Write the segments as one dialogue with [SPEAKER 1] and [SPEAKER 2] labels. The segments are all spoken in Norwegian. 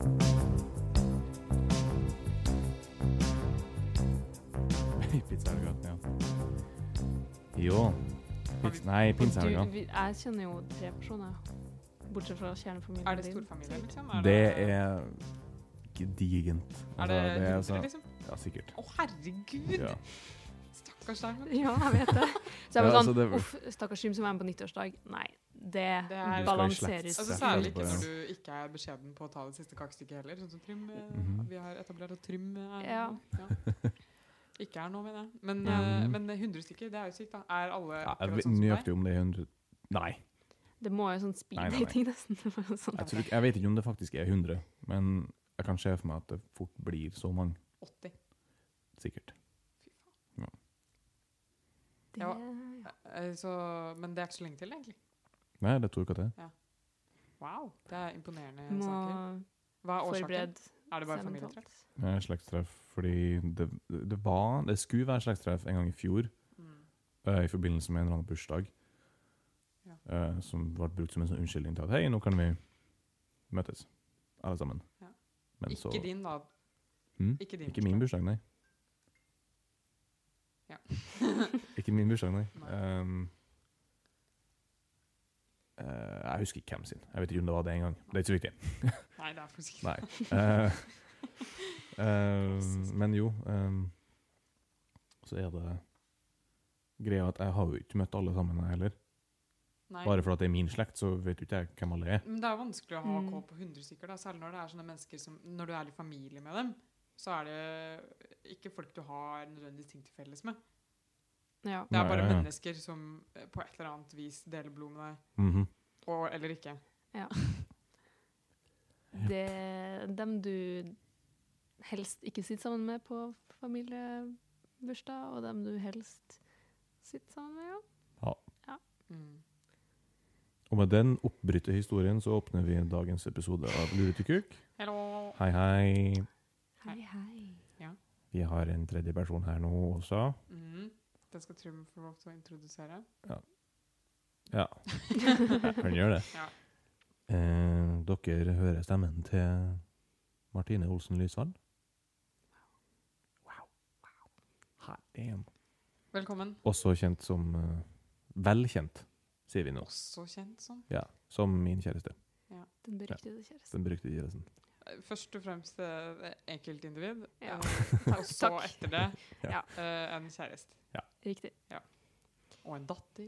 [SPEAKER 1] Jo. Pins, nei, pinsehelga.
[SPEAKER 2] Du, vi, jeg kjenner jo tre personer, bortsett fra kjernefamilien
[SPEAKER 3] Er det
[SPEAKER 2] din.
[SPEAKER 3] storfamilie,
[SPEAKER 2] sikkert.
[SPEAKER 3] liksom? Er
[SPEAKER 1] Det er gedigent.
[SPEAKER 3] Er det
[SPEAKER 1] Altså,
[SPEAKER 3] hundre,
[SPEAKER 1] altså-
[SPEAKER 3] liksom?
[SPEAKER 1] Ja, sikkert.
[SPEAKER 3] Å, herregud!
[SPEAKER 1] Ja.
[SPEAKER 3] Stakkars deg. men
[SPEAKER 2] Ja, jeg vet det. Så jeg var
[SPEAKER 1] Ja,
[SPEAKER 2] sånn
[SPEAKER 1] altså, det-
[SPEAKER 2] Uff, stakkars Jim som er med på nyttårsdag. Nei, det,
[SPEAKER 3] Det er-
[SPEAKER 2] balanserer
[SPEAKER 1] Du skal i slekt.
[SPEAKER 3] Altså,
[SPEAKER 1] Stress, altså,
[SPEAKER 3] særlig ikke
[SPEAKER 1] ja.
[SPEAKER 3] når du ikke er beskjeden på å ta det siste kakestykket heller. Sånn som Trym. eh,
[SPEAKER 1] Mhm.
[SPEAKER 3] Vi har etablert at Trym eh, er
[SPEAKER 2] Ja.
[SPEAKER 3] Ikke er nå, mener jeg. Men,
[SPEAKER 1] Ja.
[SPEAKER 3] eh,
[SPEAKER 1] Mhm.
[SPEAKER 3] men 100 stykker, det er jo sykt, da. Er alle
[SPEAKER 1] Ja, jeg
[SPEAKER 3] akkurat
[SPEAKER 1] vet
[SPEAKER 3] sånn som deg?
[SPEAKER 1] nøyaktig om det er 100 Nei.
[SPEAKER 2] Det må jo sånn
[SPEAKER 1] Nei, nei, nei.
[SPEAKER 2] speed-dating nesten. Det var jo sånn.
[SPEAKER 1] Jeg, tror, ikke- jeg vet ikke om det faktisk er 100, men jeg kan se for meg at det fort blir så mange.
[SPEAKER 3] 80.
[SPEAKER 1] Sikkert.
[SPEAKER 2] Det,
[SPEAKER 3] Ja. Eh, Så, men det er ikke så lenge til, egentlig.
[SPEAKER 1] Nei, det tror jeg ikke at det er.
[SPEAKER 3] Wow, det er imponerende
[SPEAKER 2] må
[SPEAKER 3] saker. Hva er årsaken?
[SPEAKER 2] forberede
[SPEAKER 3] Er det bare
[SPEAKER 2] seg
[SPEAKER 3] familietreff?
[SPEAKER 2] mentalt.
[SPEAKER 1] Det er slektstreff fordi det, det var Det skulle være slektstreff en gang i fjor
[SPEAKER 3] Mm.
[SPEAKER 1] eh, i forbindelse med en eller annen bursdag,
[SPEAKER 3] Ja.
[SPEAKER 1] eh, som ble brukt som en sånn unnskyldning til at hei, nå kan vi møtes, alle sammen.
[SPEAKER 3] Ja.
[SPEAKER 1] Men så
[SPEAKER 3] Ikke din, da.
[SPEAKER 1] Hm?
[SPEAKER 3] Ikke din.
[SPEAKER 1] Ikke min bursdag, nei.
[SPEAKER 3] Ja.
[SPEAKER 1] ikke min bursdag, nei.
[SPEAKER 3] Nei.
[SPEAKER 1] Ehm, eh, jeg husker ikke hvem sin. Jeg vet ikke om det var det en gang. Det er ikke så viktig.
[SPEAKER 3] Nei, det er faktisk ikke
[SPEAKER 1] Nei. Eh, eh, men jo ehm, Så er det greia at jeg har jo ikke møtt alle sammen, jeg heller.
[SPEAKER 3] Nei.
[SPEAKER 1] Bare fordi det er min slekt, så vet jo ikke jeg hvem alle er.
[SPEAKER 3] Men det er jo vanskelig å ha
[SPEAKER 2] Mm.
[SPEAKER 3] kål på 100 stykker, da. særlig når det er sånne mennesker som Når du er i familie med dem, så er det ikke folk du har nødvendigvis ting til felles med.
[SPEAKER 2] Ja.
[SPEAKER 3] Det er
[SPEAKER 1] Nei,
[SPEAKER 3] bare
[SPEAKER 1] ja, ja.
[SPEAKER 3] mennesker som eh, på et eller annet vis deler blod med deg,
[SPEAKER 1] Mhm.
[SPEAKER 3] og, eller ikke.
[SPEAKER 2] Det, dem du helst ikke sitter sammen med på familiebursdag, og dem du helst sitter sammen med, ja.
[SPEAKER 3] Mm.
[SPEAKER 1] Og med den oppbrytte historien så åpner vi dagens episode av Luretekuk.
[SPEAKER 3] Hello!
[SPEAKER 1] Hei, hei.
[SPEAKER 3] Hei.
[SPEAKER 2] Hei, hei.
[SPEAKER 1] Vi har en tredje person her nå også.
[SPEAKER 3] Mm. Den skal Trym få lov til å introdusere.
[SPEAKER 1] Ja, han gjør det.
[SPEAKER 3] Ja.
[SPEAKER 1] Eh, dere hører stemmen til Martine Olsen Lysvall. Wow. Hot damn.
[SPEAKER 3] Velkommen.
[SPEAKER 1] Også kjent som eh, Velkjent, sier vi nå.
[SPEAKER 3] Også kjent som
[SPEAKER 1] Ja, Som min kjæreste.
[SPEAKER 2] Den beryktede kjæresten.
[SPEAKER 1] Den brukte kjæresten.
[SPEAKER 3] eh, Først og fremst eh, enkeltindivid,
[SPEAKER 2] Ja.
[SPEAKER 3] eh,
[SPEAKER 2] Takk,
[SPEAKER 3] og så
[SPEAKER 2] takk.
[SPEAKER 3] etter det
[SPEAKER 2] Ja.
[SPEAKER 3] eh, en kjæreste.
[SPEAKER 2] Riktig.
[SPEAKER 3] Og en datter.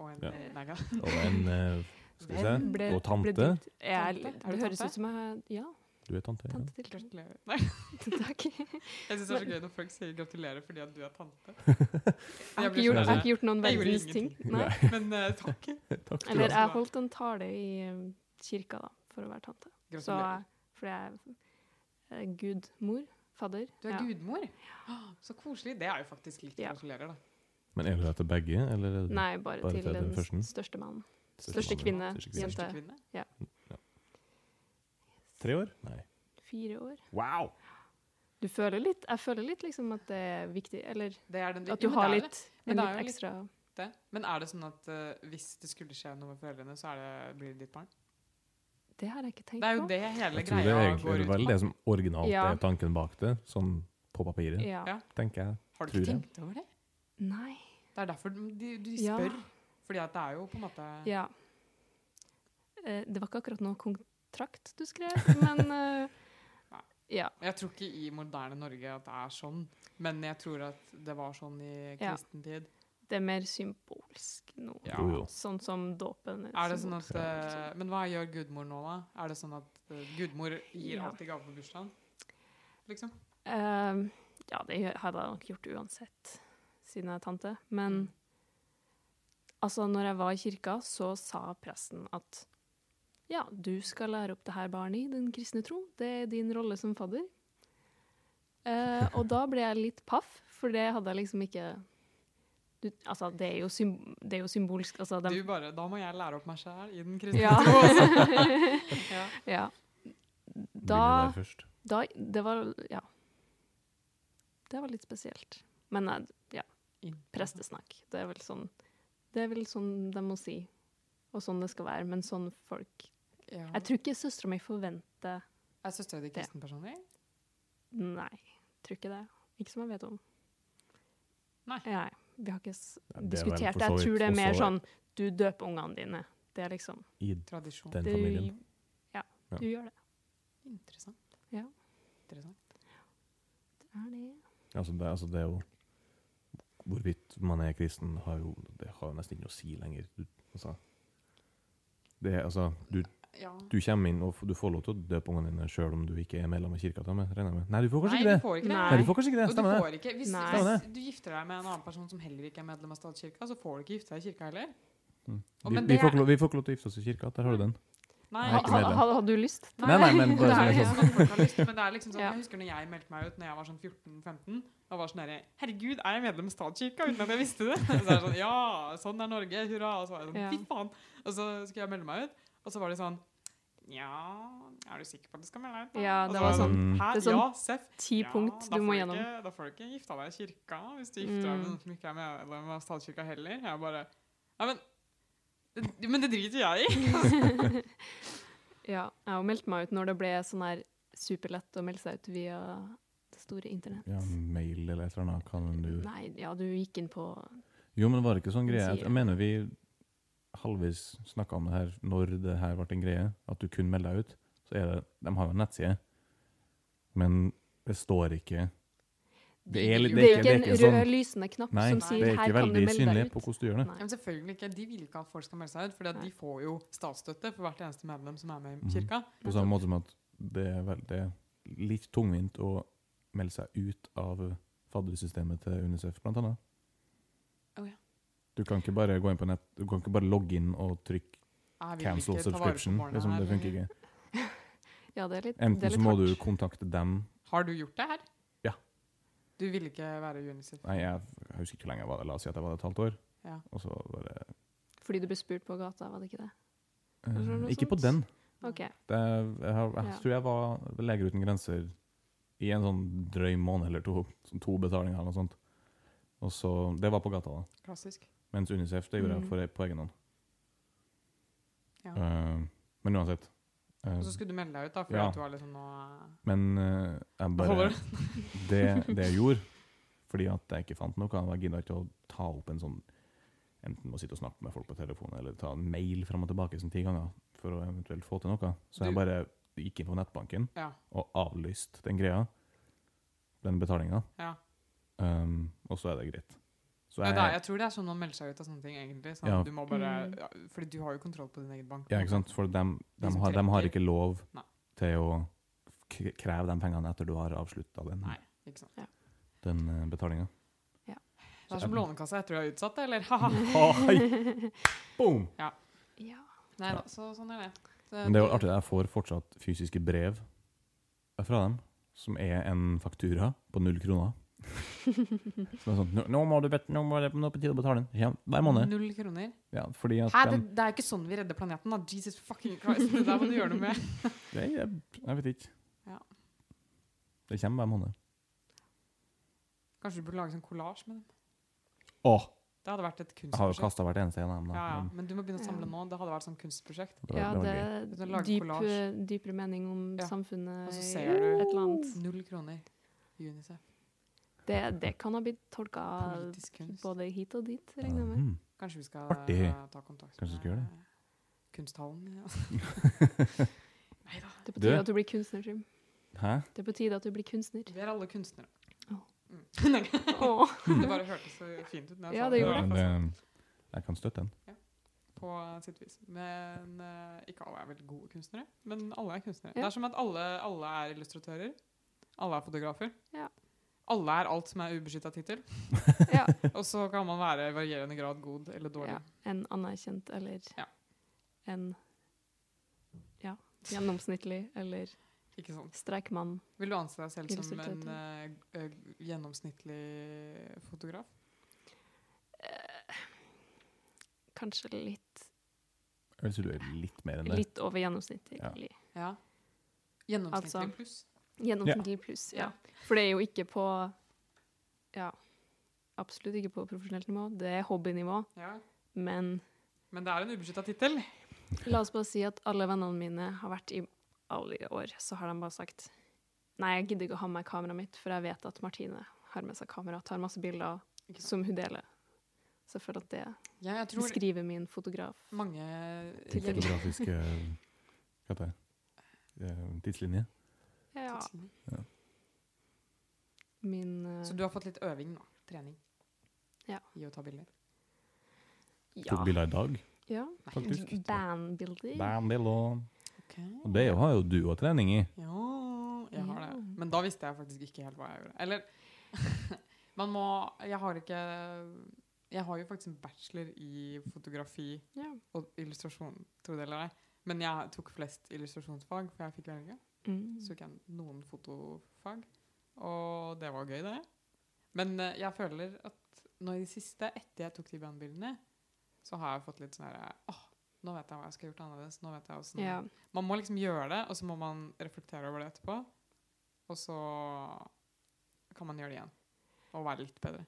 [SPEAKER 3] Og en
[SPEAKER 1] Ja.
[SPEAKER 3] eh, Nei, ja.
[SPEAKER 1] Og en eh, Skal vi se.
[SPEAKER 2] Ble-
[SPEAKER 1] Og
[SPEAKER 2] ble
[SPEAKER 1] tante.
[SPEAKER 2] dypt- Jeg,
[SPEAKER 3] Tante? Er
[SPEAKER 2] det
[SPEAKER 3] du
[SPEAKER 2] høres
[SPEAKER 3] tante?
[SPEAKER 2] ut som jeg Ja,
[SPEAKER 1] Du er tante? Ja.
[SPEAKER 2] tante til Trym.
[SPEAKER 3] Gratulerer. Nei.
[SPEAKER 2] Takk.
[SPEAKER 3] Jeg syns det er så gøy når folk sier 'gratulerer' fordi at du er tante.
[SPEAKER 2] Jeg
[SPEAKER 3] blir
[SPEAKER 2] har ikke
[SPEAKER 3] så
[SPEAKER 2] gjort, jeg
[SPEAKER 3] glad.
[SPEAKER 2] har ikke gjort noen
[SPEAKER 3] Jeg gjorde
[SPEAKER 2] verdens ting.
[SPEAKER 3] ingenting.
[SPEAKER 2] Nei.
[SPEAKER 3] Men eh, takk.
[SPEAKER 1] Takk skal du
[SPEAKER 2] Eller
[SPEAKER 1] ha.
[SPEAKER 2] jeg holdt en tale i eh, kirka da, for å være tante. Så,
[SPEAKER 3] Gratulerer.
[SPEAKER 2] for jeg er eh, gud, mor, fadder.
[SPEAKER 3] Du er
[SPEAKER 2] ja.
[SPEAKER 3] gudmor? Å, Så koselig. Det er jo faktisk likt
[SPEAKER 2] Ja.
[SPEAKER 3] gratulerer, da.
[SPEAKER 1] Men er du der til begge, eller er du
[SPEAKER 2] Nei, bare,
[SPEAKER 1] Bare til
[SPEAKER 2] til
[SPEAKER 1] den
[SPEAKER 2] den
[SPEAKER 1] første?
[SPEAKER 2] største mannen.
[SPEAKER 1] Største
[SPEAKER 2] Største
[SPEAKER 1] mann,
[SPEAKER 2] kvinne,
[SPEAKER 1] største kvinne.
[SPEAKER 3] Største
[SPEAKER 2] jente.
[SPEAKER 3] kvinne.
[SPEAKER 1] Tre år? Nei.
[SPEAKER 2] Fire år.
[SPEAKER 1] Wow!
[SPEAKER 2] Du føler litt, jeg føler litt liksom at det er viktig, eller
[SPEAKER 3] Det er den
[SPEAKER 2] at du har
[SPEAKER 3] det er
[SPEAKER 2] litt,
[SPEAKER 3] Men
[SPEAKER 2] en
[SPEAKER 3] det er jo
[SPEAKER 2] litt
[SPEAKER 3] litt-
[SPEAKER 2] ekstra
[SPEAKER 3] det. Men er det sånn at eh, hvis det skulle skje noe med foreldrene, så er det, blir det ditt barn?
[SPEAKER 2] Det har jeg ikke tenkt
[SPEAKER 3] Det er jo
[SPEAKER 2] på.
[SPEAKER 3] det hele
[SPEAKER 1] Jeg tror det
[SPEAKER 3] greia
[SPEAKER 1] er
[SPEAKER 3] går
[SPEAKER 1] egentlig
[SPEAKER 3] ut
[SPEAKER 1] vel
[SPEAKER 3] på.
[SPEAKER 1] det som originalt
[SPEAKER 2] Ja.
[SPEAKER 1] er tanken bak det, sånn på papiret,
[SPEAKER 2] Ja.
[SPEAKER 3] Ja.
[SPEAKER 1] tenker jeg.
[SPEAKER 3] Har du
[SPEAKER 1] tror jeg.
[SPEAKER 3] ikke tenkt over det?
[SPEAKER 2] Nei.
[SPEAKER 3] Det er derfor de, de, de
[SPEAKER 2] Ja.
[SPEAKER 3] spør. Fordi at det er jo på en måte
[SPEAKER 2] Ja. Eh, Det var ikke akkurat noen kontrakt du skrev, men eh, ja.
[SPEAKER 3] Jeg tror ikke i moderne Norge at det er sånn, men jeg tror at det var sånn i
[SPEAKER 2] Ja.
[SPEAKER 3] kristen tid.
[SPEAKER 2] Det er mer symbolsk nå.
[SPEAKER 3] Ja.
[SPEAKER 1] Jo, jo.
[SPEAKER 2] Sånn som dåpen.
[SPEAKER 3] Er det sånn at,
[SPEAKER 2] symbolsk.
[SPEAKER 3] eh, men hva gjør gudmor nå, da? Er det sånn at eh, gudmor gir
[SPEAKER 2] Ja.
[SPEAKER 3] alltid gave på bursdagen? Liksom?
[SPEAKER 2] Ehm, ja, det gjør- hadde jeg nok gjort uansett, siden jeg er tante.
[SPEAKER 3] Mm.
[SPEAKER 2] Men altså, når jeg var i kirka, så sa presten at ja, du skal lære opp det her barnet i den kristne tro. Det er din rolle som fadder. Eh, og da ble jeg litt paff, for det hadde jeg liksom ikke du, Altså, det er jo, sym, det er jo symbolsk. Altså,
[SPEAKER 3] Du
[SPEAKER 2] de,
[SPEAKER 3] bare Da må jeg lære opp meg sjæl i den kristne
[SPEAKER 2] Ja.
[SPEAKER 3] tro! altså. ja.
[SPEAKER 2] ja.
[SPEAKER 1] Begynner
[SPEAKER 2] Da
[SPEAKER 1] der først.
[SPEAKER 2] Da, det var Ja. Det var litt spesielt. Men eh, jeg, ja,
[SPEAKER 3] Inn.
[SPEAKER 2] prestesnakk. Det er vel sånn Det er vel sånn de må si, og sånn det skal være. Men sånn folk
[SPEAKER 3] Ja.
[SPEAKER 2] Jeg tror ikke søstera mi forventer
[SPEAKER 3] Er søstera di kristen personlig?
[SPEAKER 2] Nei, tror ikke det. Ikke som jeg vet om.
[SPEAKER 3] Nei.
[SPEAKER 2] Nei. Vi har ikke s
[SPEAKER 1] Ja, det er vel for
[SPEAKER 2] diskutert det.
[SPEAKER 1] så
[SPEAKER 2] Jeg
[SPEAKER 1] vidt
[SPEAKER 2] tror det er mer
[SPEAKER 1] også-
[SPEAKER 2] sånn du døper ungene dine. Det er liksom
[SPEAKER 1] i
[SPEAKER 3] Tradisjon.
[SPEAKER 1] den
[SPEAKER 2] du,
[SPEAKER 1] familien.
[SPEAKER 2] Ja,
[SPEAKER 1] Ja.
[SPEAKER 2] du gjør det.
[SPEAKER 3] Interessant.
[SPEAKER 2] Ja.
[SPEAKER 3] Interessant.
[SPEAKER 2] Det er det.
[SPEAKER 1] Altså det, altså det er jo Hvorvidt man er kristen, har jo, det har jo nesten ikke noe å si lenger. Du, altså, det er, altså, du,
[SPEAKER 3] Ja.
[SPEAKER 1] du kommer inn og f- du får lov til å døpe ungene dine sjøl om du ikke er medlem av kirka. til og med, regner jeg med. Nei, du får kanskje
[SPEAKER 3] Nei,
[SPEAKER 1] ikke det!
[SPEAKER 3] du får ikke det.
[SPEAKER 1] Nei, du får kanskje ikke det.
[SPEAKER 3] Og du
[SPEAKER 1] Stemmer det.
[SPEAKER 3] får ikke, hvis,
[SPEAKER 2] Nei.
[SPEAKER 3] hvis
[SPEAKER 1] Stemmer
[SPEAKER 3] du gifter deg med en annen person som heller ikke er medlem av statskirka, så får du ikke gifte deg i kirka heller.
[SPEAKER 1] Mm.
[SPEAKER 3] Og
[SPEAKER 1] Vi,
[SPEAKER 3] men
[SPEAKER 1] vi,
[SPEAKER 3] det
[SPEAKER 1] får
[SPEAKER 3] er-
[SPEAKER 1] ikke lov, vi får ikke lov til å gifte oss i kirka. Der har du den.
[SPEAKER 3] Nei,
[SPEAKER 1] Jeg er ikke
[SPEAKER 2] Ha-
[SPEAKER 1] medlem.
[SPEAKER 2] ha- Hadde du lyst?
[SPEAKER 1] Nei, nei, men
[SPEAKER 3] det
[SPEAKER 1] bare
[SPEAKER 3] er
[SPEAKER 1] sånn-
[SPEAKER 3] ikke sånn at folk har lyst, men det er liksom sånn,
[SPEAKER 2] Ja.
[SPEAKER 3] jeg husker når jeg meldte meg ut når jeg var sånn 14-15, da var sånn derre Herregud, er jeg medlem av statskirka uten at jeg visste det? Så er det sånn, ja, sånn er Norge, hurra. Og så var jeg
[SPEAKER 2] Ja.
[SPEAKER 3] sånn, fy faen. Og så skulle jeg melde meg ut, og så var de sånn Ja, er du sikker på at du skal melde deg ut? da?»
[SPEAKER 2] Ja,
[SPEAKER 3] Og
[SPEAKER 2] det
[SPEAKER 3] så
[SPEAKER 1] var
[SPEAKER 3] jeg
[SPEAKER 1] sånn-
[SPEAKER 3] Hæ,
[SPEAKER 2] det er sånn
[SPEAKER 3] ja, seff.
[SPEAKER 2] Ti
[SPEAKER 3] Ja,
[SPEAKER 2] punkt
[SPEAKER 3] da
[SPEAKER 2] du
[SPEAKER 3] får
[SPEAKER 2] må gjennom.
[SPEAKER 3] Ikke, da får du ikke gifta deg i kirka hvis du gifter deg med
[SPEAKER 2] Mm.
[SPEAKER 3] noen som ikke er medlem av statskirka heller. Jeg bare Nei, men det- men det driter jeg i.
[SPEAKER 2] Ja, jeg har meldt meg ut når det ble sånn her superlett å melde seg ut via det store internett.
[SPEAKER 1] Ja, mail eller et eller annet. Kan du
[SPEAKER 2] Nei, ja, du gikk inn på
[SPEAKER 1] Jo, men var det ikke sånn
[SPEAKER 2] Den
[SPEAKER 1] greie at
[SPEAKER 2] sier-
[SPEAKER 1] Jeg mener vi halvvis snakka om det her når det her ble en greie, at du kun melder deg ut. Så er det De har jo en nettside, men det står ikke Det er, litt-
[SPEAKER 2] Det
[SPEAKER 1] det
[SPEAKER 2] er
[SPEAKER 1] er
[SPEAKER 2] jo
[SPEAKER 1] ikke,
[SPEAKER 2] ikke en
[SPEAKER 1] det er ikke
[SPEAKER 2] rød
[SPEAKER 1] sånn
[SPEAKER 2] lysende knapp
[SPEAKER 1] Nei,
[SPEAKER 2] som
[SPEAKER 1] det
[SPEAKER 2] sier
[SPEAKER 1] er
[SPEAKER 2] 'her
[SPEAKER 1] ikke
[SPEAKER 2] kan du
[SPEAKER 1] veldig
[SPEAKER 2] melde
[SPEAKER 1] synlig
[SPEAKER 2] deg
[SPEAKER 1] på
[SPEAKER 2] ut'.
[SPEAKER 1] hvordan du gjør det.
[SPEAKER 3] Ja, men selvfølgelig ikke. De vil ikke at folk skal melde seg ut, for
[SPEAKER 2] Nei.
[SPEAKER 3] de får jo statsstøtte for hvert eneste medlem som er med
[SPEAKER 1] Mhm.
[SPEAKER 3] i kirka.
[SPEAKER 1] På samme måte som at det er, vel, det er litt tungvint å melde seg ut av faddersystemet til UNICEF, blant annet.
[SPEAKER 3] Å ja.
[SPEAKER 1] Du kan ikke bare gå inn på nett, du kan ikke bare logge inn og trykke
[SPEAKER 3] Jeg vil ikke
[SPEAKER 1] cancel
[SPEAKER 3] ta vare på
[SPEAKER 1] subscription.
[SPEAKER 3] barna
[SPEAKER 1] Liksom,
[SPEAKER 3] her
[SPEAKER 1] det funker
[SPEAKER 3] lenger.
[SPEAKER 1] ikke.
[SPEAKER 2] Ja, det er litt, det
[SPEAKER 1] Enten så
[SPEAKER 2] er litt
[SPEAKER 1] må
[SPEAKER 2] hardt.
[SPEAKER 1] du kontakte dem
[SPEAKER 3] Har du gjort det her?
[SPEAKER 1] Ja.
[SPEAKER 3] Du ville ikke være UNICEF?
[SPEAKER 1] Nei, jeg, jeg husker ikke hvor lenge jeg var der. La oss si at jeg var der et halvt år.
[SPEAKER 3] Ja.
[SPEAKER 1] Og så var det
[SPEAKER 2] Fordi du ble spurt på gata, var det ikke det?
[SPEAKER 1] eh,
[SPEAKER 2] Eller noe
[SPEAKER 1] Ikke på
[SPEAKER 2] sånt.
[SPEAKER 1] den.
[SPEAKER 2] OK.
[SPEAKER 1] Det, jeg, har, jeg
[SPEAKER 2] Ja.
[SPEAKER 1] tror jeg var ved Leger uten grenser i en sånn drøy måned eller to. Sånn to betalinger eller noe sånt. Og så, Det var på gata, da.
[SPEAKER 3] Klassisk.
[SPEAKER 1] Mens Unicef det gjorde
[SPEAKER 2] Mhm.
[SPEAKER 1] jeg for, på egen hånd.
[SPEAKER 3] Mm. Ja.
[SPEAKER 1] Eh, men uansett. eh,
[SPEAKER 3] Og så skulle du melde deg ut, da, fordi
[SPEAKER 1] Ja.
[SPEAKER 3] at du var liksom nå eh,
[SPEAKER 1] men eh, jeg bare
[SPEAKER 3] Holder
[SPEAKER 1] det, det jeg gjorde, fordi at jeg ikke fant noe, jeg gidda ikke å ta opp en sånn Enten å sitte og snakke med folk på telefonen eller ta en mail fram og tilbake sånn ti ganger for å eventuelt få til noe. Så jeg
[SPEAKER 3] Du-
[SPEAKER 1] bare gikk inn på nettbanken
[SPEAKER 3] Ja.
[SPEAKER 1] og avlyste den greia, den betalinga.
[SPEAKER 3] ja.
[SPEAKER 1] Um, og så er det greit. Så
[SPEAKER 3] Nei,
[SPEAKER 1] jeg,
[SPEAKER 3] det er, jeg tror det er sånn man melder seg ut av sånne ting, egentlig. Sånn,
[SPEAKER 1] Ja.
[SPEAKER 3] Du må bare,
[SPEAKER 2] Mm.
[SPEAKER 3] ja, fordi du har jo kontroll på din egen bank.
[SPEAKER 1] ja, ikke sant? For de,
[SPEAKER 3] De som
[SPEAKER 1] har, dem har
[SPEAKER 3] trekker.
[SPEAKER 1] ikke lov
[SPEAKER 3] Nei.
[SPEAKER 1] til å k- kreve de pengene etter du har avslutta den,
[SPEAKER 3] Nei, ikke sant.
[SPEAKER 1] den eh, betalinga.
[SPEAKER 3] Det er som Lånekassa etter du er utsatt, eller? Haha.
[SPEAKER 1] Boom!
[SPEAKER 2] Ja.
[SPEAKER 3] Nei
[SPEAKER 1] Ja.
[SPEAKER 3] da, så sånn er det. Så
[SPEAKER 1] Men det er jo artig, jeg får fortsatt fysiske brev fra dem, som er en faktura på null kroner. Som er sånn, nå, nå må du bet, nå må det nå er på tide å betale den. Ja, hver måned.
[SPEAKER 3] Null kroner.
[SPEAKER 1] Ja, fordi at
[SPEAKER 3] Hæ, det,
[SPEAKER 1] dem-
[SPEAKER 3] det er jo ikke sånn vi redder planeten, da. Jesus fucking Christ. Det der må du gjøre noe med.
[SPEAKER 1] Nei, jeg, jeg vet ikke.
[SPEAKER 3] Ja.
[SPEAKER 1] Det kommer hver måned.
[SPEAKER 3] Kanskje du burde lage sånn kollasj med dem.
[SPEAKER 1] Åh,
[SPEAKER 3] Det hadde vært et
[SPEAKER 1] jeg har jo
[SPEAKER 3] kunstprosjekt.
[SPEAKER 1] kasta hvert eneste en av dem. da.
[SPEAKER 3] Ja, ja.
[SPEAKER 1] Men
[SPEAKER 3] Men du må begynne å samle
[SPEAKER 2] Ja.
[SPEAKER 3] nå. Det hadde vært sånn kunstprosjekt.
[SPEAKER 1] det var-
[SPEAKER 2] ja,
[SPEAKER 1] det var
[SPEAKER 2] det
[SPEAKER 1] gøy.
[SPEAKER 3] Du kan
[SPEAKER 2] er
[SPEAKER 3] lage
[SPEAKER 2] dyp, eh,
[SPEAKER 3] collage.
[SPEAKER 2] dypere mening om
[SPEAKER 3] sånn Ja.
[SPEAKER 2] samfunnet
[SPEAKER 3] Og så
[SPEAKER 2] i
[SPEAKER 3] ser
[SPEAKER 2] et
[SPEAKER 3] du-
[SPEAKER 2] eller annet.
[SPEAKER 3] Null kroner. Unicef.
[SPEAKER 2] Det, det kan ha blitt tolka
[SPEAKER 3] Politisk kunst.
[SPEAKER 2] både hit og dit, regner jeg med.
[SPEAKER 1] Mhm.
[SPEAKER 3] Kanskje vi skal
[SPEAKER 1] Artig.
[SPEAKER 3] eh, ta kontakt eh,
[SPEAKER 1] Kanskje vi skal gjøre det.
[SPEAKER 3] kunsthallen. Ja.
[SPEAKER 2] Det er
[SPEAKER 1] Du-
[SPEAKER 2] på tide at du blir kunstner, Trym.
[SPEAKER 1] Hæ?
[SPEAKER 2] Det er på tide at du blir kunstner.
[SPEAKER 3] Vi er alle kunstnere.
[SPEAKER 2] Åh.
[SPEAKER 3] Mm.
[SPEAKER 2] Åh.
[SPEAKER 3] det bare hørtes så fint ut. når jeg
[SPEAKER 2] Ja,
[SPEAKER 3] sa
[SPEAKER 2] det
[SPEAKER 1] Ja, men
[SPEAKER 2] gjorde
[SPEAKER 3] det.
[SPEAKER 1] det- Jeg kan støtte den.
[SPEAKER 3] På sitt vis. Men eh, ikke alle er veldig gode kunstnere. Men alle er kunstnere.
[SPEAKER 2] Ja.
[SPEAKER 3] Det er som at alle, alle er illustratører. Alle er fotografer.
[SPEAKER 2] Ja.
[SPEAKER 3] Alle er alt som er ubeskytta tittel.
[SPEAKER 2] Ja.
[SPEAKER 3] Og så kan man være i varierende grad god eller dårlig.
[SPEAKER 2] ja. En anerkjent eller
[SPEAKER 3] Ja.
[SPEAKER 2] en ja, gjennomsnittlig eller
[SPEAKER 3] Ikke sant?
[SPEAKER 2] streikmann.
[SPEAKER 3] Vil du anse deg selv som en
[SPEAKER 2] Illustratør.
[SPEAKER 3] eh, eh, gjennomsnittlig fotograf?
[SPEAKER 2] Eh, kanskje litt,
[SPEAKER 1] Jeg vil si du er litt mer enn det.
[SPEAKER 2] litt over gjennomsnittlig.
[SPEAKER 1] Ja.
[SPEAKER 3] Ja. Gjennomsnittlig
[SPEAKER 2] Altså-
[SPEAKER 3] pluss?
[SPEAKER 2] Gjennomsnittlig pluss, ja. For det er jo ikke på Ja, absolutt ikke på profesjonelt nivå. Det er hobbynivå.
[SPEAKER 3] Ja.
[SPEAKER 2] Men
[SPEAKER 3] Men det er en ubeskytta tittel.
[SPEAKER 2] la oss bare si at alle vennene mine har vært i alle år, så har de bare sagt Nei, jeg gidder ikke å ha med meg kameraet mitt, for jeg vet at Martine har med seg kamera, tar masse bilder
[SPEAKER 3] Ikke sant?
[SPEAKER 2] som hun deler. Så jeg føler at det
[SPEAKER 3] Ja, jeg tror
[SPEAKER 2] beskriver min fotograf.
[SPEAKER 3] mange
[SPEAKER 1] Den
[SPEAKER 2] Tilfeldig.
[SPEAKER 3] hjem-
[SPEAKER 1] fotografiske eh, Hva heter det? Eh, Tidslinje?
[SPEAKER 2] Ja,
[SPEAKER 3] tidslinjer.
[SPEAKER 2] min eh,
[SPEAKER 3] Så du har fått litt øving nå? Trening?
[SPEAKER 2] Ja.
[SPEAKER 3] I å ta bilder?
[SPEAKER 1] Tok
[SPEAKER 2] ja.
[SPEAKER 1] bilder i dag,
[SPEAKER 2] ja.
[SPEAKER 1] faktisk.
[SPEAKER 2] Bandbilder.
[SPEAKER 1] Bandil og
[SPEAKER 3] Ok.
[SPEAKER 1] Og det har jo du òg trening i.
[SPEAKER 3] Ja, jeg har det.
[SPEAKER 2] Ja.
[SPEAKER 3] Men da visste jeg faktisk ikke helt hva jeg gjorde. Eller Man må Jeg har ikke Jeg har jo faktisk en bachelor i fotografi
[SPEAKER 2] Ja.
[SPEAKER 3] og illustrasjon, tro det eller ei. Men jeg tok flest illustrasjonsfag, for jeg fikk velge.
[SPEAKER 2] Mm.
[SPEAKER 3] Så tok jeg noen fotofag. Og det var gøy, det. Men eh, jeg føler at nå i det siste, etter jeg tok de bandbildene, så har jeg fått litt sånn herre Åh, nå vet jeg hva jeg skal ha gjort annerledes. Nå vet jeg åssen
[SPEAKER 2] ja.
[SPEAKER 3] man må liksom gjøre det, og så må man reflektere over det etterpå. Og så kan man gjøre det igjen. Og være litt bedre.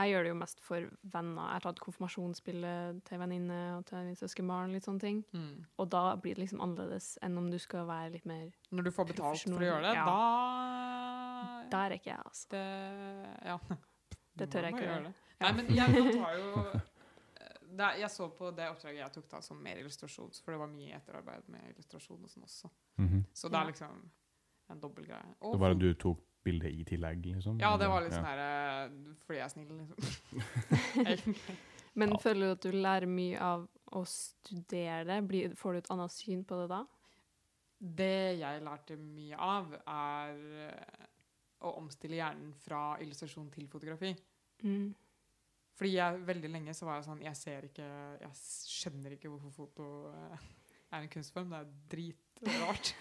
[SPEAKER 2] Jeg gjør det jo mest for venner. Jeg har tatt konfirmasjonsbildet til venninne og til min søskenbarn. litt sånne ting.
[SPEAKER 3] Mm.
[SPEAKER 2] Og da blir det liksom annerledes enn om du skal være litt mer
[SPEAKER 3] Når du får betalt for å
[SPEAKER 2] Profesjonell,
[SPEAKER 3] gjøre det,
[SPEAKER 2] ja.
[SPEAKER 3] da
[SPEAKER 2] Der er ikke jeg, altså.
[SPEAKER 3] Det Ja.
[SPEAKER 2] Det tør jeg
[SPEAKER 3] Må
[SPEAKER 2] ikke
[SPEAKER 3] gjøre
[SPEAKER 2] gjøre.
[SPEAKER 3] det. Nei, men jeg nå tar jo eh, det, er- Jeg så på det oppdraget jeg tok da som mer illustrasjon, for det var mye etterarbeid med illustrasjon og sånn også.
[SPEAKER 1] Mhm.
[SPEAKER 3] Så det er
[SPEAKER 2] Ja.
[SPEAKER 3] liksom en dobbel greie.
[SPEAKER 1] Det var at du tok bildet i tillegg, liksom?
[SPEAKER 3] Ja, det var litt
[SPEAKER 1] Ja.
[SPEAKER 3] sånn her eh, fordi jeg er snill, liksom. Egentlig.
[SPEAKER 2] Men
[SPEAKER 1] Ja.
[SPEAKER 2] føler du at du lærer mye av å studere det? Blir, får du et annet syn på det da?
[SPEAKER 3] Det jeg lærte mye av, er eh, å omstille hjernen fra illustrasjon til fotografi.
[SPEAKER 2] Mm.
[SPEAKER 3] Fordi jeg veldig lenge så var jeg sånn Jeg ser ikke Jeg s- skjønner ikke hvorfor foto eh, er en kunstform. Det er dritrart.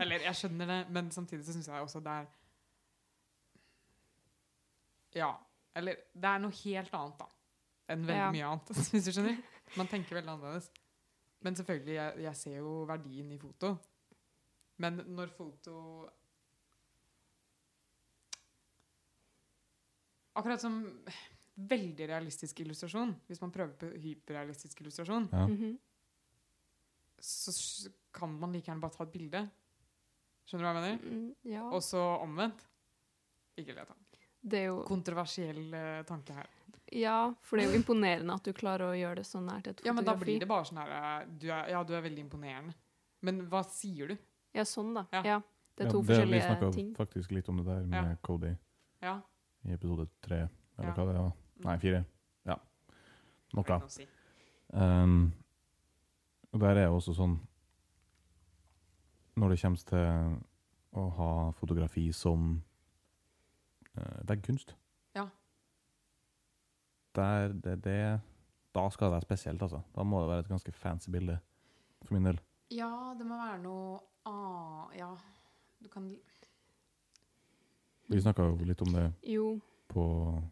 [SPEAKER 3] Eller jeg skjønner det, men samtidig så syns jeg også det er Ja. Eller det er noe helt annet, da. Enn veldig
[SPEAKER 2] Ja.
[SPEAKER 3] mye annet, hvis du skjønner. Man tenker veldig annerledes. Men selvfølgelig, jeg, jeg ser jo verdien i foto. Men når foto Akkurat som veldig realistisk illustrasjon, hvis man prøver på hyperrealistisk illustrasjon,
[SPEAKER 1] Ja.
[SPEAKER 2] Mhm.
[SPEAKER 3] så s- kan man like gjerne bare ta et bilde. Skjønner du hva jeg mener?
[SPEAKER 2] Mm, ja.
[SPEAKER 3] Og så omvendt. Ikke let han.
[SPEAKER 2] Det er jo,
[SPEAKER 3] Kontroversiell eh, tanke her.
[SPEAKER 2] ja, for det er jo imponerende at du klarer å gjøre det så nært et fotografi.
[SPEAKER 3] Ja, men da blir det bare sånn her eh, du er, Ja, du er veldig imponerende. Men hva sier du?
[SPEAKER 2] Ja, sånn da.
[SPEAKER 3] Ja.
[SPEAKER 2] Ja. Det er to
[SPEAKER 1] vi
[SPEAKER 2] forskjellige
[SPEAKER 1] snakket
[SPEAKER 2] ting.
[SPEAKER 1] faktisk litt om det der med
[SPEAKER 3] Ja.
[SPEAKER 1] Cody
[SPEAKER 3] Ja.
[SPEAKER 1] i episode tre, eller
[SPEAKER 3] Ja. Mm.
[SPEAKER 1] hva det var. Nei, fire. Ja.
[SPEAKER 3] har
[SPEAKER 1] Noe.
[SPEAKER 3] ikke å si.
[SPEAKER 1] Um, og der er jo også sånn Når det kommer til å ha fotografi som eh, veggkunst
[SPEAKER 3] Ja.
[SPEAKER 1] Der, det, det, da skal det være spesielt, altså. Da må det være et ganske fancy bilde, for min del.
[SPEAKER 3] Ja, det må være noe ah, Ja. Du kan
[SPEAKER 1] Vi snakka jo litt om det
[SPEAKER 2] Jo,
[SPEAKER 1] på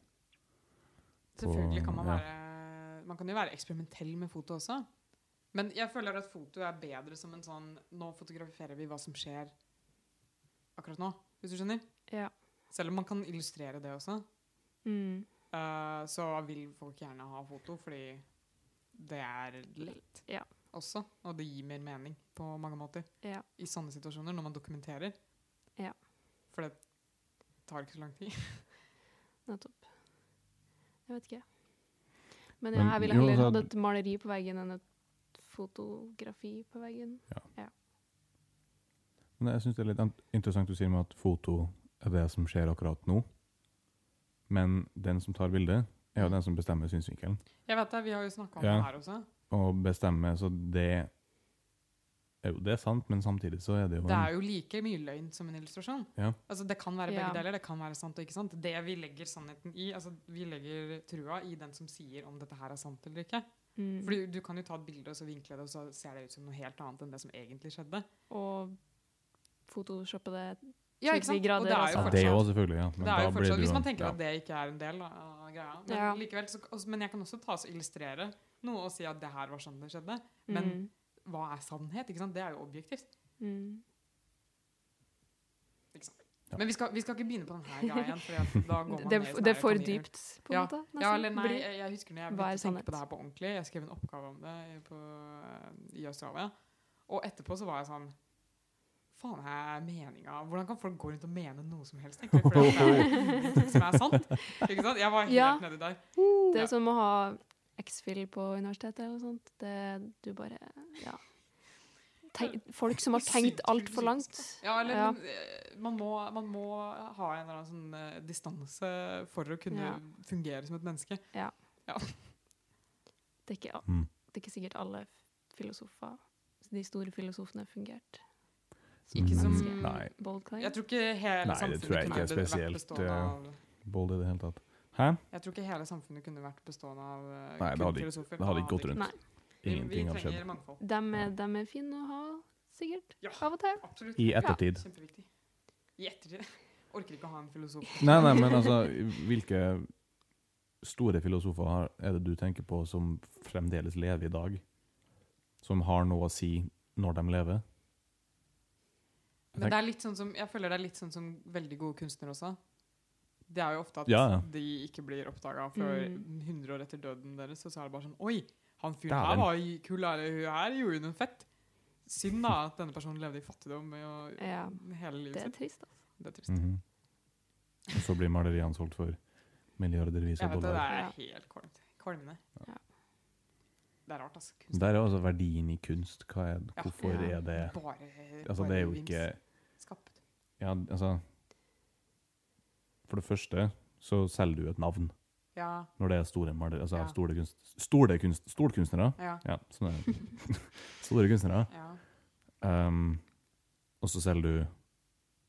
[SPEAKER 3] Selvfølgelig kan man
[SPEAKER 1] ja.
[SPEAKER 3] være Man kan jo være eksperimentell med foto også. Men jeg føler at foto er bedre som en sånn Nå fotograferer vi hva som skjer akkurat nå, hvis du skjønner?
[SPEAKER 2] ja.
[SPEAKER 3] Selv om man kan illustrere det også,
[SPEAKER 2] Mm.
[SPEAKER 3] eh, så vil folk gjerne ha foto fordi det er lett
[SPEAKER 2] Ja.
[SPEAKER 3] også. Og det gir mer mening på mange måter
[SPEAKER 2] Ja.
[SPEAKER 3] i sånne situasjoner, når man dokumenterer.
[SPEAKER 2] Ja.
[SPEAKER 3] For det tar ikke så lang tid.
[SPEAKER 2] Nettopp. Jeg vet ikke. Men ja,
[SPEAKER 1] Men
[SPEAKER 2] jeg ville
[SPEAKER 1] jo,
[SPEAKER 2] heller
[SPEAKER 1] altså-
[SPEAKER 2] hatt et maleri på veggen enn et fotografi på veggen.
[SPEAKER 1] Men jeg syns det er litt ant- interessant du sier med at foto er det som skjer akkurat nå. Men den som tar bildet, er jo den som bestemmer synsvinkelen.
[SPEAKER 3] Jeg vet det, Vi har jo snakka om
[SPEAKER 1] Ja.
[SPEAKER 3] det her også.
[SPEAKER 1] Og bestemmer, så det er jo det er sant, men samtidig så er det jo
[SPEAKER 3] Det er jo like mye løgn som en illustrasjon.
[SPEAKER 1] Ja.
[SPEAKER 3] Altså, det kan være begge
[SPEAKER 2] Ja.
[SPEAKER 3] deler. Det kan være sant og ikke sant. Det vi legger sannheten i, altså, vi legger trua i den som sier om dette her er sant eller ikke.
[SPEAKER 2] Mm.
[SPEAKER 3] Fordi du kan jo ta et bilde og så vinkle det, og så ser det ut som noe helt annet enn det som egentlig skjedde.
[SPEAKER 2] Og photoshoppe det
[SPEAKER 3] Ja, ikke sant?
[SPEAKER 2] Tydelige grader,
[SPEAKER 3] Og det er jo
[SPEAKER 1] ja,
[SPEAKER 2] altså.
[SPEAKER 1] det
[SPEAKER 3] fortsatt,
[SPEAKER 1] òg, selvfølgelig. ja. Men
[SPEAKER 3] det er jo
[SPEAKER 1] da blir
[SPEAKER 3] fortsatt
[SPEAKER 1] det jo-
[SPEAKER 3] Hvis man tenker
[SPEAKER 1] ja.
[SPEAKER 3] at det ikke er en del av greia. Men,
[SPEAKER 2] Ja.
[SPEAKER 3] likevel, så, også, men jeg kan også ta og illustrere noe og si at det her var sånn det skjedde. Men- Hva er sannhet? ikke sant? Det er jo objektivt.
[SPEAKER 2] mm. Mm.
[SPEAKER 3] Ikke sant?
[SPEAKER 1] Ja.
[SPEAKER 3] Men vi skal, vi skal ikke begynne på denne greia, for da går man
[SPEAKER 2] Det,
[SPEAKER 3] ned i
[SPEAKER 2] er f-
[SPEAKER 3] sånne
[SPEAKER 2] det er for
[SPEAKER 3] kaniner.
[SPEAKER 2] dypt, på en
[SPEAKER 3] Ja.
[SPEAKER 2] måte.
[SPEAKER 3] Ja,
[SPEAKER 2] nesten,
[SPEAKER 3] eller nei,
[SPEAKER 2] blir det.
[SPEAKER 3] jeg, jeg husker når jeg
[SPEAKER 2] Hva
[SPEAKER 3] begynte å tenke
[SPEAKER 2] er
[SPEAKER 3] på det
[SPEAKER 2] sannhet?
[SPEAKER 3] her på ordentlig. Jeg skrev en oppgave om det i- på, i Australia. Og etterpå så var jeg sånn faen er meninga? Hvordan kan folk gå rundt og mene noe som helst? egentlig? For det er det som er sant. Ikke sant? Jeg var helt
[SPEAKER 2] Ja.
[SPEAKER 3] nedi der.
[SPEAKER 2] Det
[SPEAKER 3] eh, Ja.
[SPEAKER 2] er som å ha X-Fill på universitetet eller noe sånt. Det, du bare Ja. Tenk, folk som har tenkt altfor langt.
[SPEAKER 3] Ja, eller
[SPEAKER 2] Ja.
[SPEAKER 3] men, eh, Man, må, man må ha en eller annen sånn eh, distanse for å kunne
[SPEAKER 2] Ja.
[SPEAKER 3] fungere som et menneske.
[SPEAKER 2] Det er ikke, al-
[SPEAKER 1] Mm.
[SPEAKER 2] det er ikke sikkert alle filosofer, de store filosofene, fungerte.
[SPEAKER 3] Ikke som
[SPEAKER 2] Mm.
[SPEAKER 1] Nei,
[SPEAKER 2] Bold
[SPEAKER 3] Jeg
[SPEAKER 2] Klein.
[SPEAKER 3] tror ikke
[SPEAKER 1] Nei,
[SPEAKER 3] hele
[SPEAKER 1] det
[SPEAKER 3] samfunnet
[SPEAKER 1] tror jeg
[SPEAKER 3] kunne
[SPEAKER 1] ikke er
[SPEAKER 3] vært
[SPEAKER 1] spesielt,
[SPEAKER 3] bestående
[SPEAKER 1] eh,
[SPEAKER 3] av
[SPEAKER 1] bold i det hele tatt. Hæ?
[SPEAKER 3] Jeg tror ikke hele samfunnet kunne vært bestående av eh,
[SPEAKER 1] Nei, det
[SPEAKER 3] kun
[SPEAKER 1] hadde ikke-
[SPEAKER 3] filosofer.
[SPEAKER 1] det hadde ikke gått rundt.
[SPEAKER 2] Nei.
[SPEAKER 3] Vi-
[SPEAKER 1] Ingenting
[SPEAKER 3] Vi
[SPEAKER 1] hadde
[SPEAKER 3] trenger
[SPEAKER 1] skjedd.
[SPEAKER 3] mangfold.
[SPEAKER 2] Dem er, dem er fine å ha, sikkert.
[SPEAKER 3] Ja.
[SPEAKER 2] Av og til.
[SPEAKER 3] Absolutt.
[SPEAKER 1] I ettertid.
[SPEAKER 3] Kjempeviktig. I ettertid. Orker ikke å ha en filosof.
[SPEAKER 1] Nei, nei, men altså, hvilke store filosofer har- er det du tenker på som fremdeles lever i dag? Som har noe å si når de lever?
[SPEAKER 3] Men det er litt sånn som, jeg føler det er litt sånn som veldig gode kunstnere også. Det er jo ofte at
[SPEAKER 1] Ja, ja.
[SPEAKER 3] de ikke blir oppdaga før
[SPEAKER 2] Mm.
[SPEAKER 3] 100 år etter døden deres, og så er det bare sånn Oi, han fyren
[SPEAKER 1] Dæven.
[SPEAKER 3] her var jo kul, eller hun her gjorde jo noe fett. Synd da at denne personen levde i fattigdom i å-
[SPEAKER 2] Ja.
[SPEAKER 3] hele livet
[SPEAKER 2] Det er
[SPEAKER 3] sitt.
[SPEAKER 2] trist, altså.
[SPEAKER 3] Det er trist.
[SPEAKER 1] Mhm. Og så blir maleriene solgt for milliardervis
[SPEAKER 3] Jeg
[SPEAKER 1] av
[SPEAKER 3] vet det, det
[SPEAKER 1] dollar.
[SPEAKER 3] er
[SPEAKER 2] Ja.
[SPEAKER 3] helt kvalmt. Kvalmende.
[SPEAKER 2] Ja.
[SPEAKER 3] Det er rart, altså. Kunst.
[SPEAKER 1] Der er altså verdien i kunst. Hva er,
[SPEAKER 3] Ja.
[SPEAKER 1] hvorfor
[SPEAKER 2] Ja.
[SPEAKER 1] er det
[SPEAKER 3] Bare,
[SPEAKER 1] Altså,
[SPEAKER 3] bare
[SPEAKER 1] det er jo
[SPEAKER 3] vims
[SPEAKER 1] ikke
[SPEAKER 3] Skapt.
[SPEAKER 1] Ja, altså For det første så selger du et navn
[SPEAKER 3] Ja,
[SPEAKER 1] når det er store maler, altså
[SPEAKER 3] Ja.
[SPEAKER 1] store, kunst, store kunst, storkunstnere.
[SPEAKER 3] ja,
[SPEAKER 1] Ja, sånn er det. Store kunstnere.
[SPEAKER 3] ja.
[SPEAKER 1] Um, og så selger du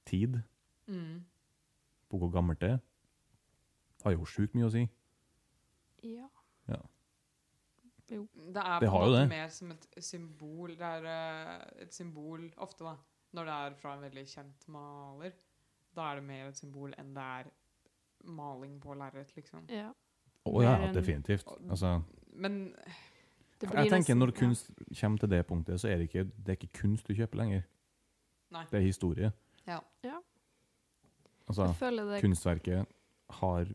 [SPEAKER 1] tid
[SPEAKER 3] Mm.
[SPEAKER 1] på hvor gammelt det er. Har jo sjukt mye å si.
[SPEAKER 2] Ja.
[SPEAKER 3] Det er
[SPEAKER 1] Det
[SPEAKER 3] på
[SPEAKER 1] har jo
[SPEAKER 3] en måte
[SPEAKER 1] det.
[SPEAKER 3] mer som et symbol. Det er eh, et symbol ofte, da, når det er fra en veldig kjent maler. Da er det mer et symbol enn det er maling på lerret, liksom.
[SPEAKER 2] ja.
[SPEAKER 1] Å
[SPEAKER 2] Mer
[SPEAKER 1] ja,
[SPEAKER 2] enn-
[SPEAKER 1] definitivt. Altså,
[SPEAKER 3] Men
[SPEAKER 2] Det blir
[SPEAKER 1] jeg tenker
[SPEAKER 2] nesten-
[SPEAKER 1] Når
[SPEAKER 2] ja.
[SPEAKER 1] kunst kommer til det punktet, så er det ikke, det er ikke kunst du kjøper lenger.
[SPEAKER 3] Nei.
[SPEAKER 1] Det er historie.
[SPEAKER 3] Ja.
[SPEAKER 2] Ja.
[SPEAKER 1] Altså,
[SPEAKER 2] Jeg føler det
[SPEAKER 1] kunstverket har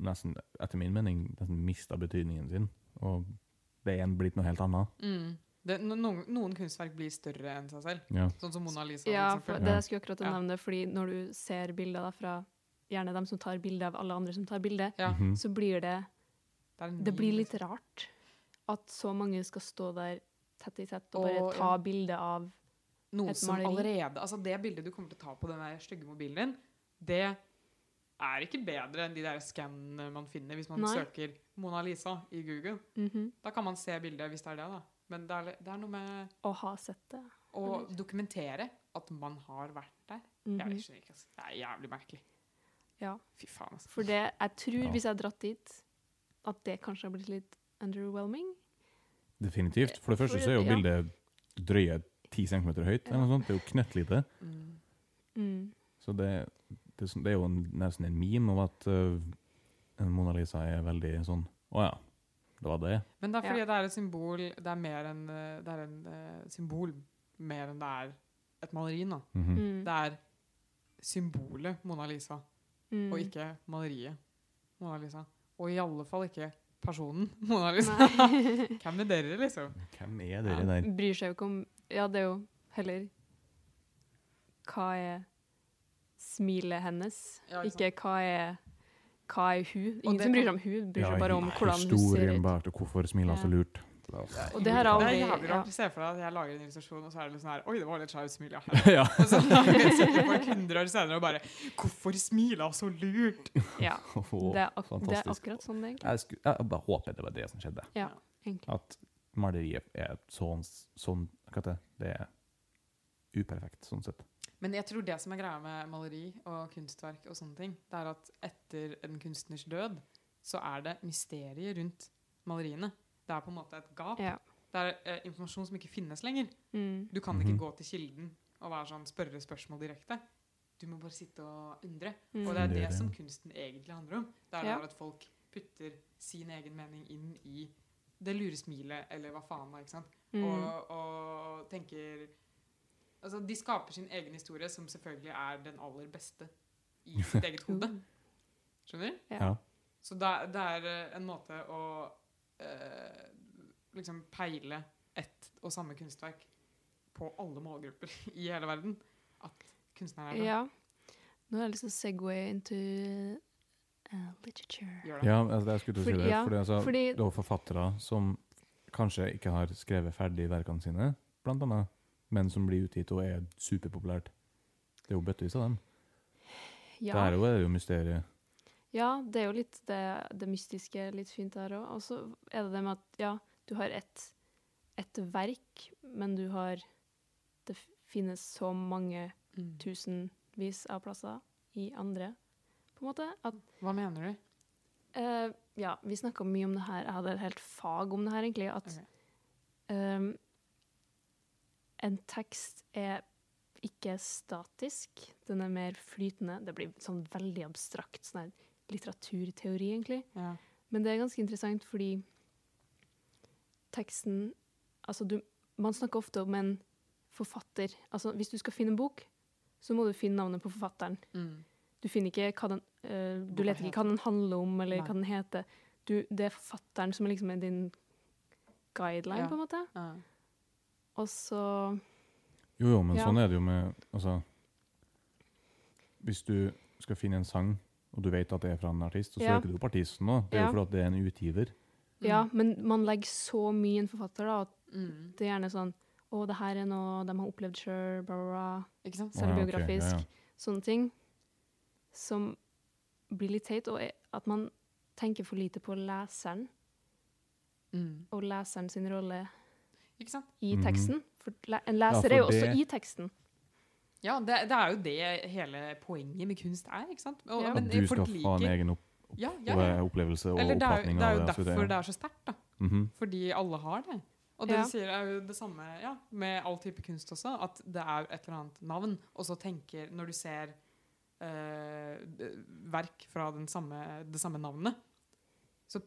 [SPEAKER 1] nesten, etter min mening, nesten mista betydningen sin. Og det er en blitt noe helt annet.
[SPEAKER 3] mm, det, no- noen, noen kunstverk blir større enn seg selv.
[SPEAKER 1] Ja.
[SPEAKER 3] Sånn som Mona Lisa. for
[SPEAKER 2] Ja,
[SPEAKER 3] eksempel.
[SPEAKER 2] for
[SPEAKER 1] Ja.
[SPEAKER 2] det jeg skulle akkurat
[SPEAKER 3] Ja.
[SPEAKER 2] nevne, fordi når du ser bilder da fra gjerne dem som tar bilde av alle andre som tar bilde,
[SPEAKER 3] ja,
[SPEAKER 1] Mhm.
[SPEAKER 2] så blir det
[SPEAKER 3] det, er en
[SPEAKER 2] Det blir
[SPEAKER 3] mil,
[SPEAKER 2] litt rart at så mange skal stå der tett i tett og bare
[SPEAKER 3] Og,
[SPEAKER 2] ta
[SPEAKER 3] ja.
[SPEAKER 2] bilde av
[SPEAKER 3] noe
[SPEAKER 2] Et
[SPEAKER 3] som
[SPEAKER 2] maleri.
[SPEAKER 3] allerede Altså, det bildet du kommer til å ta på den der stygge mobilen din, det er ikke bedre enn de der skannene man finner hvis man
[SPEAKER 2] Nei.
[SPEAKER 3] søker Mona Lisa i Google.
[SPEAKER 2] Mhm.
[SPEAKER 3] Da kan man se bildet, hvis det er det, da. Men det er, li- det er noe med
[SPEAKER 2] å ha sett det.
[SPEAKER 3] å
[SPEAKER 2] Eller-
[SPEAKER 3] dokumentere at man har vært der. Jeg
[SPEAKER 2] Mhm.
[SPEAKER 3] skjønner ikke, altså. Det er jævlig merkelig.
[SPEAKER 2] Ja.
[SPEAKER 3] Fy faen, altså.
[SPEAKER 2] For det, jeg tror,
[SPEAKER 1] Ja.
[SPEAKER 2] hvis jeg hadde dratt dit, at det kanskje har blitt litt underwhelming.
[SPEAKER 1] Definitivt. For det første så
[SPEAKER 2] For-
[SPEAKER 1] er jo
[SPEAKER 2] ja.
[SPEAKER 1] bildet drøye ti centimeter høyt. Eller noe sånt. Det er jo knøttlite.
[SPEAKER 3] Mm.
[SPEAKER 2] Mm.
[SPEAKER 1] Så det, det, er sånn- det er jo en, nesten en meme om at øh, en Mona Lisa er veldig sånn Å ja, det var det.
[SPEAKER 3] Men det er fordi
[SPEAKER 2] Ja.
[SPEAKER 3] det er et symbol Det er mer enn eh, Det er en eh, symbol mer enn det er et maleri, da.
[SPEAKER 1] Mhm.
[SPEAKER 2] Mm.
[SPEAKER 3] Det er symbolet Mona Lisa.
[SPEAKER 2] Mm.
[SPEAKER 3] og ikke maleriet Mona Lisa. Og i alle fall ikke personen Mona Lisa.
[SPEAKER 2] Nei.
[SPEAKER 3] Hvem er dere, liksom?
[SPEAKER 1] Hvem er dere der?
[SPEAKER 2] Bryr seg jo ikke om Ja, det er jo heller Hva er smilet hennes?
[SPEAKER 3] Ja, ikke
[SPEAKER 2] ikke hva er hva er hun? Ingen
[SPEAKER 3] det
[SPEAKER 2] som bryr seg
[SPEAKER 3] kan-
[SPEAKER 2] om hun, bryr seg bare om hvordan hun ser
[SPEAKER 1] Historien
[SPEAKER 2] ut.
[SPEAKER 1] bak det, hvorfor smiler hun så
[SPEAKER 2] Ja.
[SPEAKER 1] lurt?
[SPEAKER 2] Og det her
[SPEAKER 3] Det
[SPEAKER 2] er aldri-
[SPEAKER 3] er jævlig
[SPEAKER 2] ja.
[SPEAKER 3] rart. Se for deg at jeg lager en illustrasjon, og så er det litt sånn her Oi, det var litt skjevt smil, ja.
[SPEAKER 1] ja.
[SPEAKER 3] Og så lager folk 100 år senere og bare Hvorfor smiler hun så lurt?
[SPEAKER 2] Ja,
[SPEAKER 1] Åh,
[SPEAKER 2] det, er ak det er
[SPEAKER 1] fantastisk.
[SPEAKER 2] akkurat sånn det egentlig
[SPEAKER 1] Jeg, skulle, jeg bare håper det var det som skjedde.
[SPEAKER 2] Ja, egentlig.
[SPEAKER 1] At maleriet er sånn, sånn Hva heter det? Det er uperfekt, sånn sett.
[SPEAKER 3] Men jeg tror det som er greia med maleri og kunstverk og sånne ting, det er at etter en kunstners død, så er det mysteriet rundt maleriene. Det er på en måte et gap.
[SPEAKER 2] Ja.
[SPEAKER 3] Det er eh, informasjon som ikke finnes lenger.
[SPEAKER 2] Mm.
[SPEAKER 3] Du kan ikke
[SPEAKER 1] Mhm.
[SPEAKER 3] gå til kilden og være sånn, spørre spørsmål direkte. Du må bare sitte og undre.
[SPEAKER 2] Mm.
[SPEAKER 3] Og det er
[SPEAKER 1] Det er
[SPEAKER 3] det
[SPEAKER 1] det.
[SPEAKER 3] som kunsten egentlig handler om. Det er
[SPEAKER 2] Ja.
[SPEAKER 3] bare at folk putter sin egen mening inn i det lure smilet, eller hva faen da, ikke sant?
[SPEAKER 2] Mm.
[SPEAKER 3] Og, og tenker Altså, de skaper sin egen historie, som selvfølgelig er den aller beste i sitt eget hode.
[SPEAKER 2] Mm.
[SPEAKER 3] Skjønner?
[SPEAKER 2] Ja.
[SPEAKER 1] Ja.
[SPEAKER 3] Så det, er- det er eh, en måte å eh, liksom peile ett og samme kunstverk på alle målgrupper i hele verden. at kunstneren er sånn.
[SPEAKER 2] Ja. Nå har jeg lyst til å segway into eh, literature.
[SPEAKER 3] Gjør det.
[SPEAKER 1] Ja, altså, jeg skulle til å si
[SPEAKER 2] Fordi-
[SPEAKER 1] det.
[SPEAKER 2] ja,
[SPEAKER 1] Fordi, altså,
[SPEAKER 2] fordi-
[SPEAKER 1] det er jo forfattere som kanskje ikke har skrevet ferdig verkene sine, blant annet, men som blir utgitt og er superpopulært. Det er jo bøttevis av dem.
[SPEAKER 2] Ja.
[SPEAKER 1] Der er jo- er det jo mysteriet.
[SPEAKER 2] Ja, det er jo litt det, det mystiske litt fint der òg. Og så er det det med at ja, du har ett et verk, men du har Det f- finnes så mange
[SPEAKER 3] Mm.
[SPEAKER 2] tusenvis av plasser i andre, på en måte. At
[SPEAKER 3] Hva mener du?
[SPEAKER 2] eh, Ja, vi snakka mye om det her. Jeg hadde et helt fag om det her, egentlig. At
[SPEAKER 3] Ok.
[SPEAKER 2] Ehm, en tekst er ikke statisk, den er mer flytende. Det blir sånn veldig abstrakt, sånn her litteraturteori, egentlig.
[SPEAKER 3] Ja.
[SPEAKER 2] Men det er ganske interessant fordi teksten Altså, du Man snakker ofte om en forfatter. Altså, hvis du skal finne en bok, så må du finne navnet på forfatteren.
[SPEAKER 3] Mm.
[SPEAKER 2] Du finner ikke hva den eh, Du
[SPEAKER 3] Boka
[SPEAKER 2] leter ikke hva den handler om, eller
[SPEAKER 3] Nei.
[SPEAKER 2] hva den heter. Du, det er forfatteren som liksom er din guideline,
[SPEAKER 3] Ja.
[SPEAKER 2] på en måte.
[SPEAKER 3] Ja.
[SPEAKER 2] Og så
[SPEAKER 1] Jo, jo, men
[SPEAKER 2] Ja.
[SPEAKER 1] sånn er det jo med Altså, hvis du skal finne en sang, og du vet at det er fra en artist, så
[SPEAKER 2] Ja.
[SPEAKER 1] søker du opp artisten òg. Det er jo
[SPEAKER 2] Ja.
[SPEAKER 1] fordi at det er en utgiver.
[SPEAKER 2] Ja, men man legger så mye i en forfatter, da, at
[SPEAKER 3] Mm.
[SPEAKER 2] det er gjerne sånn Å, det her er noe de har opplevd sjøl, bla, bla, bla.
[SPEAKER 3] Ikke sant?
[SPEAKER 1] Å, ja, ok,
[SPEAKER 2] Selvbiografisk.
[SPEAKER 1] ja, ja.
[SPEAKER 2] Sånne ting som blir litt teit, og er- at man tenker for lite på leseren
[SPEAKER 3] Mm.
[SPEAKER 2] og leseren sin rolle
[SPEAKER 3] Ikke sant?
[SPEAKER 2] i
[SPEAKER 1] Mhm.
[SPEAKER 2] teksten. For le en leser
[SPEAKER 1] for
[SPEAKER 2] er jo
[SPEAKER 1] det-
[SPEAKER 2] også i teksten.
[SPEAKER 3] Ja, det, det er jo det hele poenget med kunst er, ikke sant? Og,
[SPEAKER 2] Ja.
[SPEAKER 1] At du skal
[SPEAKER 3] folk
[SPEAKER 1] ha en
[SPEAKER 3] liker-
[SPEAKER 1] egen opp eh,
[SPEAKER 3] ja, ja, ja.
[SPEAKER 1] opplevelse og
[SPEAKER 3] Eller det er, jo-
[SPEAKER 1] oppfatning
[SPEAKER 3] det er jo
[SPEAKER 1] av det. altså,
[SPEAKER 3] derfor det er så sterkt, da.
[SPEAKER 1] Mhm.
[SPEAKER 3] Fordi alle har det. Og det
[SPEAKER 2] Ja.
[SPEAKER 3] du sier er jo det samme ja, med all type kunst også, at det er et eller annet navn, og så tenker Når du ser eh, d- verk fra den samme, det samme navnet, så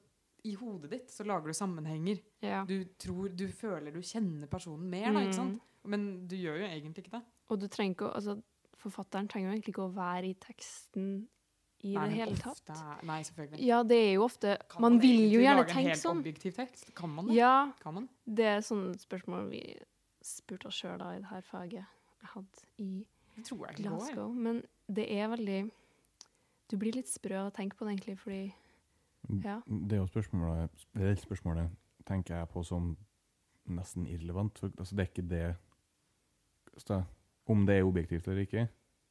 [SPEAKER 3] i hodet ditt så lager du sammenhenger.
[SPEAKER 2] Ja.
[SPEAKER 3] Du tror, du føler du kjenner personen mer, da,
[SPEAKER 2] Mm.
[SPEAKER 3] ikke sant? Men du gjør jo egentlig ikke det.
[SPEAKER 2] Og du trenger ikke å Altså, forfatteren trenger jo egentlig ikke å være i teksten i
[SPEAKER 3] Nei, men
[SPEAKER 2] det hele
[SPEAKER 3] ofte
[SPEAKER 2] tatt.
[SPEAKER 3] er- Nei, selvfølgelig.
[SPEAKER 2] Ja, det er jo ofte
[SPEAKER 3] Kan
[SPEAKER 2] Man vil jo
[SPEAKER 3] egentlig
[SPEAKER 2] gjerne
[SPEAKER 3] lage en
[SPEAKER 2] tenke
[SPEAKER 3] helt
[SPEAKER 2] sånn.
[SPEAKER 3] Objektiv tekst? Kan man det?
[SPEAKER 2] Ja,
[SPEAKER 3] Kan man?
[SPEAKER 2] Det er sånne spørsmål vi spurte oss sjøl i det her faget jeg hadde i
[SPEAKER 3] Det tror jeg ikke går.
[SPEAKER 2] Glasgow. Men det er veldig Du blir litt sprø av å tenke på det, egentlig, fordi Ja.
[SPEAKER 1] Det er jo spørsmålet, det er spørsmålet tenker jeg på som nesten irrelevant. For, altså, det er ikke det altså, Om det er objektivt eller ikke,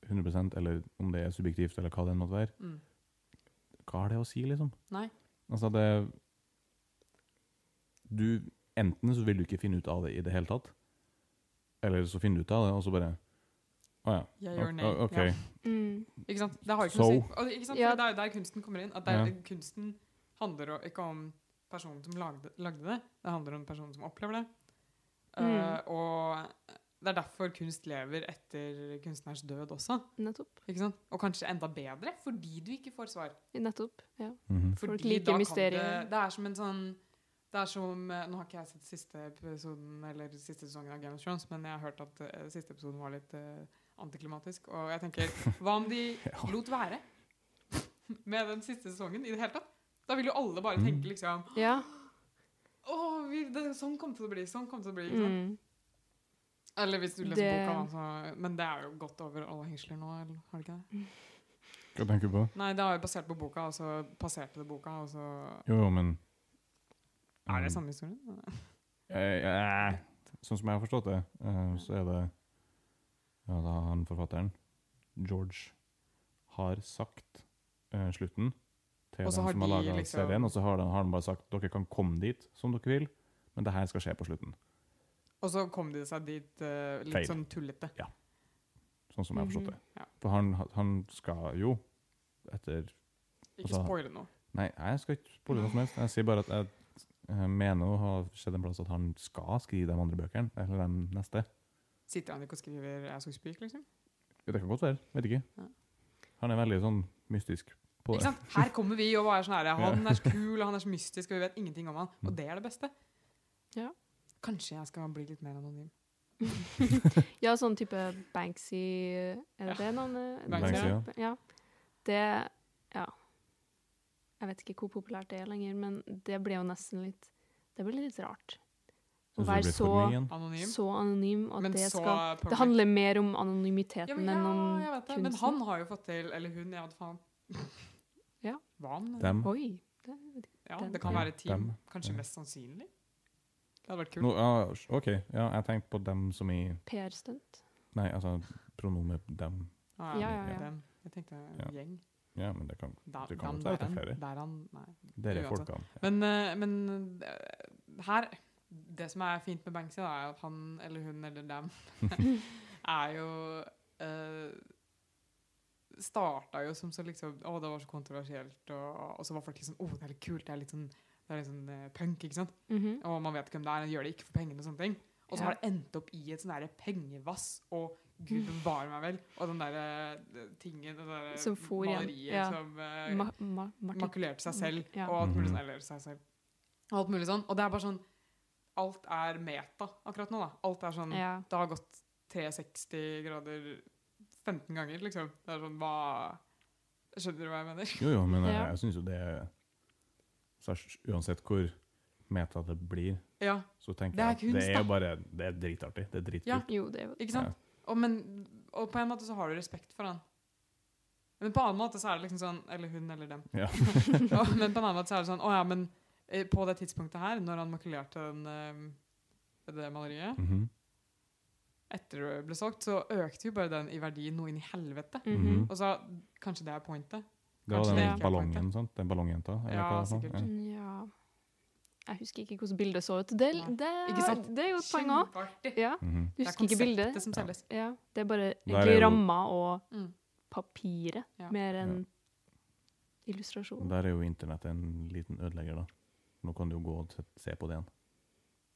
[SPEAKER 1] 100 eller om det er subjektivt, eller hva det enn måtte være,
[SPEAKER 3] Mm.
[SPEAKER 1] hva har det å si, liksom?
[SPEAKER 3] Nei.
[SPEAKER 1] Altså, det Du Enten så vil du ikke finne ut av det i det hele tatt, eller så finner du ut av det, og så bare Å ja.
[SPEAKER 3] Jeg gjør
[SPEAKER 1] ok,
[SPEAKER 3] nei.
[SPEAKER 1] OK.
[SPEAKER 3] Ja.
[SPEAKER 2] mm,
[SPEAKER 3] Ikke sant? Det har jo ikke noe
[SPEAKER 1] So.
[SPEAKER 3] å si. Og, ikke sant?
[SPEAKER 2] Ja.
[SPEAKER 3] For Det er jo der kunsten kommer inn. At det er,
[SPEAKER 1] Ja.
[SPEAKER 3] Kunsten handler jo ikke om personen som lagde, lagde det, det handler om personen som opplever det. Eh,
[SPEAKER 2] Mm.
[SPEAKER 3] og det er derfor kunst lever etter kunstners død også.
[SPEAKER 2] Nettopp.
[SPEAKER 3] Ikke sant? Og kanskje enda bedre, fordi du ikke får svar.
[SPEAKER 2] Nettopp. Ja.
[SPEAKER 1] mhm.
[SPEAKER 3] Fordi
[SPEAKER 2] Folk liker
[SPEAKER 3] da kan
[SPEAKER 2] mysterier.
[SPEAKER 3] Det, det er som en sånn det er som, eh, Nå har ikke jeg sett siste episoden Eller siste sesongen av Game of Thrones, men jeg har hørt at eh, siste episoden var litt eh, antiklimatisk. Og jeg tenker Hva om de lot være med den siste sesongen i det hele tatt? Da vil jo alle bare
[SPEAKER 1] Mm.
[SPEAKER 3] tenke liksom
[SPEAKER 2] ja.
[SPEAKER 3] Å, vi, det, sånn kom det til å bli. Sånn kom det til å bli. Ikke sant?
[SPEAKER 2] Mm.
[SPEAKER 3] Eller hvis du leser
[SPEAKER 2] Det-
[SPEAKER 3] boka, da, så Men det er jo godt over alle hengsler nå, eller, har det ikke det?
[SPEAKER 1] Hva tenker du på?
[SPEAKER 3] Nei, det er jo basert på boka, og så passerte det boka, og så
[SPEAKER 1] Jo, jo, men
[SPEAKER 3] Er
[SPEAKER 1] Mm.
[SPEAKER 3] det samme historien?
[SPEAKER 1] Eh, eh, Sånn som jeg har forstått det, eh, så er det ja, da han forfatteren, George, har sagt eh, slutten til
[SPEAKER 3] Og så
[SPEAKER 1] den som har
[SPEAKER 3] har de
[SPEAKER 1] laga
[SPEAKER 3] liksom-
[SPEAKER 1] serien, og så har, den, har han bare sagt dere kan komme dit som dere vil, men det her skal skje på slutten.
[SPEAKER 3] Og så kom de seg dit eh, litt
[SPEAKER 1] Feil.
[SPEAKER 3] sånn tullete.
[SPEAKER 1] Sånn som jeg har forstått
[SPEAKER 2] Mhm,
[SPEAKER 1] det.
[SPEAKER 3] ja.
[SPEAKER 1] For han, han skal jo etter
[SPEAKER 3] Ikke
[SPEAKER 1] Altså-
[SPEAKER 3] spoile noe.
[SPEAKER 1] Nei, jeg skal ikke spoile noe som helst. Jeg sier bare at jeg eh, mener å ha skjedd en plass at han skal skrive de andre bøkene, eller de neste.
[SPEAKER 3] Sitter han ikke og skriver 'jeg skal spyke', liksom?
[SPEAKER 1] Det kan godt være. Vet ikke.
[SPEAKER 3] Ja.
[SPEAKER 1] Han er veldig sånn mystisk på
[SPEAKER 3] Ikke
[SPEAKER 1] det.
[SPEAKER 3] sant? Her kommer vi og bare er sånn her Han er så kul, og han er så mystisk, og vi vet ingenting om han.
[SPEAKER 1] Mm.
[SPEAKER 3] Og det er det beste.
[SPEAKER 2] Ja.
[SPEAKER 3] Kanskje jeg skal bli litt mer anonym.
[SPEAKER 2] ja, sånn type Banksy Er det det navnet?
[SPEAKER 3] Banksy,
[SPEAKER 1] ja.
[SPEAKER 2] ja. Det Ja. Jeg vet ikke hvor populært det er lenger, men det blir jo nesten litt Det blir litt rart.
[SPEAKER 1] Og
[SPEAKER 2] Vær
[SPEAKER 1] så
[SPEAKER 2] så-
[SPEAKER 1] igjen.
[SPEAKER 3] Anonym.
[SPEAKER 2] Så anonym at
[SPEAKER 3] men
[SPEAKER 2] det
[SPEAKER 3] så
[SPEAKER 2] skal
[SPEAKER 3] public.
[SPEAKER 2] Det handler mer om
[SPEAKER 3] ja,
[SPEAKER 2] anonymiteten
[SPEAKER 3] men,
[SPEAKER 2] enn om
[SPEAKER 3] ja, jeg vet det. Men
[SPEAKER 2] kunsten.
[SPEAKER 3] han har jo fått til Eller hun, ja, faen.
[SPEAKER 2] Ja.
[SPEAKER 3] Hva han?
[SPEAKER 1] Dem.
[SPEAKER 2] Oi. Det,
[SPEAKER 3] Ja,
[SPEAKER 2] Dem.
[SPEAKER 3] det kan være et team.
[SPEAKER 1] Dem.
[SPEAKER 3] Kanskje
[SPEAKER 1] Ja.
[SPEAKER 3] mest sannsynlig. Det hadde vært kult.
[SPEAKER 1] Nå, ja, OK, ja, jeg tenkte på dem som i
[SPEAKER 2] PR-stunt.
[SPEAKER 1] Nei, altså pronomet dem.
[SPEAKER 3] Ah,
[SPEAKER 2] Ja, ja, ja.
[SPEAKER 3] Den. Jeg tenkte eh,
[SPEAKER 1] Ja.
[SPEAKER 3] gjeng.
[SPEAKER 1] Ja, men det kan
[SPEAKER 3] Da,
[SPEAKER 1] Det kan
[SPEAKER 3] dem,
[SPEAKER 1] godt være
[SPEAKER 3] der
[SPEAKER 1] at det er
[SPEAKER 3] han,
[SPEAKER 1] flere.
[SPEAKER 3] der han, nei.
[SPEAKER 1] Dere
[SPEAKER 3] Uansett.
[SPEAKER 1] folkene.
[SPEAKER 3] Men, eh, men eh, her Det som er fint med Banksy, da, er at han eller hun eller dem er jo eh, Starta jo som så liksom Å, det var så kontroversielt, og, og så var folk liksom Å, det er litt kult, det er litt sånn, det er litt sånn eh, punk, ikke sant?
[SPEAKER 2] Mhm.
[SPEAKER 3] Og man vet ikke hvem det er, og gjør det ikke for pengene og sånne ting. Og så
[SPEAKER 2] Ja.
[SPEAKER 3] har det endt opp i et sånn derre pengevass, og gud bevare meg vel, og den derre eh, tingen, det derre
[SPEAKER 2] Som for igjen,
[SPEAKER 3] maleriet
[SPEAKER 2] ja.
[SPEAKER 3] som eh,
[SPEAKER 2] Ma ma Martin.
[SPEAKER 3] makulerte seg selv,
[SPEAKER 2] Ja.
[SPEAKER 3] og alt mulig
[SPEAKER 1] Mhm.
[SPEAKER 3] sånn, eller seg selv. Og alt mulig sånn. Og det er bare sånn Alt er meta akkurat nå, da. Alt er sånn
[SPEAKER 2] Ja.
[SPEAKER 3] Det har gått 360 grader 15 ganger, liksom. Det er sånn Hva Skjønner du hva jeg mener?
[SPEAKER 1] Jo, jo, men jeg,
[SPEAKER 2] Ja.
[SPEAKER 1] jeg syns jo det er så jeg- Uansett hvor meta det blir,
[SPEAKER 3] Ja,
[SPEAKER 1] så tenker
[SPEAKER 3] Det er
[SPEAKER 1] jeg at
[SPEAKER 3] kunst,
[SPEAKER 1] det er
[SPEAKER 3] da.
[SPEAKER 1] jo bare Det er dritartig. Det er
[SPEAKER 3] Ja.
[SPEAKER 1] dritkult.
[SPEAKER 2] Jo, det er jo
[SPEAKER 3] ikke sant? Og, men, og på en måte så har du respekt for han. Men på en annen måte så er det liksom sånn Eller hun eller dem.
[SPEAKER 1] Ja.
[SPEAKER 3] Og- men på en annen måte så er det sånn Å ja, men eh, på det tidspunktet her, når han makulerte den, eh, det maleriet
[SPEAKER 1] Mhm.
[SPEAKER 3] etter det ble solgt, så økte jo bare den i verdi noe inn i helvete.
[SPEAKER 2] Mhm.
[SPEAKER 1] Mhm.
[SPEAKER 3] Og så Kanskje det er pointet?
[SPEAKER 1] Det var den
[SPEAKER 3] Kanskje
[SPEAKER 2] det
[SPEAKER 3] ikke er
[SPEAKER 1] ballongen, sant? Den ballongjenta? eller
[SPEAKER 3] Ja,
[SPEAKER 1] hva det var.
[SPEAKER 3] sikkert.
[SPEAKER 1] Ja.
[SPEAKER 2] Ja Jeg husker ikke hvordan bildet så ut. Det,
[SPEAKER 3] Nei.
[SPEAKER 2] det,
[SPEAKER 3] Ikke sant?
[SPEAKER 2] det er jo et poeng òg.
[SPEAKER 3] Kjempeartig.
[SPEAKER 2] Ja.
[SPEAKER 1] Mhm.
[SPEAKER 2] Du
[SPEAKER 3] Det er
[SPEAKER 2] husker ikke bildet.
[SPEAKER 3] konseptet som
[SPEAKER 1] Ja.
[SPEAKER 3] selges.
[SPEAKER 2] Ja, det er
[SPEAKER 1] Der
[SPEAKER 2] bare
[SPEAKER 1] er
[SPEAKER 2] egentlig
[SPEAKER 1] jo-
[SPEAKER 2] ramma og
[SPEAKER 3] Mm.
[SPEAKER 2] papiret,
[SPEAKER 3] Ja.
[SPEAKER 2] mer enn
[SPEAKER 1] Ja.
[SPEAKER 2] illustrasjon.
[SPEAKER 1] Der er jo internett en liten ødelegger, da. Nå kan du jo gå og se- se på det igjen.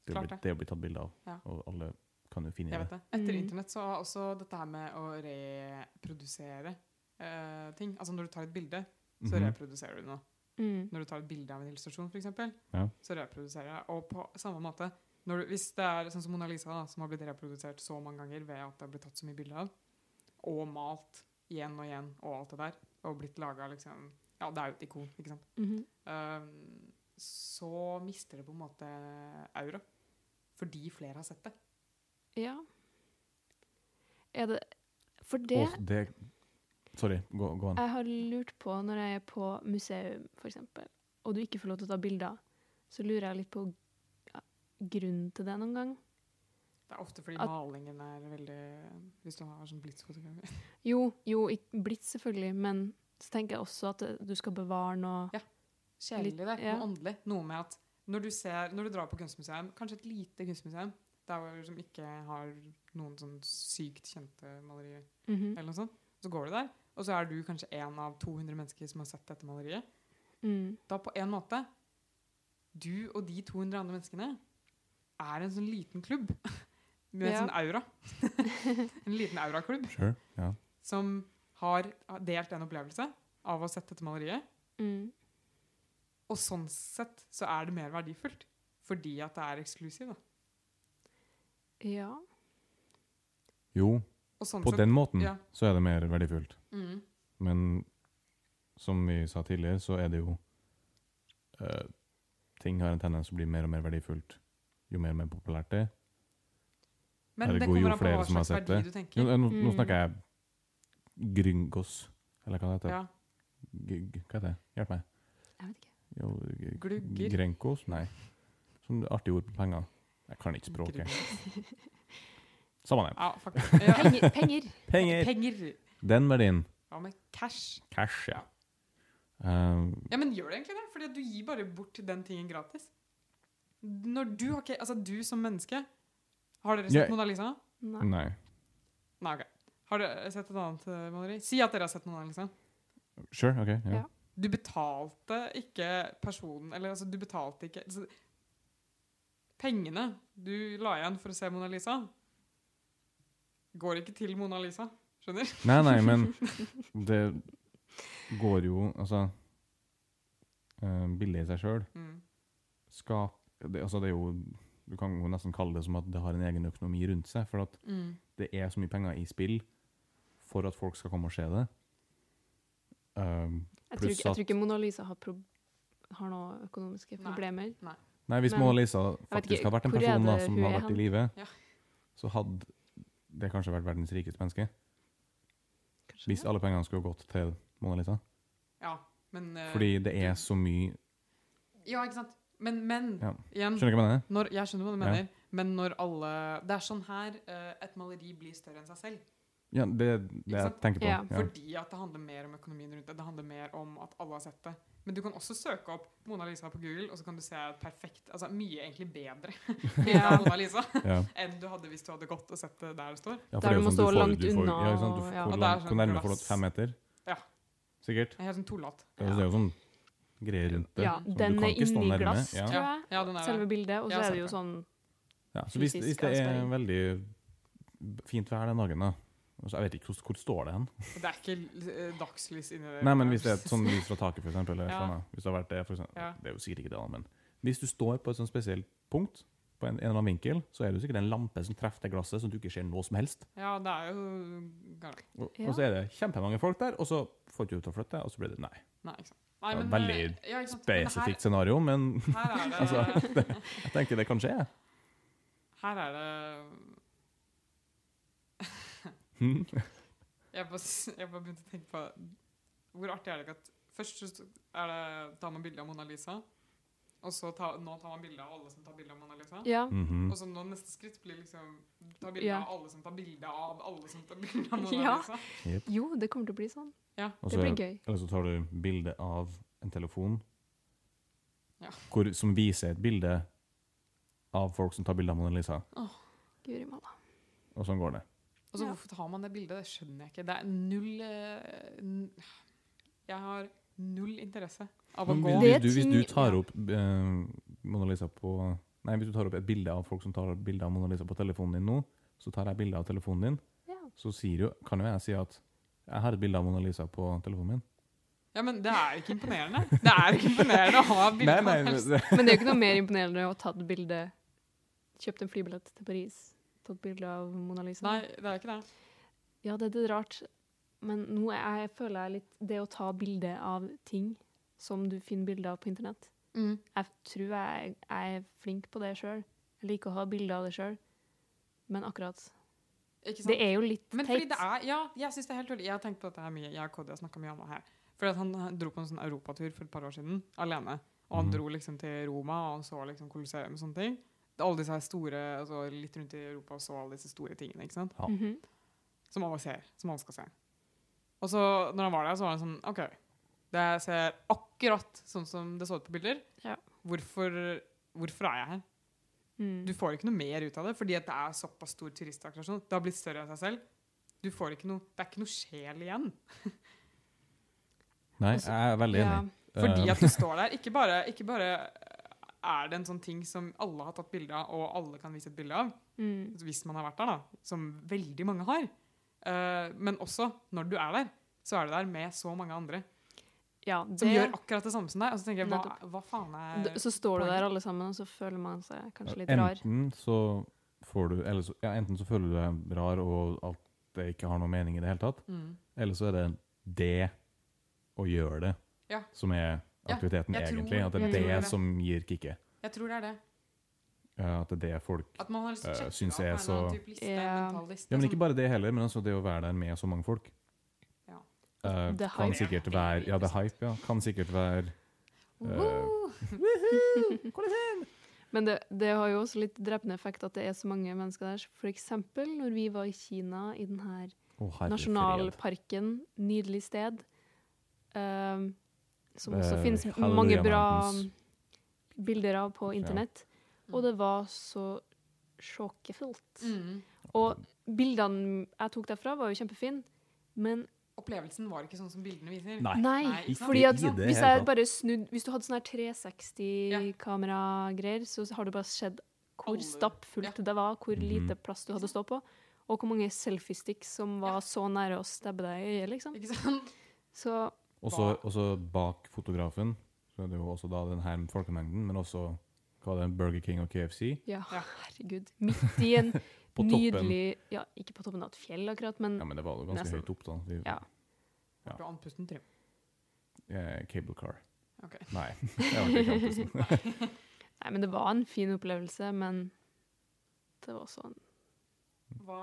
[SPEAKER 1] Det blir,
[SPEAKER 3] Klart det.
[SPEAKER 1] det blir tatt bilde av,
[SPEAKER 3] Ja.
[SPEAKER 1] og alle kan jo finne
[SPEAKER 3] Jeg
[SPEAKER 1] det.
[SPEAKER 3] vet det. Etter
[SPEAKER 2] Mm.
[SPEAKER 3] internett så har også dette her med å reprodusere eh, ting Altså når du tar et bilde, så
[SPEAKER 1] Mhm.
[SPEAKER 3] reproduserer du noe.
[SPEAKER 2] Mm.
[SPEAKER 3] Når du tar et bilde av en illustrasjon, f.eks.,
[SPEAKER 1] Ja.
[SPEAKER 3] så reproduserer jeg. Og på samme måte når du, Hvis det er sånn som Mona Lisa, da, som har blitt reprodusert så mange ganger ved at det har blitt tatt så mye bilder av, og malt igjen og igjen, og alt det der, og blitt laga liksom Ja, det er jo et ikon, ikke sant.
[SPEAKER 2] Mhm.
[SPEAKER 3] Ehm, så mister det på en måte aura. Fordi flere har sett det.
[SPEAKER 2] Ja. Er det For det Eh.
[SPEAKER 1] Og det Sorry, gå, gå an.
[SPEAKER 2] jeg har lurt på når jeg er på museum, f.eks., og du ikke får lov til å ta bilder, så lurer jeg litt på ja, grunnen til det noen gang.
[SPEAKER 3] Det er ofte fordi
[SPEAKER 2] At-
[SPEAKER 3] malingen er veldig Hvis du har sånn blitzfotografi.
[SPEAKER 2] Jo, jo, ikk- blitt selvfølgelig, men så tenker jeg også at det- du skal bevare noe
[SPEAKER 3] Ja. Kjedelig, det. er
[SPEAKER 2] ja.
[SPEAKER 3] Noe åndelig. Noe med at når du, ser, når du drar på kunstmuseum, kanskje et lite kunstmuseum der hvor som ikke har noen sånn sykt kjente malerier,
[SPEAKER 2] Mhm.
[SPEAKER 3] eller noe sånt, så går du der, og så er du kanskje en av 200 mennesker som har sett dette maleriet.
[SPEAKER 2] mm.
[SPEAKER 3] Da på en måte Du og de 200 andre menneskene er en sånn liten klubb med en
[SPEAKER 2] Ja.
[SPEAKER 3] sånn aura. en liten auraklubb.
[SPEAKER 1] Sure. Ja.
[SPEAKER 3] som har har delt en opplevelse av å ha sett dette maleriet.
[SPEAKER 2] Mm.
[SPEAKER 3] Og sånn sett så er det mer verdifullt, fordi at det er eksklusivt. da.
[SPEAKER 2] Ja.
[SPEAKER 1] Jo,
[SPEAKER 3] Og sånn
[SPEAKER 1] på
[SPEAKER 3] sett,
[SPEAKER 1] den måten
[SPEAKER 3] ja.
[SPEAKER 1] så er det mer verdifullt.
[SPEAKER 3] Mm,
[SPEAKER 1] Men som vi sa tidligere, så er det jo eh, Ting har en tendens til å bli mer og mer verdifullt jo mer og mer populært det er.
[SPEAKER 3] men
[SPEAKER 1] Ergo,
[SPEAKER 3] det
[SPEAKER 1] jo
[SPEAKER 3] kommer an på
[SPEAKER 1] flere
[SPEAKER 3] hva
[SPEAKER 1] som har
[SPEAKER 3] slags
[SPEAKER 1] sett
[SPEAKER 3] verdi
[SPEAKER 1] det.
[SPEAKER 3] du tenker.
[SPEAKER 1] Nå, nå, nå
[SPEAKER 2] Mm.
[SPEAKER 1] snakker jeg gryngos, eller hva det heter.
[SPEAKER 3] Ja.
[SPEAKER 1] G g- hva heter det? Hjelp meg.
[SPEAKER 2] Jeg vet ikke.
[SPEAKER 1] Jo, g-
[SPEAKER 3] Glugger.
[SPEAKER 1] Grenkos? Nei. Som det artige ord på penger. Jeg kan ikke språket.
[SPEAKER 3] Grunn.
[SPEAKER 1] Samme det.
[SPEAKER 3] Ja, faktisk. Ja.
[SPEAKER 2] Penger! penger.
[SPEAKER 1] Penger!
[SPEAKER 3] Penger.
[SPEAKER 1] Den verdien.
[SPEAKER 3] Hva med cash?
[SPEAKER 1] Cash, ja. Eh,
[SPEAKER 3] Ja, men gjør det egentlig det? Fordi at du gir bare bort den tingen gratis. Når du har ikke Altså, du som menneske Har dere sett
[SPEAKER 1] Jeg-
[SPEAKER 3] Mona Lisa?
[SPEAKER 2] Nei.
[SPEAKER 1] nei.
[SPEAKER 3] Nei, OK. Har dere sett et annet eh, maleri? Si at dere har sett Mona Lisa.
[SPEAKER 1] Sure, OK. Ja.
[SPEAKER 2] Ja.
[SPEAKER 3] Du betalte ikke personen Eller altså, du betalte ikke altså, Pengene du la igjen for å se Mona Lisa, går ikke til Mona Lisa. Skjønner?
[SPEAKER 1] Nei, nei, men det går jo Altså eh, Bildet i seg sjøl
[SPEAKER 3] Mm.
[SPEAKER 1] skap... Det, altså det er jo Du kan jo nesten kalle det som at det har en egen økonomi rundt seg. For at
[SPEAKER 3] Mm.
[SPEAKER 1] det er så mye penger i spill for at folk skal komme og se det. Eh, Um,
[SPEAKER 2] Jeg tror,
[SPEAKER 1] Pluss
[SPEAKER 2] ikke, jeg
[SPEAKER 1] at-
[SPEAKER 2] tror ikke Mona Lisa har, prob har noen økonomiske
[SPEAKER 3] Nei.
[SPEAKER 2] problemer.
[SPEAKER 1] nei, Nei, hvis
[SPEAKER 2] Men-
[SPEAKER 1] Mona Lisa faktisk
[SPEAKER 2] ikke,
[SPEAKER 1] har vært en
[SPEAKER 2] hvor er
[SPEAKER 1] person da,
[SPEAKER 2] det
[SPEAKER 1] som
[SPEAKER 2] hun
[SPEAKER 1] har
[SPEAKER 2] er
[SPEAKER 1] vært i
[SPEAKER 2] hen?
[SPEAKER 1] live,
[SPEAKER 3] Ja.
[SPEAKER 1] så hadde det kanskje vært verdens rikeste menneske.
[SPEAKER 2] Kanskje
[SPEAKER 1] Hvis
[SPEAKER 2] det?
[SPEAKER 1] alle pengene skulle gått til Mona Lisa.
[SPEAKER 3] Ja, men eh,
[SPEAKER 1] Fordi det er så mye
[SPEAKER 3] Ja, ikke sant? Men, men
[SPEAKER 1] Ja.
[SPEAKER 3] igjen
[SPEAKER 1] Skjønner du hva jeg mener?
[SPEAKER 3] når, Jeg skjønner hva du
[SPEAKER 1] Ja.
[SPEAKER 3] mener, men når alle Det er sånn her eh, et maleri blir større enn seg selv.
[SPEAKER 1] Ja, det er det jeg
[SPEAKER 3] sant?
[SPEAKER 1] tenker på.
[SPEAKER 2] Ja.
[SPEAKER 1] Ja.
[SPEAKER 3] Fordi at det handler mer om økonomien rundt det. Det handler mer om at alle har sett det. Men du kan også søke opp Mona Lisa på Google, og så kan du se et perfekt Altså mye egentlig bedre bilde
[SPEAKER 2] Ja.
[SPEAKER 3] av Mona Lisa
[SPEAKER 1] Ja.
[SPEAKER 3] enn du hadde hvis du hadde gått og sett det der det står.
[SPEAKER 1] Ja,
[SPEAKER 2] Der
[SPEAKER 1] det er jo
[SPEAKER 2] du må
[SPEAKER 1] sånn,
[SPEAKER 2] stå
[SPEAKER 1] får-
[SPEAKER 2] langt
[SPEAKER 1] du får-
[SPEAKER 2] unna,
[SPEAKER 1] ja, ikke sant, du
[SPEAKER 2] ja.
[SPEAKER 1] får lang-
[SPEAKER 3] Og det er
[SPEAKER 1] Hvor
[SPEAKER 3] sånn
[SPEAKER 1] nærme får du
[SPEAKER 3] glass.
[SPEAKER 1] fem meter?
[SPEAKER 3] Ja.
[SPEAKER 1] Sikkert.
[SPEAKER 3] Jeg er helt sånn tullete.
[SPEAKER 1] Det er jo det er jo sånn greier rundt det.
[SPEAKER 2] Ja,
[SPEAKER 1] som sånn, du
[SPEAKER 2] den
[SPEAKER 1] kan
[SPEAKER 2] er
[SPEAKER 1] ikke stå
[SPEAKER 2] inni
[SPEAKER 1] nærme.
[SPEAKER 2] glass,
[SPEAKER 1] Ja.
[SPEAKER 2] tror jeg.
[SPEAKER 3] Ja, den er
[SPEAKER 2] Selve bildet. Og
[SPEAKER 3] Ja,
[SPEAKER 2] så er det jo
[SPEAKER 3] sant
[SPEAKER 2] sånn
[SPEAKER 1] Ja, så hvis,
[SPEAKER 2] fysisk
[SPEAKER 1] hvis det er
[SPEAKER 2] avsperring.
[SPEAKER 1] veldig fint vær den dagen, da altså, Jeg vet ikke hvor, hvor står det hen.
[SPEAKER 3] Det er ikke eh, dagslys inni det.
[SPEAKER 1] Nei, men Hvis det er et sånn lys fra taket, f.eks. Eller
[SPEAKER 3] Ja.
[SPEAKER 1] et eller annet. hvis det har vært det, for eksempel,
[SPEAKER 3] Ja.
[SPEAKER 1] det er jo sikkert ikke det, da, men hvis du står på et sånn spesielt punkt, på en, en eller annen vinkel, så er det jo sikkert en lampe som treffer det glasset, så du ikke ser noe som helst.
[SPEAKER 3] Ja, det er jo gar-
[SPEAKER 1] Og,
[SPEAKER 2] Ja.
[SPEAKER 1] og så er det kjempemange folk der, og så får du ikke ut til å flytte, og så blir det Nei.
[SPEAKER 3] Nei, ikke sant. Nei,
[SPEAKER 1] Ja,
[SPEAKER 3] men,
[SPEAKER 1] veldig
[SPEAKER 3] eh, ja, ikke sant. Men her-
[SPEAKER 1] Spesifikt scenario, men
[SPEAKER 3] Her er det,
[SPEAKER 1] Altså- jeg tenker det kan skje.
[SPEAKER 3] her er det
[SPEAKER 1] Hm?
[SPEAKER 3] jeg bare, s- jeg bare begynte å tenke på Hvor artig er det ikke at Først så st- er det, tar man bilde av Mona Lisa, og så ta, nå tar man bilde av alle som tar bilde av Mona Lisa.
[SPEAKER 2] Ja.
[SPEAKER 1] Mhm.
[SPEAKER 3] Og så nå neste skritt blir liksom ta bilde
[SPEAKER 2] Ja.
[SPEAKER 3] av alle som tar bilde av alle som tar bilde av liksom. Mona
[SPEAKER 2] Ja.
[SPEAKER 3] Lisa.
[SPEAKER 1] Jep.
[SPEAKER 2] Jo, det kommer til å bli sånn.
[SPEAKER 1] Og
[SPEAKER 2] Det
[SPEAKER 1] så-
[SPEAKER 2] blir gøy.
[SPEAKER 1] Eller så tar du bilde av en telefon
[SPEAKER 3] Ja.
[SPEAKER 1] hvor, som viser et bilde av folk som tar bilde av Mona Lisa.
[SPEAKER 2] Guri malla.
[SPEAKER 1] Og sånn går det.
[SPEAKER 3] Og så
[SPEAKER 2] Ja.
[SPEAKER 3] hvorfor tar man det bildet? Det skjønner jeg ikke. Det er null eh, n- Jeg har null interesse av å
[SPEAKER 1] Men
[SPEAKER 3] gå
[SPEAKER 1] vil
[SPEAKER 2] Det er
[SPEAKER 1] du, du, hvis du
[SPEAKER 2] ting-
[SPEAKER 1] tar
[SPEAKER 2] ja.
[SPEAKER 1] opp eh, Mona Lisa på Nei, hvis du tar opp et bilde av folk som tar bilde av Mona Lisa på telefonen din nå, så tar jeg bilde av telefonen din,
[SPEAKER 2] Ja.
[SPEAKER 1] så sier jo, kan jo jeg si at jeg har et bilde av Mona Lisa på telefonen min.
[SPEAKER 3] Ja, men det er jo ikke imponerende. Det er jo ikke imponerende å ha bilde av en helst.
[SPEAKER 1] det,
[SPEAKER 2] Men det er jo ikke noe mer imponerende å ha tatt bilde Kjøpt en flybillett til Paris, tatt bilde av Mona Lisa.
[SPEAKER 3] Nei, det er ikke det.
[SPEAKER 2] Ja, det er litt rart. Men nå er jeg, føler jeg litt Det å ta bilde av ting som du finner bilder av på internett
[SPEAKER 3] Mm.
[SPEAKER 2] Jeg tror jeg, jeg er flink på det sjøl. Jeg liker å ha bilder av det sjøl. Men akkurat
[SPEAKER 3] Ikke sant?
[SPEAKER 2] Det er jo litt
[SPEAKER 3] Men fordi
[SPEAKER 2] teit.
[SPEAKER 3] det er, ja, jeg synes det er helt rolig. Jeg har tenkt på dette her mye. Jeg og Kodja snakket mye om det her. Fordi at han han dro på en sånn europatur for et par år siden, alene. Og han
[SPEAKER 1] Mhm.
[SPEAKER 3] dro liksom til Roma, og han så liksom Colosseum og sånne ting. Det er Alle disse her store, altså litt rundt i Europa, og så alle disse store tingene, ikke sant?
[SPEAKER 1] Ja.
[SPEAKER 2] Mhm.
[SPEAKER 3] Som alle ser, som alle skal se. Og så, når han var der, så var han sånn, ok, det ser akkurat sånn som det så ut på bilder.
[SPEAKER 2] Ja.
[SPEAKER 3] Hvorfor, hvorfor er jeg her?
[SPEAKER 2] Mm.
[SPEAKER 3] Du får ikke noe mer ut av det, fordi at det er såpass stor turistattraksjon. Det har blitt større av seg selv. Du får ikke noe, det er ikke noe sjel igjen.
[SPEAKER 1] Nei,
[SPEAKER 2] Også-
[SPEAKER 1] jeg er veldig
[SPEAKER 2] ja.
[SPEAKER 1] enig.
[SPEAKER 3] Fordi
[SPEAKER 1] Eh,
[SPEAKER 3] at du står der. Ikke bare, ikke bare eh, er det en sånn ting som alle har tatt bilde av, og alle kan vise et bilde av,
[SPEAKER 2] Mm.
[SPEAKER 3] hvis man har vært der, da, som veldig mange har. Eh, men også når du er der, så er du der med så mange andre
[SPEAKER 2] ja,
[SPEAKER 3] som
[SPEAKER 2] det
[SPEAKER 3] gjør akkurat det samme som deg. Og så tenker jeg, hva, hva faen er
[SPEAKER 2] D- Så står du der alle sammen, og så føler man seg kanskje litt rar.
[SPEAKER 1] Enten så får du eller så, ja, Enten så føler du deg rar og at det ikke har noe mening i det hele tatt,
[SPEAKER 3] mm.
[SPEAKER 1] eller så er det det å gjøre det
[SPEAKER 3] Ja.
[SPEAKER 1] som er
[SPEAKER 3] Ja,
[SPEAKER 1] aktiviteten
[SPEAKER 3] jeg tror-
[SPEAKER 1] egentlig. At det
[SPEAKER 2] jeg
[SPEAKER 1] er
[SPEAKER 2] tror
[SPEAKER 1] det
[SPEAKER 3] det.
[SPEAKER 1] som gir kicket.
[SPEAKER 3] Jeg tror det er det.
[SPEAKER 1] Eh, At det er det folk
[SPEAKER 3] At man har lyst til å
[SPEAKER 1] Eh,
[SPEAKER 3] sjekke
[SPEAKER 1] synes
[SPEAKER 3] av
[SPEAKER 1] jeg
[SPEAKER 3] på en eller annen
[SPEAKER 1] så-
[SPEAKER 3] type liste,
[SPEAKER 2] Ja.
[SPEAKER 3] mental liste,
[SPEAKER 1] Ja, men
[SPEAKER 3] som-
[SPEAKER 1] ikke bare det heller, men altså det å være der med så mange folk.
[SPEAKER 3] Ja.
[SPEAKER 1] Eh,
[SPEAKER 2] Det er
[SPEAKER 1] kan
[SPEAKER 2] hype.
[SPEAKER 1] sikkert være Ja, det er hype, ja. Kan sikkert være
[SPEAKER 3] sånn.
[SPEAKER 1] eh,
[SPEAKER 2] Men det, det har jo også litt drepende effekt at det er så mange mennesker der. For eksempel når vi var i Kina, i den her
[SPEAKER 1] Å, herre fred.
[SPEAKER 2] nasjonalparken, nydelig sted, ehm, som også
[SPEAKER 1] Eh,
[SPEAKER 2] finnes
[SPEAKER 1] Hallelujah
[SPEAKER 2] mange bra
[SPEAKER 1] Mountains.
[SPEAKER 2] bilder av på
[SPEAKER 1] Ja.
[SPEAKER 2] internett. Og det var så sjokkefullt.
[SPEAKER 3] Mm.
[SPEAKER 2] Og bildene jeg tok derfra, var jo kjempefine, men
[SPEAKER 3] Opplevelsen var ikke sånn som bildene viser.
[SPEAKER 1] Nei.
[SPEAKER 2] Nei,
[SPEAKER 3] Nei, ikke sant?
[SPEAKER 2] fordi
[SPEAKER 3] Ikke
[SPEAKER 2] at
[SPEAKER 3] i det
[SPEAKER 2] hvis
[SPEAKER 1] hele
[SPEAKER 2] jeg
[SPEAKER 1] tatt.
[SPEAKER 2] bare snudd Hvis du hadde sånn her
[SPEAKER 3] Ja.
[SPEAKER 2] 360-kameragreier, så har du bare sett hvor
[SPEAKER 3] Alle-
[SPEAKER 2] stappfullt det var, hvor
[SPEAKER 1] Mhm.
[SPEAKER 2] lite plass du hadde å stå på, og hvor mange selfiesticks som var så nære å stabbe deg i øyet, liksom.
[SPEAKER 3] Ikke sant?
[SPEAKER 2] Så
[SPEAKER 1] Og så- Og så bak fotografen så er det jo også da den her folkemengden, men også hva det er, Burger King og KFC.
[SPEAKER 2] ja,
[SPEAKER 3] Ja.
[SPEAKER 2] herregud. Midt i en
[SPEAKER 1] På toppen.
[SPEAKER 2] nydelig Ja, ikke på toppen av et fjell, akkurat, men
[SPEAKER 1] Ja, men det var jo ganske
[SPEAKER 2] Nesten.
[SPEAKER 1] høyt opp, da. Vi,
[SPEAKER 2] Ja.
[SPEAKER 1] Ja.
[SPEAKER 3] Du har andpusten trim.
[SPEAKER 1] eh, cable car.
[SPEAKER 3] Ok.
[SPEAKER 1] Nei. Det var ikke campus.
[SPEAKER 2] Nei, men det var en fin opplevelse, men det var sånn, også en
[SPEAKER 3] Hva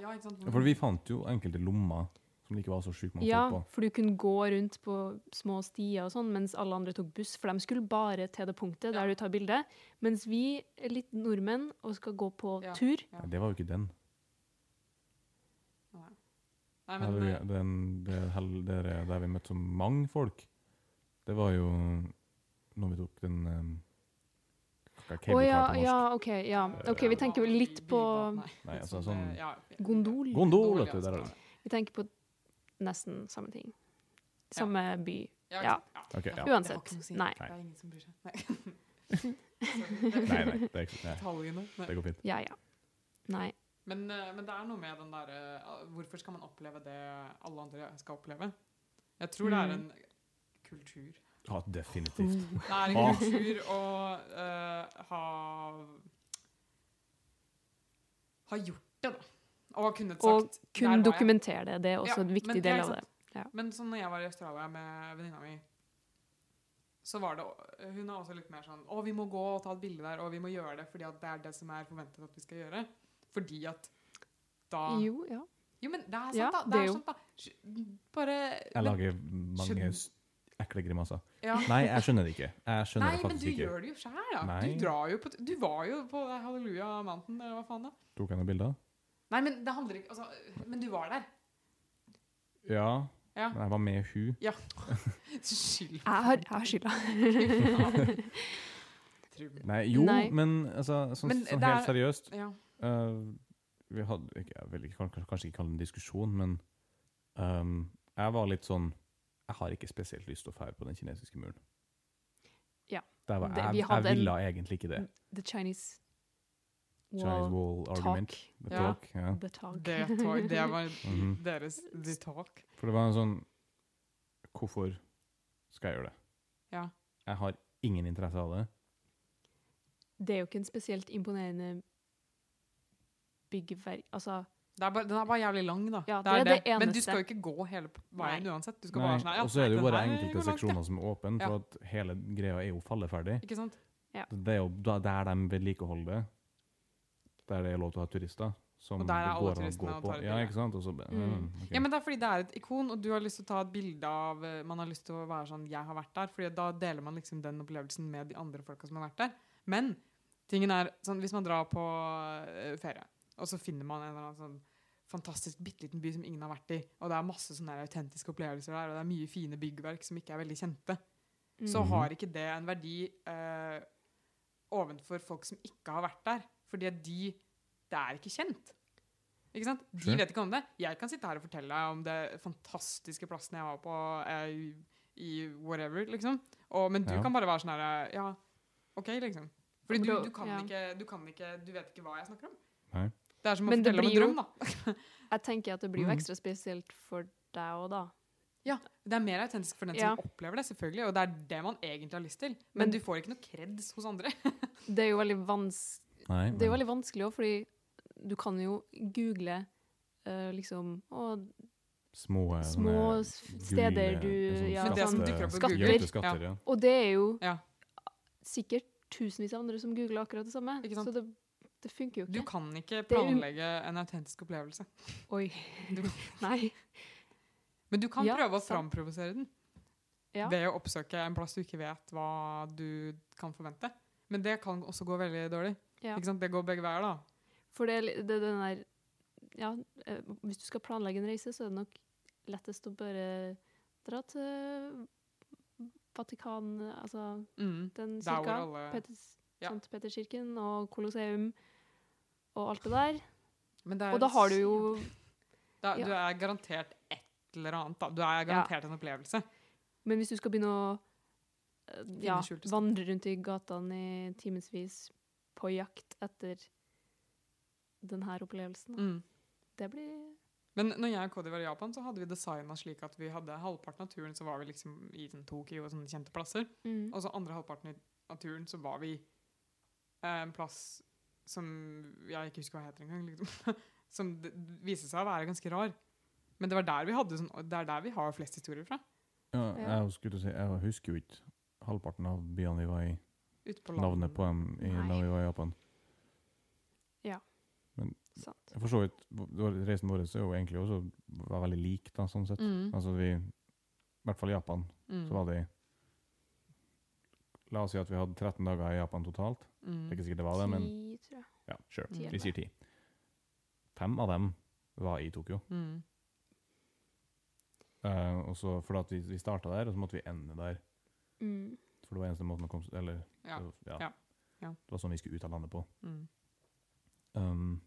[SPEAKER 3] Ja, ikke sant?
[SPEAKER 1] Ja, For vi fant jo enkelte lommer som det ikke var så sjukt mange
[SPEAKER 2] Ja,
[SPEAKER 1] folk på.
[SPEAKER 2] for du kunne gå rundt på små stier og sånn, mens alle andre tok buss, for de skulle bare til det punktet
[SPEAKER 3] Ja.
[SPEAKER 2] der du tar bilde. Mens vi er litt nordmenn og skal gå på
[SPEAKER 3] Ja.
[SPEAKER 2] tur.
[SPEAKER 1] Nei, Det var jo ikke den.
[SPEAKER 3] Nei,
[SPEAKER 1] Her
[SPEAKER 3] men
[SPEAKER 1] er
[SPEAKER 3] eh,
[SPEAKER 1] jo den det hel- der, er- der vi møtte så mange folk, det var jo når vi tok den um,
[SPEAKER 2] Å ja,
[SPEAKER 1] Cablecar på norsk. Eh,
[SPEAKER 2] ja, OK. Ja. OK, vi tenker vel litt på
[SPEAKER 3] Nei,
[SPEAKER 1] Nei, altså
[SPEAKER 3] sånn,
[SPEAKER 1] sånn-
[SPEAKER 3] eh, ja,
[SPEAKER 2] gondol.
[SPEAKER 1] Gondol, vet
[SPEAKER 3] ja,
[SPEAKER 1] du. Der er
[SPEAKER 3] sånn.
[SPEAKER 1] det.
[SPEAKER 2] Vi tenker på nesten samme ting. Samme by.
[SPEAKER 3] Ja,
[SPEAKER 2] Ja.
[SPEAKER 3] ikke sant?
[SPEAKER 1] Ok, ja.
[SPEAKER 3] Det var
[SPEAKER 2] Uansett,
[SPEAKER 3] ikke noe å si.
[SPEAKER 2] nei.
[SPEAKER 3] Det er ingen som bryr seg. Nei.
[SPEAKER 1] Nei, nei, det, er ikke, nei,
[SPEAKER 3] Detaljene. Nei.
[SPEAKER 1] det går fint.
[SPEAKER 2] Ja, ja. Nei.
[SPEAKER 3] Men, eh, men det er noe med den derre Hvorfor skal man oppleve det alle andre skal oppleve? Jeg tror det er en
[SPEAKER 2] Mm.
[SPEAKER 3] kultur.
[SPEAKER 1] Ja, definitivt.
[SPEAKER 3] Det er en
[SPEAKER 1] Ah.
[SPEAKER 3] kultur å eh, ha Ha gjort det, da. Og ha kunnet
[SPEAKER 2] Og
[SPEAKER 3] sagt "Der var jeg."
[SPEAKER 2] Kun dokumentere det. Det er også
[SPEAKER 3] Ja,
[SPEAKER 2] en viktig
[SPEAKER 3] men- ja,
[SPEAKER 2] del
[SPEAKER 3] ikke
[SPEAKER 2] av
[SPEAKER 3] sant?
[SPEAKER 2] det.
[SPEAKER 3] Men sånn når jeg var i Australia med venninna mi, så var det Hun er også litt mer sånn Å, vi må gå og ta et bilde der, og vi må gjøre det fordi at det er det som er forventet at vi skal gjøre. Fordi at da Jo,
[SPEAKER 2] Jo, ja.
[SPEAKER 3] men det er sant,
[SPEAKER 2] Ja,
[SPEAKER 3] da. Det,
[SPEAKER 2] det er
[SPEAKER 3] er
[SPEAKER 2] jo.
[SPEAKER 3] sant, da. Sk- Bare
[SPEAKER 1] Jeg
[SPEAKER 3] men-
[SPEAKER 1] lager mange s- ekle grimaser.
[SPEAKER 3] ja.
[SPEAKER 1] Nei, jeg skjønner det ikke. Jeg skjønner
[SPEAKER 3] Nei,
[SPEAKER 1] det
[SPEAKER 3] men du
[SPEAKER 1] faktisk ikke.
[SPEAKER 3] gjør det jo sjæl, da.
[SPEAKER 1] Nei.
[SPEAKER 3] Du drar jo på t- Du var jo på Hallelujah Mountain, eller hva faen da.
[SPEAKER 1] Tok jeg noen bilder?
[SPEAKER 3] Nei, men det handler ikke Altså, men du var der.
[SPEAKER 1] Ja.
[SPEAKER 3] Ja.
[SPEAKER 1] Men jeg var med hun.
[SPEAKER 3] Skyld.
[SPEAKER 2] Jeg har, jeg har skylda.
[SPEAKER 3] Trym.
[SPEAKER 1] Nei, jo,
[SPEAKER 2] Nei.
[SPEAKER 1] men altså, sånn,
[SPEAKER 3] Men
[SPEAKER 1] sånn
[SPEAKER 3] det
[SPEAKER 1] helt
[SPEAKER 3] er-
[SPEAKER 1] seriøst
[SPEAKER 3] Ja.
[SPEAKER 1] Eh, vi hadde ikke, jeg vil ikke, kan- kan- kanskje ikke kalle det en diskusjon, men ehm, jeg var litt sånn Jeg har ikke spesielt lyst til å feire på den kinesiske muren.
[SPEAKER 2] Ja.
[SPEAKER 1] Der var,
[SPEAKER 2] Det-
[SPEAKER 1] jeg,
[SPEAKER 2] vi
[SPEAKER 1] jeg
[SPEAKER 2] hadde en-
[SPEAKER 1] ville egentlig ikke det.
[SPEAKER 2] The Chinese
[SPEAKER 1] Chinese
[SPEAKER 2] wall
[SPEAKER 1] wall
[SPEAKER 2] talk.
[SPEAKER 1] argument. The
[SPEAKER 3] Ja.
[SPEAKER 1] talk, ja.
[SPEAKER 2] The talk.
[SPEAKER 3] Det, tar- det var
[SPEAKER 1] Mhm.
[SPEAKER 3] deres The Talk.
[SPEAKER 1] For det var en sånn Hvorfor skal jeg gjøre det?
[SPEAKER 3] Ja.
[SPEAKER 1] Jeg har ingen interesse av det.
[SPEAKER 2] Det er jo ikke en spesielt imponerende byggverk Altså,
[SPEAKER 3] Det er bare, den er bare jævlig lang, da.
[SPEAKER 2] Ja, det er det
[SPEAKER 3] Men du
[SPEAKER 2] eneste.
[SPEAKER 3] skal jo ikke gå hele p- veien uansett. Du skal
[SPEAKER 1] Nei,
[SPEAKER 3] bare sånn ja,
[SPEAKER 1] og så er det jo
[SPEAKER 3] nei,
[SPEAKER 1] bare
[SPEAKER 3] den her
[SPEAKER 1] enkelte
[SPEAKER 3] går langt, ja.
[SPEAKER 1] seksjoner som er åpne, for at hele greia er jo falleferdig.
[SPEAKER 3] Ikke sant?
[SPEAKER 1] Det er jo da- der de vedlikeholder det. Der det er lov til å ha turister. Som
[SPEAKER 3] Og der er
[SPEAKER 1] det
[SPEAKER 3] alle
[SPEAKER 1] går an å
[SPEAKER 3] turistene
[SPEAKER 1] gå
[SPEAKER 3] og
[SPEAKER 1] på.
[SPEAKER 3] tar et
[SPEAKER 1] Ja,
[SPEAKER 3] bilde.
[SPEAKER 1] ikke sant? Og så, bare,
[SPEAKER 2] Mm.
[SPEAKER 1] mm, ok.
[SPEAKER 3] Ja, men det er fordi det er et ikon, og du har lyst til å ta et bilde av eh, Man har lyst til å være sånn 'Jeg har vært der', Fordi da deler man liksom den opplevelsen med de andre folka som har vært der. Men tingen er sånn Hvis man drar på eh, ferie, og så finner man en eller annen sånn fantastisk bitte liten by som ingen har vært i, og det er masse sånne her autentiske opplevelser der, og det er mye fine byggverk som ikke er veldig kjente,
[SPEAKER 2] mm.
[SPEAKER 3] så
[SPEAKER 1] Mhm.
[SPEAKER 3] har ikke det en verdi eh, ovenfor folk som ikke har vært der. Fordi at de Det er ikke kjent. Ikke sant? De
[SPEAKER 1] Sure.
[SPEAKER 3] vet ikke om det. Jeg kan sitte her og fortelle deg om det fantastiske plassen jeg var på eh, i whatever, liksom. Og, men du
[SPEAKER 1] Ja.
[SPEAKER 3] kan bare være sånn her eh, Ja, OK, liksom. Fordi
[SPEAKER 2] Men
[SPEAKER 3] du,
[SPEAKER 2] da-
[SPEAKER 3] du, kan
[SPEAKER 2] ja.
[SPEAKER 3] ikke, du kan ikke Du vet ikke hva jeg snakker om.
[SPEAKER 1] Nei.
[SPEAKER 3] Det er som å
[SPEAKER 2] Men det
[SPEAKER 3] fortelle om en
[SPEAKER 2] blir jo-
[SPEAKER 3] drøm, da.
[SPEAKER 2] Jeg tenker at det blir jo
[SPEAKER 1] Mhm.
[SPEAKER 2] ekstra spesielt for deg òg, da.
[SPEAKER 3] Det er mer autentisk for den
[SPEAKER 2] Ja.
[SPEAKER 3] som opplever det, selvfølgelig. Og det er det man egentlig har lyst til. Men,
[SPEAKER 2] Men-
[SPEAKER 3] du får ikke noe kreds hos andre.
[SPEAKER 2] Det er jo veldig, vans
[SPEAKER 1] Nei,
[SPEAKER 2] det er jo veldig vanskelig òg, fordi du kan jo google eh, liksom Å,
[SPEAKER 1] små, eh, sånne
[SPEAKER 2] små s-
[SPEAKER 1] gule-
[SPEAKER 2] steder du
[SPEAKER 1] sånn
[SPEAKER 2] Ja,
[SPEAKER 3] Men det som
[SPEAKER 2] sånn.
[SPEAKER 1] skatte-
[SPEAKER 3] dukker opp på
[SPEAKER 2] Skatter.
[SPEAKER 1] gjemte skatter, ja.
[SPEAKER 2] Og det er jo
[SPEAKER 3] Ja.
[SPEAKER 2] sikkert tusenvis av andre som googler akkurat det samme,
[SPEAKER 3] Ikke sant?
[SPEAKER 2] så det, det funker jo
[SPEAKER 3] Du
[SPEAKER 2] ikke.
[SPEAKER 3] kan ikke
[SPEAKER 2] Det er um-
[SPEAKER 3] planlegge en autentisk opplevelse.
[SPEAKER 2] Oi.
[SPEAKER 3] Du-
[SPEAKER 2] Nei.
[SPEAKER 3] Men du kan
[SPEAKER 2] Ja,
[SPEAKER 3] prøve å
[SPEAKER 2] sant.
[SPEAKER 3] framprovosere den
[SPEAKER 2] Ja.
[SPEAKER 3] ved å oppsøke en plass du ikke vet hva du kan forvente. Men det kan også gå veldig dårlig.
[SPEAKER 2] Ja.
[SPEAKER 3] Ikke sant? Det går begge veier, da.
[SPEAKER 2] For det, er li- det er den der Ja, eh, hvis du skal planlegge en reise, så er det nok lettest å bare dra til Vatikan Altså
[SPEAKER 3] Mm.
[SPEAKER 2] den
[SPEAKER 3] Der hvor
[SPEAKER 2] kirka.
[SPEAKER 3] alle
[SPEAKER 2] Peters,
[SPEAKER 3] Ja.
[SPEAKER 2] Sankt Peterskirken og Colosseum og alt det der.
[SPEAKER 3] Men det er
[SPEAKER 2] Og da har du
[SPEAKER 3] så-
[SPEAKER 2] jo
[SPEAKER 3] da,
[SPEAKER 2] ja.
[SPEAKER 3] Du er garantert et eller annet, da. Du er garantert en opplevelse.
[SPEAKER 2] Men hvis du skal begynne å eh, ja,
[SPEAKER 3] skjulte skatter.
[SPEAKER 2] vandre rundt i gatene i timevis på jakt etter denne opplevelsen, da.
[SPEAKER 3] Mm.
[SPEAKER 2] det blir
[SPEAKER 3] Men når jeg og Cody var i Japan, så hadde vi designa slik at vi hadde halvparten av turen så var vi liksom i sånn Tokyo og sånne kjente plasser.
[SPEAKER 2] mm.
[SPEAKER 3] Og så andre halvparten i- av turen så var vi eh, en plass som jeg ikke husker hva heter engang, liksom. som d- viste seg å være ganske rar. Men det var der vi hadde sånn, og det er der vi har flest historier fra.
[SPEAKER 1] ja. Jeg, skulle til å si, jeg husker jo ikke halvparten av byene vi var i.
[SPEAKER 3] Ute på landet.
[SPEAKER 1] navnet på dem i, da
[SPEAKER 2] Nei.
[SPEAKER 1] vi var i Japan.
[SPEAKER 2] Sant.
[SPEAKER 1] For så vidt, vår- reisen vår så er jo egentlig også var veldig lik, da, sånn sett.
[SPEAKER 3] Mm.
[SPEAKER 1] Altså vi, I hvert fall i Japan,
[SPEAKER 3] Mm.
[SPEAKER 1] så var det La oss si at vi hadde 13 dager i Japan totalt. Det er ikke
[SPEAKER 3] Mm.
[SPEAKER 1] sikkert det var det, men
[SPEAKER 2] Ti, tror jeg.
[SPEAKER 1] ja, sure.
[SPEAKER 3] Ti
[SPEAKER 1] Vi
[SPEAKER 2] eller
[SPEAKER 1] sier 10. Fem av dem var i Tokyo.
[SPEAKER 3] Mm.
[SPEAKER 1] Eh, og så, for at vi, vi starta der, og så måtte vi ende der.
[SPEAKER 2] Mm.
[SPEAKER 1] For det var eneste måten å komme s- Eller
[SPEAKER 3] Ja.
[SPEAKER 1] det var-
[SPEAKER 3] Ja. Ja.
[SPEAKER 1] Det var sånn vi skulle ut av landet på.
[SPEAKER 3] Mm.
[SPEAKER 1] Um,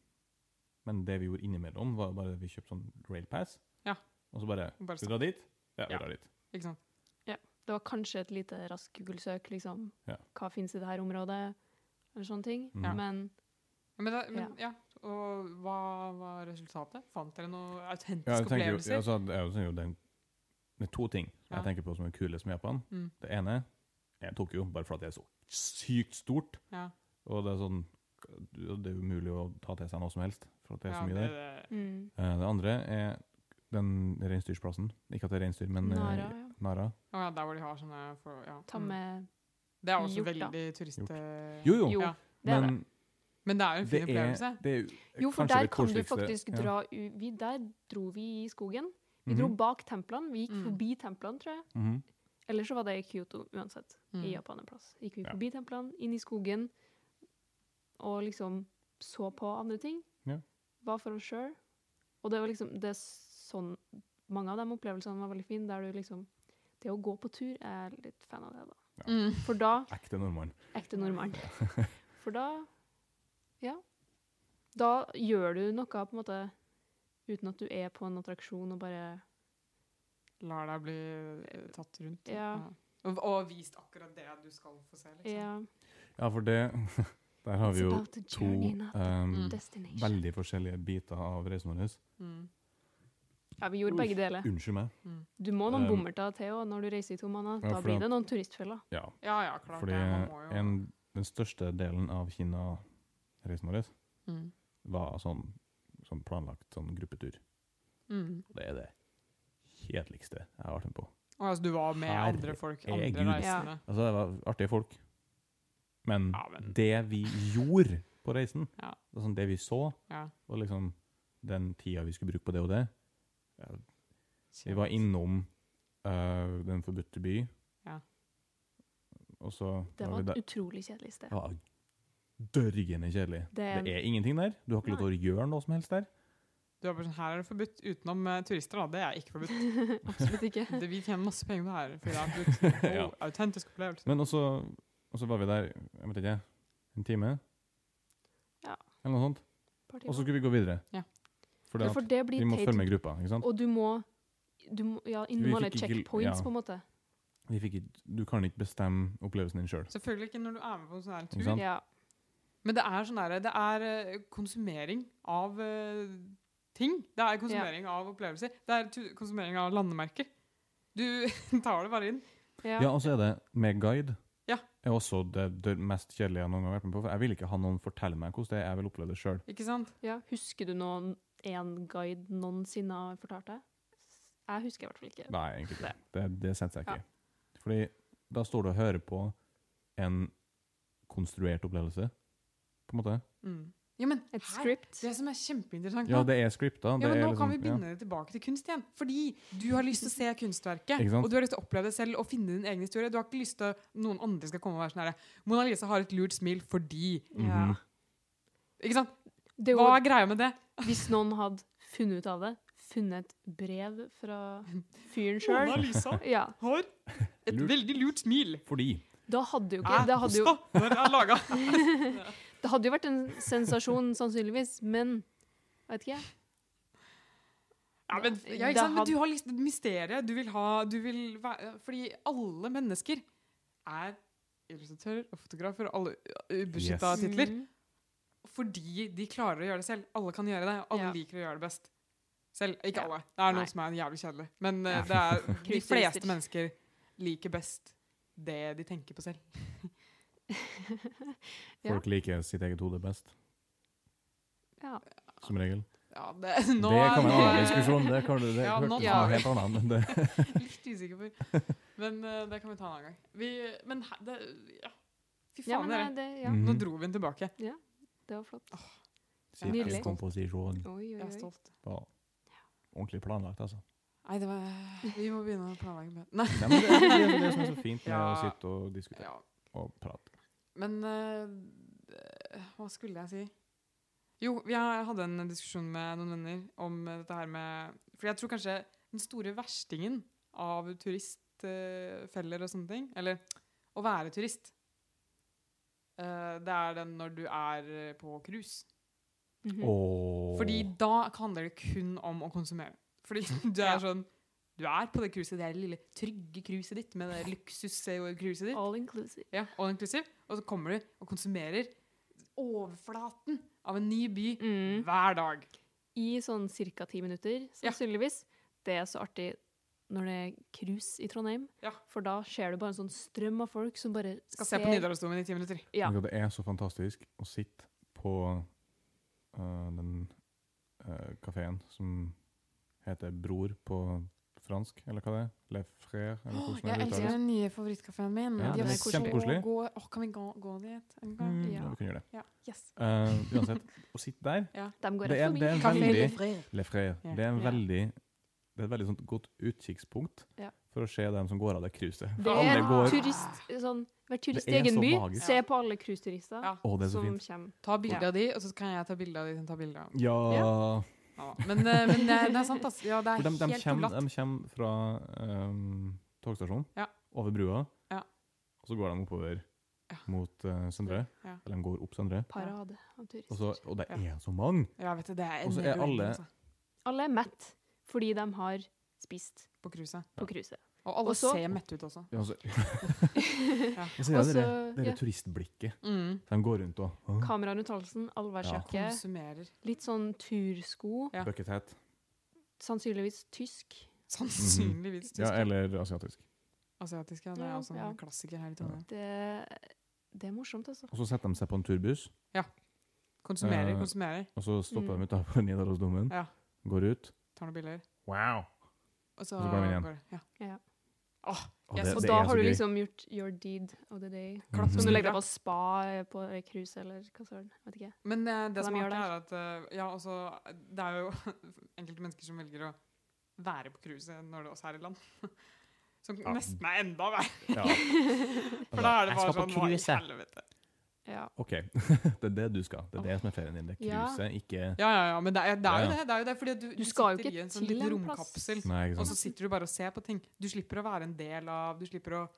[SPEAKER 1] men det vi gjorde innimellom, var bare vi kjøpte sånn railpass.
[SPEAKER 3] Ja.
[SPEAKER 1] Og så bare
[SPEAKER 3] Og Bare
[SPEAKER 1] Skal vi
[SPEAKER 3] sånn.
[SPEAKER 1] dra dit? Ja, vi
[SPEAKER 3] Ja.
[SPEAKER 1] drar dit.
[SPEAKER 3] Ikke sant?
[SPEAKER 2] Det var kanskje et lite raskt Google-søk, liksom.
[SPEAKER 1] Ja. Mm.
[SPEAKER 2] Hva finnes i det her området? Eller sånne ting.
[SPEAKER 1] Ja.
[SPEAKER 2] Men
[SPEAKER 3] Ja, Men, da, men ja. Og hva var resultatet? Fant dere noen
[SPEAKER 1] Ja,
[SPEAKER 3] autentiske
[SPEAKER 1] jeg tenker jo,
[SPEAKER 3] opplevelser?
[SPEAKER 1] altså, det er jo- det er jo den, det er to ting
[SPEAKER 3] Ja.
[SPEAKER 1] jeg tenker på som er kulest med Japan.
[SPEAKER 3] Mm.
[SPEAKER 1] Det ene er Tokyo, bare fordi det er så sykt stort.
[SPEAKER 3] Ja.
[SPEAKER 1] Og det er sånn Det er umulig å ta til seg noe som helst, for at det er så
[SPEAKER 3] Ja,
[SPEAKER 1] mye der.
[SPEAKER 3] det-
[SPEAKER 2] mm.
[SPEAKER 1] Eh, Det andre er den reinsdyrsplassen. Ikke at det er reinsdyr, men eh,
[SPEAKER 2] Nara, ja.
[SPEAKER 1] Nara.
[SPEAKER 3] Å ja, der hvor de har sånne for, ja.
[SPEAKER 2] Ta
[SPEAKER 3] Mm.
[SPEAKER 2] med
[SPEAKER 3] Det er også
[SPEAKER 2] hjort, da.
[SPEAKER 3] veldig turist...
[SPEAKER 1] Jo, jo.
[SPEAKER 2] Jo,
[SPEAKER 3] Ja.
[SPEAKER 2] det er det.
[SPEAKER 1] men
[SPEAKER 3] Men det er en
[SPEAKER 1] det
[SPEAKER 3] fin
[SPEAKER 1] er,
[SPEAKER 3] opplevelse.
[SPEAKER 1] det er jo
[SPEAKER 2] Jo, for
[SPEAKER 1] kanskje
[SPEAKER 2] der
[SPEAKER 1] det
[SPEAKER 2] kan du
[SPEAKER 1] koseligste-
[SPEAKER 2] faktisk
[SPEAKER 1] ja.
[SPEAKER 2] dra ut vi, Der dro vi i skogen. Vi dro
[SPEAKER 1] Mhm,
[SPEAKER 2] bak templene. Vi
[SPEAKER 3] Mm.
[SPEAKER 2] gikk forbi templene, tror jeg.
[SPEAKER 1] mhm.
[SPEAKER 2] Eller så var det i Kyoto, uansett.
[SPEAKER 3] Mm.
[SPEAKER 2] I Japan en plass. Gikk vi
[SPEAKER 1] Ja.
[SPEAKER 2] forbi templene, inn i skogen, og liksom så på andre ting.
[SPEAKER 1] Ja.
[SPEAKER 2] Var for oss sjøl. Og det var liksom det er sånn Mange av de opplevelsene var veldig fine, der du liksom Det å gå på tur jeg er litt fan av det, da.
[SPEAKER 3] Mm.
[SPEAKER 2] For da
[SPEAKER 1] Ekte nordmann.
[SPEAKER 2] Ekte nordmann. For da Ja. Da gjør du noe på en måte uten at du er på en attraksjon og bare
[SPEAKER 3] Lar deg bli eh, tatt rundt.
[SPEAKER 2] Ja.
[SPEAKER 3] Og, og vist akkurat det du skal få se, liksom.
[SPEAKER 2] Ja.
[SPEAKER 1] Ja, for det Der har vi
[SPEAKER 2] It's
[SPEAKER 1] jo
[SPEAKER 2] about the
[SPEAKER 1] to
[SPEAKER 2] journey, not the
[SPEAKER 1] ehm,
[SPEAKER 3] Mm.
[SPEAKER 2] destination.
[SPEAKER 1] veldig forskjellige biter av reisen vår.
[SPEAKER 3] Mm.
[SPEAKER 2] Ja, vi gjorde begge deler.
[SPEAKER 1] Unnskyld meg.
[SPEAKER 3] Mm.
[SPEAKER 2] Du må noen
[SPEAKER 1] Um,
[SPEAKER 2] bommerter til og når du reiser i to måneder.
[SPEAKER 1] Ja,
[SPEAKER 2] Da
[SPEAKER 1] for
[SPEAKER 2] blir
[SPEAKER 1] at-
[SPEAKER 2] det noen turistfeller.
[SPEAKER 1] Ja,
[SPEAKER 3] Ja, ja, klart
[SPEAKER 1] fordi
[SPEAKER 3] det. Man må jo
[SPEAKER 1] en, den største delen av Kina-reisen vår
[SPEAKER 3] mm.
[SPEAKER 1] var sånn, sånn planlagt sånn gruppetur.
[SPEAKER 3] Mm.
[SPEAKER 1] Og det er det kjedeligste jeg har vært med på.
[SPEAKER 3] Og altså, du var med
[SPEAKER 1] Herre-
[SPEAKER 3] andre folk, andre
[SPEAKER 1] Herregud.
[SPEAKER 3] reisende.
[SPEAKER 1] Altså, det var artige folk, men,
[SPEAKER 3] Ja, men-
[SPEAKER 1] det vi gjorde på reisen,
[SPEAKER 3] Ja.
[SPEAKER 1] det, er sånn, det vi så,
[SPEAKER 3] Ja.
[SPEAKER 1] og liksom den tida vi skulle bruke på det og det ja, Vi var innom øh, Den forbudte by.
[SPEAKER 3] Ja.
[SPEAKER 1] Og så
[SPEAKER 2] Det
[SPEAKER 1] vi
[SPEAKER 2] var
[SPEAKER 1] der-
[SPEAKER 2] et utrolig kjedelig sted.
[SPEAKER 1] Det var dørgende kjedelig. Det,
[SPEAKER 2] Det-
[SPEAKER 1] er ingenting der. Du har ikke lov til å gjøre noe som helst der.
[SPEAKER 3] Du var bare sånn, Her er det forbudt utenom eh, turister, da. Det er ikke forbudt.
[SPEAKER 2] Absolutt ikke.
[SPEAKER 3] Det, vi tjener masse penger på det her. Fordi det er forbudt.
[SPEAKER 1] Ja.
[SPEAKER 3] Oh, Autentisk opplevelse.
[SPEAKER 1] Men også, og så var vi der, jeg vet ikke, en time?
[SPEAKER 2] Ja.
[SPEAKER 1] Eller noe sånt.
[SPEAKER 2] Party
[SPEAKER 1] Og så
[SPEAKER 2] på.
[SPEAKER 1] skulle vi gå videre.
[SPEAKER 3] Ja.
[SPEAKER 1] Fordi
[SPEAKER 2] For
[SPEAKER 1] at
[SPEAKER 2] det blir
[SPEAKER 1] vi må
[SPEAKER 2] teit.
[SPEAKER 1] følge med gruppa, ikke sant?
[SPEAKER 2] Og du må, du må ja, innom
[SPEAKER 1] Vi
[SPEAKER 2] alle
[SPEAKER 1] fikk ikke-
[SPEAKER 2] checkpoints,
[SPEAKER 1] ja.
[SPEAKER 2] på en måte.
[SPEAKER 1] Vi fikk ikke, du kan ikke bestemme opplevelsen din sjøl.
[SPEAKER 3] Selvfølgelig ikke når du er med på en sånn her
[SPEAKER 1] Ikke
[SPEAKER 3] tur.
[SPEAKER 1] sant?
[SPEAKER 2] Ja.
[SPEAKER 3] Men det er sånn der, det er eh, konsumering av eh, ting. Det er konsumering av opplevelser. Det er tu- konsumering av landemerker. Du tar det bare inn.
[SPEAKER 2] ja.
[SPEAKER 1] Ja, og så er det med guide.
[SPEAKER 3] Ja.
[SPEAKER 1] Er også det, det mest kjedelige jeg noen gang har vært med på. For jeg vil ikke ha noen fortelle meg hvordan det er, jeg vil oppleve det sjøl.
[SPEAKER 3] Ikke sant?
[SPEAKER 2] Ja, husker du noen en guide noensinne har fortalt deg? Jeg husker i hvert fall ikke.
[SPEAKER 1] Nei, egentlig ikke.
[SPEAKER 2] Nei.
[SPEAKER 1] Det, det setter jeg ikke. Fordi da står du og hører på en konstruert opplevelse, på en måte.
[SPEAKER 3] Mm. Ja, men
[SPEAKER 2] Et
[SPEAKER 3] her,
[SPEAKER 2] script.
[SPEAKER 3] det som er kjempeinteressant
[SPEAKER 1] Ja,
[SPEAKER 3] nå,
[SPEAKER 1] det er scripta.
[SPEAKER 3] Mhm. ja,
[SPEAKER 1] det
[SPEAKER 3] men
[SPEAKER 1] er
[SPEAKER 3] nå kan
[SPEAKER 1] liksom-
[SPEAKER 3] vi begynne tilbake til kunst igjen. Fordi du har lyst til å se kunstverket,
[SPEAKER 1] Ikke sant?
[SPEAKER 3] og du har lyst til å oppleve det selv og finne din egen historie. Du har ikke lyst til at noen andre skal komme og være sånn her Mona Lisa har et lurt smil fordi
[SPEAKER 1] Mhm.
[SPEAKER 2] Ja.
[SPEAKER 3] Ikke sant?
[SPEAKER 2] Det er
[SPEAKER 3] Hva
[SPEAKER 2] jo,
[SPEAKER 3] er greia med det?
[SPEAKER 2] hvis noen hadde funnet ut av det, funnet et brev fra fyren sjøl
[SPEAKER 3] Lisa
[SPEAKER 2] ja,
[SPEAKER 3] har et
[SPEAKER 1] Lurt.
[SPEAKER 3] veldig lurt smil.
[SPEAKER 1] ja. Fordi
[SPEAKER 2] Da hadde jo ikke det hadde jo,
[SPEAKER 3] når jeg laga.
[SPEAKER 2] det hadde jo vært en sensasjon, sannsynligvis, men vet ikke jeg.
[SPEAKER 3] Ja, men, ja,
[SPEAKER 2] Da
[SPEAKER 3] ikke sant? men
[SPEAKER 2] had-
[SPEAKER 3] du har litt mysteriet. Du vil ha du vil være, Fordi alle mennesker er illustratører og fotografer og alle ubeskytta
[SPEAKER 1] Yes.
[SPEAKER 3] titler.
[SPEAKER 2] Mhm.
[SPEAKER 3] Fordi de klarer å gjøre det selv. Alle kan gjøre det. og Alle
[SPEAKER 2] Ja.
[SPEAKER 3] liker å gjøre det best. Selv. Ikke
[SPEAKER 2] Ja.
[SPEAKER 3] alle. Det er
[SPEAKER 2] Nei.
[SPEAKER 3] noen som er jævlig kjedelige. Men eh, det er, de
[SPEAKER 2] Krysselister.
[SPEAKER 3] fleste mennesker liker best det de tenker på selv.
[SPEAKER 2] Ja.
[SPEAKER 1] folk liker sitt eget hode best,
[SPEAKER 2] Ja.
[SPEAKER 1] som regel.
[SPEAKER 3] Ja, det, nå,
[SPEAKER 1] det kan være en
[SPEAKER 3] nå-
[SPEAKER 1] annen diskusjon. Det kan du, det
[SPEAKER 3] Ja,
[SPEAKER 1] hørte
[SPEAKER 3] nå
[SPEAKER 1] noe
[SPEAKER 2] tar vi-
[SPEAKER 1] helt annet. Men det,
[SPEAKER 3] Litt usikker på. Men eh, det kan vi ta en annen gang. Vi, men he- det, ja. Fy
[SPEAKER 2] Ja,
[SPEAKER 3] faen,
[SPEAKER 2] men
[SPEAKER 3] dere.
[SPEAKER 2] nei, det, ja,
[SPEAKER 1] Mm.
[SPEAKER 3] Nå dro vi den tilbake.
[SPEAKER 2] det var flott.
[SPEAKER 1] Sier
[SPEAKER 2] Nydelig.
[SPEAKER 1] Komposisjon.
[SPEAKER 2] Oi,
[SPEAKER 3] Jeg
[SPEAKER 2] oi,
[SPEAKER 3] er
[SPEAKER 2] oi.
[SPEAKER 3] stolt.
[SPEAKER 1] Var ordentlig planlagt, altså.
[SPEAKER 3] Nei, det var Vi må begynne å planlegge mer. Nei.
[SPEAKER 1] Nei, men det, det, det, det som er så fint med å
[SPEAKER 3] Ja.
[SPEAKER 1] sitte og diskutere
[SPEAKER 3] Ja.
[SPEAKER 1] og prate.
[SPEAKER 3] Men eh, hva skulle jeg si? Jo, jeg hadde en diskusjon med noen venner om eh, dette her med For jeg tror kanskje den store verstingen av turistfeller og sånne ting Eller å være turist eh, Det er den når du er eh, på cruise.
[SPEAKER 2] Mhm.
[SPEAKER 1] Åh.
[SPEAKER 3] Fordi da handler det kun om å konsumere. Fordi du er
[SPEAKER 2] Ja.
[SPEAKER 3] sånn Du er på det cruiset, det er det lille trygge cruiset ditt med det luksus-cruiset ditt.
[SPEAKER 2] All inclusive.
[SPEAKER 3] Ja, all inclusive. Og så kommer du og konsumerer overflaten av en ny by
[SPEAKER 2] Mm.
[SPEAKER 3] hver dag.
[SPEAKER 2] I sånn ca. ti minutter,
[SPEAKER 3] Ja.
[SPEAKER 2] sannsynligvis. Det er så artig når det er cruise i Trondheim,
[SPEAKER 3] Ja.
[SPEAKER 2] for da ser du bare en sånn strøm av folk som bare
[SPEAKER 3] Skal se på Nidarosdomen i ti minutter.
[SPEAKER 2] Ja.
[SPEAKER 1] Vet du hva, Det er så fantastisk å sitte på øh, den uh, kafeen som heter Bror på fransk, eller hva det er? Le Frère, eller hvordan det uttales.
[SPEAKER 3] den nye favorittkafeen min.
[SPEAKER 1] Ja,
[SPEAKER 2] den er
[SPEAKER 1] kjempekoselig.
[SPEAKER 3] gode- Åh, kan vi gå, gå dit en gang?
[SPEAKER 1] Mm,
[SPEAKER 2] Ja.
[SPEAKER 1] ja, vi kunne gjøre det.
[SPEAKER 3] Ja. Yes.
[SPEAKER 1] Eh, uansett, å sitte der
[SPEAKER 2] De går
[SPEAKER 1] Det er-
[SPEAKER 2] rett forbi.
[SPEAKER 1] det er sånn-
[SPEAKER 2] Kaffe.
[SPEAKER 1] veldig-
[SPEAKER 3] Frere.
[SPEAKER 1] Le Frère,
[SPEAKER 3] Ja.
[SPEAKER 1] det er en
[SPEAKER 2] Ja.
[SPEAKER 1] veldig det er et veldig sånt godt utkikkspunkt
[SPEAKER 2] Ja.
[SPEAKER 1] for å se dem som går av det cruiset.
[SPEAKER 2] Det
[SPEAKER 1] For
[SPEAKER 2] er
[SPEAKER 1] alle går
[SPEAKER 2] turist, sånn, Vær turist i
[SPEAKER 1] Det er
[SPEAKER 2] egen
[SPEAKER 1] så
[SPEAKER 2] by.
[SPEAKER 1] magisk.
[SPEAKER 2] Se på alle cruiseturister
[SPEAKER 3] Ja.
[SPEAKER 1] Å, det er så
[SPEAKER 2] som
[SPEAKER 1] fint.
[SPEAKER 2] kommer.
[SPEAKER 3] Ta bilde av de, og så kan jeg ta bilde av de som tar bilde av dem.
[SPEAKER 1] Ja,
[SPEAKER 3] Ja, da. men, eh, men det, er- det er sant, altså. Ja, det er
[SPEAKER 1] For de, de,
[SPEAKER 3] helt
[SPEAKER 1] kommer,
[SPEAKER 3] forlatt.
[SPEAKER 1] de kommer fra ehm, togstasjonen,
[SPEAKER 3] Ja.
[SPEAKER 1] over brua,
[SPEAKER 3] Ja.
[SPEAKER 1] og så går de oppover
[SPEAKER 3] Ja.
[SPEAKER 1] mot eh, Søndre.
[SPEAKER 3] Ja.
[SPEAKER 1] Eller de går opp Søndre.
[SPEAKER 2] Parade av
[SPEAKER 1] Og, så,
[SPEAKER 2] turister.
[SPEAKER 1] og det er så mange!
[SPEAKER 3] Ja, vet du, det er
[SPEAKER 1] Og så er
[SPEAKER 3] enormt,
[SPEAKER 1] alle-
[SPEAKER 3] altså,
[SPEAKER 2] Alle er mett fordi de har spist
[SPEAKER 3] på cruiset.
[SPEAKER 2] på cruiset.
[SPEAKER 3] Og alle
[SPEAKER 2] Og så-
[SPEAKER 3] ser mette ut også.
[SPEAKER 1] Ja, og så- Og så
[SPEAKER 2] Og
[SPEAKER 1] er
[SPEAKER 2] så-
[SPEAKER 1] det det
[SPEAKER 2] ja.
[SPEAKER 1] der turistblikket.
[SPEAKER 3] Mm.
[SPEAKER 1] De går rundt og «Åh,
[SPEAKER 2] Kameraet rundt halsen, allværsjakke,
[SPEAKER 3] Konsumerer.
[SPEAKER 1] Mhm.
[SPEAKER 2] litt sånn tursko,
[SPEAKER 3] Ja.
[SPEAKER 1] bucket hat.
[SPEAKER 2] sannsynligvis tysk.
[SPEAKER 3] Sannsynligvis
[SPEAKER 1] Ja,
[SPEAKER 3] tysk.
[SPEAKER 1] eller asiatisk.
[SPEAKER 3] Asiatiske, ja, det er
[SPEAKER 2] Ja,
[SPEAKER 3] også en
[SPEAKER 2] ja.
[SPEAKER 3] klassiker her i Trondheim.
[SPEAKER 2] Det, det er morsomt, altså.
[SPEAKER 1] Og så setter de seg på en turbuss,
[SPEAKER 3] Konsumerer,
[SPEAKER 1] Eh,
[SPEAKER 3] konsumerer.
[SPEAKER 1] og så stopper
[SPEAKER 2] Mm.
[SPEAKER 1] de utenfor Nidarosdomen,
[SPEAKER 3] Ja.
[SPEAKER 1] går ut
[SPEAKER 3] Tar noen bilder.
[SPEAKER 1] Wow!
[SPEAKER 3] Og så,
[SPEAKER 1] Og så går de inn igjen.
[SPEAKER 3] går- Ja.
[SPEAKER 1] Og
[SPEAKER 3] Yes,
[SPEAKER 1] det,
[SPEAKER 2] Og
[SPEAKER 1] det
[SPEAKER 2] da
[SPEAKER 1] er
[SPEAKER 2] har
[SPEAKER 1] så
[SPEAKER 2] du
[SPEAKER 1] gøy.
[SPEAKER 2] liksom gjort your deed of the day.
[SPEAKER 1] Mhm.
[SPEAKER 2] Som du
[SPEAKER 3] Mm.
[SPEAKER 2] legger deg på spa eh, på eh, cruise eller hva søren. Vet ikke.
[SPEAKER 3] Men eh, det
[SPEAKER 2] Hva
[SPEAKER 3] som
[SPEAKER 2] de
[SPEAKER 3] er
[SPEAKER 2] gjør
[SPEAKER 3] artig, er at eh, ja, også, det er jo enkelte mennesker som velger å være på cruiset når det også er i land. Som
[SPEAKER 1] Ja.
[SPEAKER 3] nesten er enda verre.
[SPEAKER 1] Ja.
[SPEAKER 3] For da er
[SPEAKER 1] Jeg
[SPEAKER 3] det bare
[SPEAKER 1] skal på
[SPEAKER 3] sånn Hva i
[SPEAKER 1] cruise, jeg."
[SPEAKER 3] helvete?
[SPEAKER 2] Ja.
[SPEAKER 1] OK. det er det du skal. Det er det som er ferien din. Det er
[SPEAKER 2] Ja.
[SPEAKER 1] cruiset, ikke
[SPEAKER 3] Ja, ja, ja. Men det er, det
[SPEAKER 1] Ja,
[SPEAKER 3] er jo
[SPEAKER 1] ja.
[SPEAKER 3] det. det, er jo det fordi du,
[SPEAKER 2] Du skal jo
[SPEAKER 3] sitter i
[SPEAKER 2] ikke
[SPEAKER 3] en
[SPEAKER 2] til
[SPEAKER 3] sånn liten
[SPEAKER 2] en plass.
[SPEAKER 3] romkapsel.
[SPEAKER 1] Nei, ikke
[SPEAKER 3] Og så
[SPEAKER 1] sant.
[SPEAKER 3] sitter du bare og ser på ting. Du slipper å være en del av Du slipper å,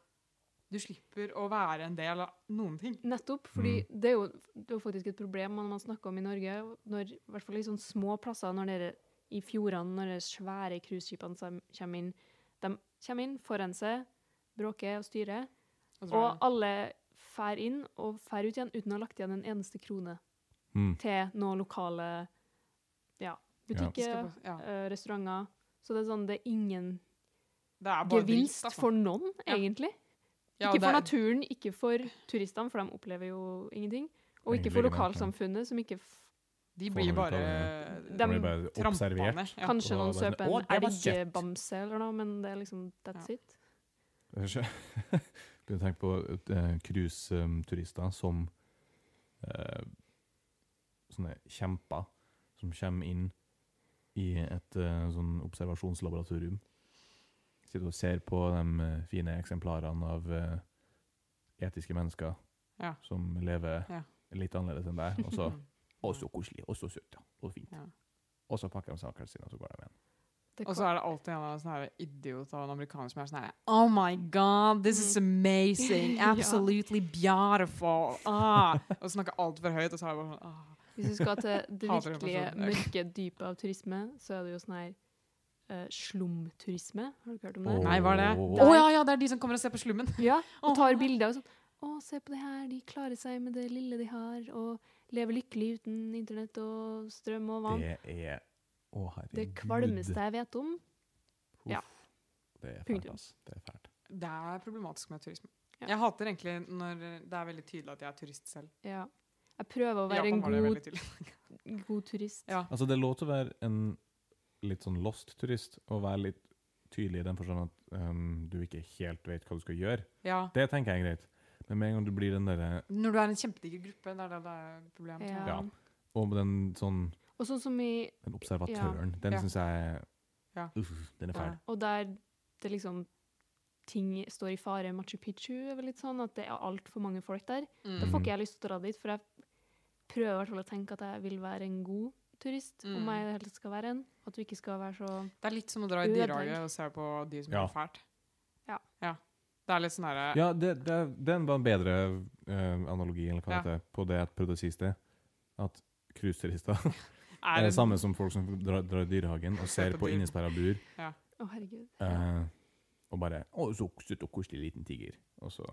[SPEAKER 3] du slipper å være en del av noen ting.
[SPEAKER 2] Nettopp. fordi det er jo det er jo faktisk et problem man, man snakker om i Norge, når, i hvert fall i sånne små plasser, når dere i fjordene, når de svære cruiseskipene som kommer inn. De kommer inn, forurenser, bråker og styrer.
[SPEAKER 3] Og så er det-
[SPEAKER 2] Og alle fær inn og fær ut igjen uten å ha lagt igjen en eneste krone
[SPEAKER 1] Mm.
[SPEAKER 2] til noen lokale ja, butikker,
[SPEAKER 3] Skal på- ja.
[SPEAKER 2] eh, restauranter. Så det er sånn, det er ingen
[SPEAKER 3] Det er bare
[SPEAKER 2] gevinst
[SPEAKER 3] dritt, altså.
[SPEAKER 2] for noen,
[SPEAKER 3] Ja.
[SPEAKER 2] egentlig.
[SPEAKER 3] Ja,
[SPEAKER 2] ikke
[SPEAKER 3] det er-
[SPEAKER 2] for naturen, ikke for turistene, for de opplever jo ingenting. Og
[SPEAKER 1] Egentlig
[SPEAKER 2] ikke for
[SPEAKER 1] ikke det, nei.
[SPEAKER 2] lokalsamfunnet, som ikke f
[SPEAKER 3] De
[SPEAKER 1] Får
[SPEAKER 3] blir
[SPEAKER 1] noe ut av
[SPEAKER 3] bare
[SPEAKER 1] det.
[SPEAKER 2] Dem-
[SPEAKER 1] Dem, bare observert.
[SPEAKER 3] trampene. Ja.
[SPEAKER 1] Og da
[SPEAKER 2] Kanskje
[SPEAKER 1] bare
[SPEAKER 2] noen
[SPEAKER 1] sånn,
[SPEAKER 2] søper
[SPEAKER 1] «Å, det
[SPEAKER 2] en
[SPEAKER 1] var kjekt!»
[SPEAKER 2] elgbamse eller noe, men det er liksom that's it.
[SPEAKER 1] Begynner å tenke på eh, cruiseturister som eh, sånne kjemper som kommer inn i et eh, sånn observasjonslaboratorium. Sitter og ser på de eh, fine eksemplarene av eh, etiske mennesker
[SPEAKER 3] Ja.
[SPEAKER 1] som lever
[SPEAKER 3] Ja.
[SPEAKER 1] litt annerledes enn deg. Og så
[SPEAKER 3] Mm.
[SPEAKER 1] «Å, så koselig, og så søtt, ja. Og fint.
[SPEAKER 3] Ja.
[SPEAKER 1] Og så pakker de sakene sine, og så går de igjen.
[SPEAKER 2] Det
[SPEAKER 3] Og
[SPEAKER 2] kom-
[SPEAKER 3] så er det alltid en eller annen sånn her idiot av en amerikaner som er sånn her Oh my god, this is amazing.
[SPEAKER 2] Mm. Ja.
[SPEAKER 3] Absolutely beautiful. Ah. Og snakker altfor høyt, og så er det bare sånn ah.
[SPEAKER 2] Hvis du skal til det
[SPEAKER 3] Hater den
[SPEAKER 2] virkelige
[SPEAKER 3] personen.
[SPEAKER 2] mørke dypet av turisme, så er det jo sånn her eh, slumturisme. Har du hørt om det?
[SPEAKER 1] Åh.
[SPEAKER 3] Nei, hva er det? Å
[SPEAKER 1] Åh.
[SPEAKER 3] ja, ja, det er de som kommer og ser på slummen.
[SPEAKER 2] Ja, og tar bilder og sånn. Å, se på det her, de klarer seg med det lille de har, og lever lykkelig uten internett og strøm og vann.
[SPEAKER 1] Det er Å, herregud.
[SPEAKER 2] Det kvalmeste jeg vet om. ja.
[SPEAKER 1] Det er fælt,
[SPEAKER 2] Punktum.
[SPEAKER 1] ass. Det er fælt.
[SPEAKER 3] Det er problematisk med turisme.
[SPEAKER 2] Ja.
[SPEAKER 3] Jeg hater egentlig når det er veldig tydelig at jeg er turist selv.
[SPEAKER 2] Ja. Jeg prøver å være
[SPEAKER 3] Japan
[SPEAKER 2] en
[SPEAKER 3] var det
[SPEAKER 2] god,
[SPEAKER 3] veldig tydelig.
[SPEAKER 2] god turist.
[SPEAKER 3] Ja.
[SPEAKER 1] Altså, det er lov til å være en litt sånn lost turist, og være litt tydelig i den forstand at ehm, du ikke helt vet hva du skal gjøre.
[SPEAKER 3] Ja.
[SPEAKER 1] Det tenker jeg er greit. Men med en gang du blir den derre
[SPEAKER 3] Når du er en kjempediger gruppe, det er det det er problemet. tror jeg.
[SPEAKER 2] Ja.
[SPEAKER 1] Ja. Og den sånn
[SPEAKER 2] eh, Og sånn som i
[SPEAKER 1] den observatøren, den
[SPEAKER 3] Ja.
[SPEAKER 1] syns jeg
[SPEAKER 3] Ja.
[SPEAKER 1] Uff, den er fæl.
[SPEAKER 2] Og der det liksom ting står i fare, Machu Picchu er vel litt sånn, at det er altfor mange folk der.
[SPEAKER 3] Mm.
[SPEAKER 2] Da får
[SPEAKER 1] Mhm.
[SPEAKER 2] ikke jeg lyst til å dra dit, for jeg prøver i hvert fall å tenke at jeg vil være en god turist, om
[SPEAKER 3] Mm.
[SPEAKER 2] jeg i det hele tatt skal være en. At du ikke skal være så
[SPEAKER 3] Det er litt som å dra i
[SPEAKER 2] Ødelegg.
[SPEAKER 3] dyrehaget og se på dyr som
[SPEAKER 1] Ja.
[SPEAKER 3] gjør fælt.
[SPEAKER 2] Ja.
[SPEAKER 3] Det er litt sånn herre
[SPEAKER 1] Ja, det, det, den var en bedre eh, analogi eller hva det heter, på det jeg prøvde å si i sted. At cruiseturister er
[SPEAKER 3] er
[SPEAKER 1] det
[SPEAKER 3] en-
[SPEAKER 1] samme som folk som drar, drar i dyrehagen og ser
[SPEAKER 3] på
[SPEAKER 1] på
[SPEAKER 3] dyr.
[SPEAKER 1] innesperra bur
[SPEAKER 2] Å, herregud. Ja.
[SPEAKER 1] eh, og bare Å, så søt og koselig liten tiger. Og så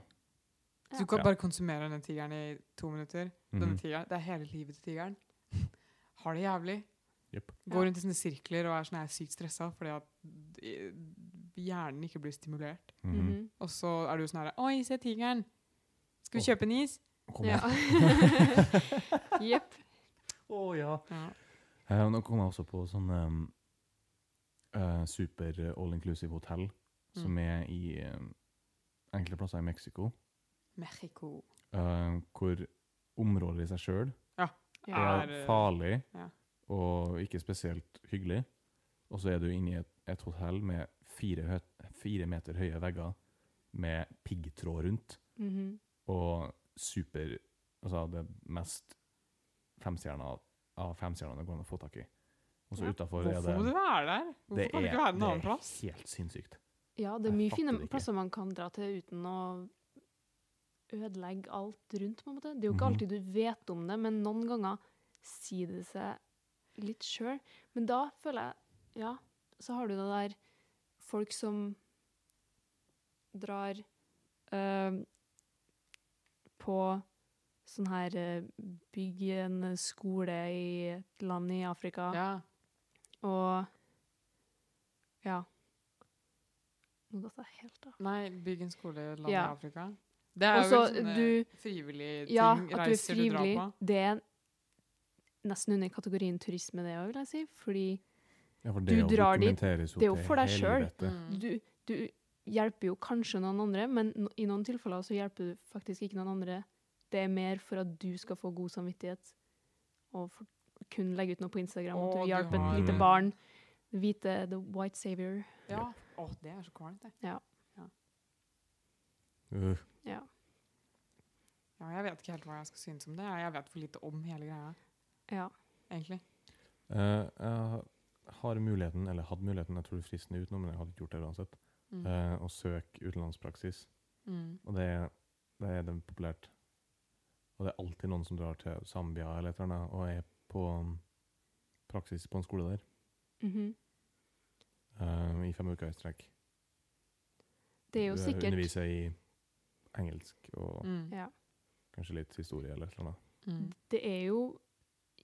[SPEAKER 3] Så Du kan bare konsumere denne tigeren i to minutter. Denne
[SPEAKER 1] Mhm.
[SPEAKER 3] tigeren, Det er hele livet til tigeren. Har det jævlig.
[SPEAKER 1] Jepp.
[SPEAKER 3] Går rundt i sånne sirkler og er sånn jeg er sykt stressa fordi at eh, hjernen ikke blir stimulert.
[SPEAKER 1] mhm.
[SPEAKER 2] Mhm.
[SPEAKER 3] Og så er du sånn herre Oi, se tigeren! Skal vi
[SPEAKER 1] Åh.
[SPEAKER 3] kjøpe en is?
[SPEAKER 1] Kom
[SPEAKER 2] Ja.
[SPEAKER 1] igjen.
[SPEAKER 2] Jepp.
[SPEAKER 1] Å ja.
[SPEAKER 3] Ja.
[SPEAKER 1] Eh, nå kom jeg også på sånn eh, eh, super all inclusive hotell som er i eh, enkelte plasser i Mexico,
[SPEAKER 3] Mexico.
[SPEAKER 1] eh, hvor området i seg sjøl
[SPEAKER 2] Ja.
[SPEAKER 1] er eh, farlig
[SPEAKER 3] ja.
[SPEAKER 1] og ikke spesielt hyggelig. Og så er du inne i et, et hotell med fire, hø fire meter høye vegger med piggtråd rundt,
[SPEAKER 2] Mhm.
[SPEAKER 1] og super Altså det mest femstjerna av femstjernene det går an å få tak i. Og så
[SPEAKER 2] Ja.
[SPEAKER 1] utafor er
[SPEAKER 3] Hvorfor må du
[SPEAKER 1] det
[SPEAKER 3] være der? Hvorfor
[SPEAKER 1] det
[SPEAKER 3] kan du
[SPEAKER 1] er-
[SPEAKER 3] ikke være en
[SPEAKER 1] det
[SPEAKER 3] annen
[SPEAKER 1] er
[SPEAKER 3] plass?
[SPEAKER 1] Helt sinnssykt.
[SPEAKER 2] ja, det er
[SPEAKER 1] Jeg
[SPEAKER 2] mye
[SPEAKER 1] fatter det
[SPEAKER 2] fine
[SPEAKER 1] ikke.
[SPEAKER 2] plasser man kan dra til uten å ødelegge alt rundt, på en måte. Det er jo ikke
[SPEAKER 1] Mhm.
[SPEAKER 2] alltid du vet om det, men noen ganger sier det seg litt sjøl. Men da føler jeg Ja, så har du det der folk som drar eh, på sånn her eh, Bygg en skole i et land i Afrika.
[SPEAKER 3] Ja.
[SPEAKER 2] Og ja. Nå datt jeg helt av.
[SPEAKER 3] Nei, bygg en skole i et land
[SPEAKER 2] Ja.
[SPEAKER 3] i Afrika. Det er
[SPEAKER 2] Også,
[SPEAKER 3] jo vel sånne
[SPEAKER 2] du-
[SPEAKER 3] frivillige ting,
[SPEAKER 2] Ja, at du er
[SPEAKER 3] reiser du drar
[SPEAKER 2] frivillig,
[SPEAKER 3] på.
[SPEAKER 2] det er nesten under kategorien turisme, det òg, vil jeg si. Fordi
[SPEAKER 1] Ja, for
[SPEAKER 2] Du
[SPEAKER 1] å
[SPEAKER 2] drar dit,
[SPEAKER 1] dokumenteres
[SPEAKER 2] det er jo
[SPEAKER 1] til
[SPEAKER 2] for deg selv.
[SPEAKER 1] helvete.
[SPEAKER 3] Mm.
[SPEAKER 2] du, du hjelper jo kanskje noen andre, men no- i noen tilfeller så hjelper du faktisk ikke noen andre. Det er mer for at du skal få god samvittighet og for, kun legge ut noe på Instagram.
[SPEAKER 3] Å,
[SPEAKER 2] At du
[SPEAKER 3] du
[SPEAKER 2] hjelper
[SPEAKER 1] har-
[SPEAKER 2] et lite barn. Hvite the white savior.
[SPEAKER 3] Ja. Å, det er så kvalmt, det.
[SPEAKER 1] Øh,
[SPEAKER 2] Ja.
[SPEAKER 3] Ja, jeg vet ikke helt hva jeg skal synes om det. Jeg vet for lite om hele greia,
[SPEAKER 2] ja.
[SPEAKER 3] egentlig.
[SPEAKER 1] eh, jeg har muligheten, eller hadde muligheten, jeg tror fristen er utenom, men jeg hadde ikke gjort det uansett,
[SPEAKER 3] Mm.
[SPEAKER 1] eh, å søke utenlandspraksis.
[SPEAKER 3] Mm.
[SPEAKER 1] Og det, er- det er det populært. Og det er alltid noen som drar til Zambia eller et eller annet, og er på um, praksis på en skole der
[SPEAKER 2] Mhm.
[SPEAKER 1] eh, i fem uker i strekk.
[SPEAKER 2] Det er jo
[SPEAKER 1] Du eh,
[SPEAKER 2] sikkert
[SPEAKER 1] Underviser i engelsk og
[SPEAKER 3] Mm.
[SPEAKER 2] ja.
[SPEAKER 1] kanskje litt historie eller et eller annet.
[SPEAKER 3] Mm.
[SPEAKER 2] Det er jo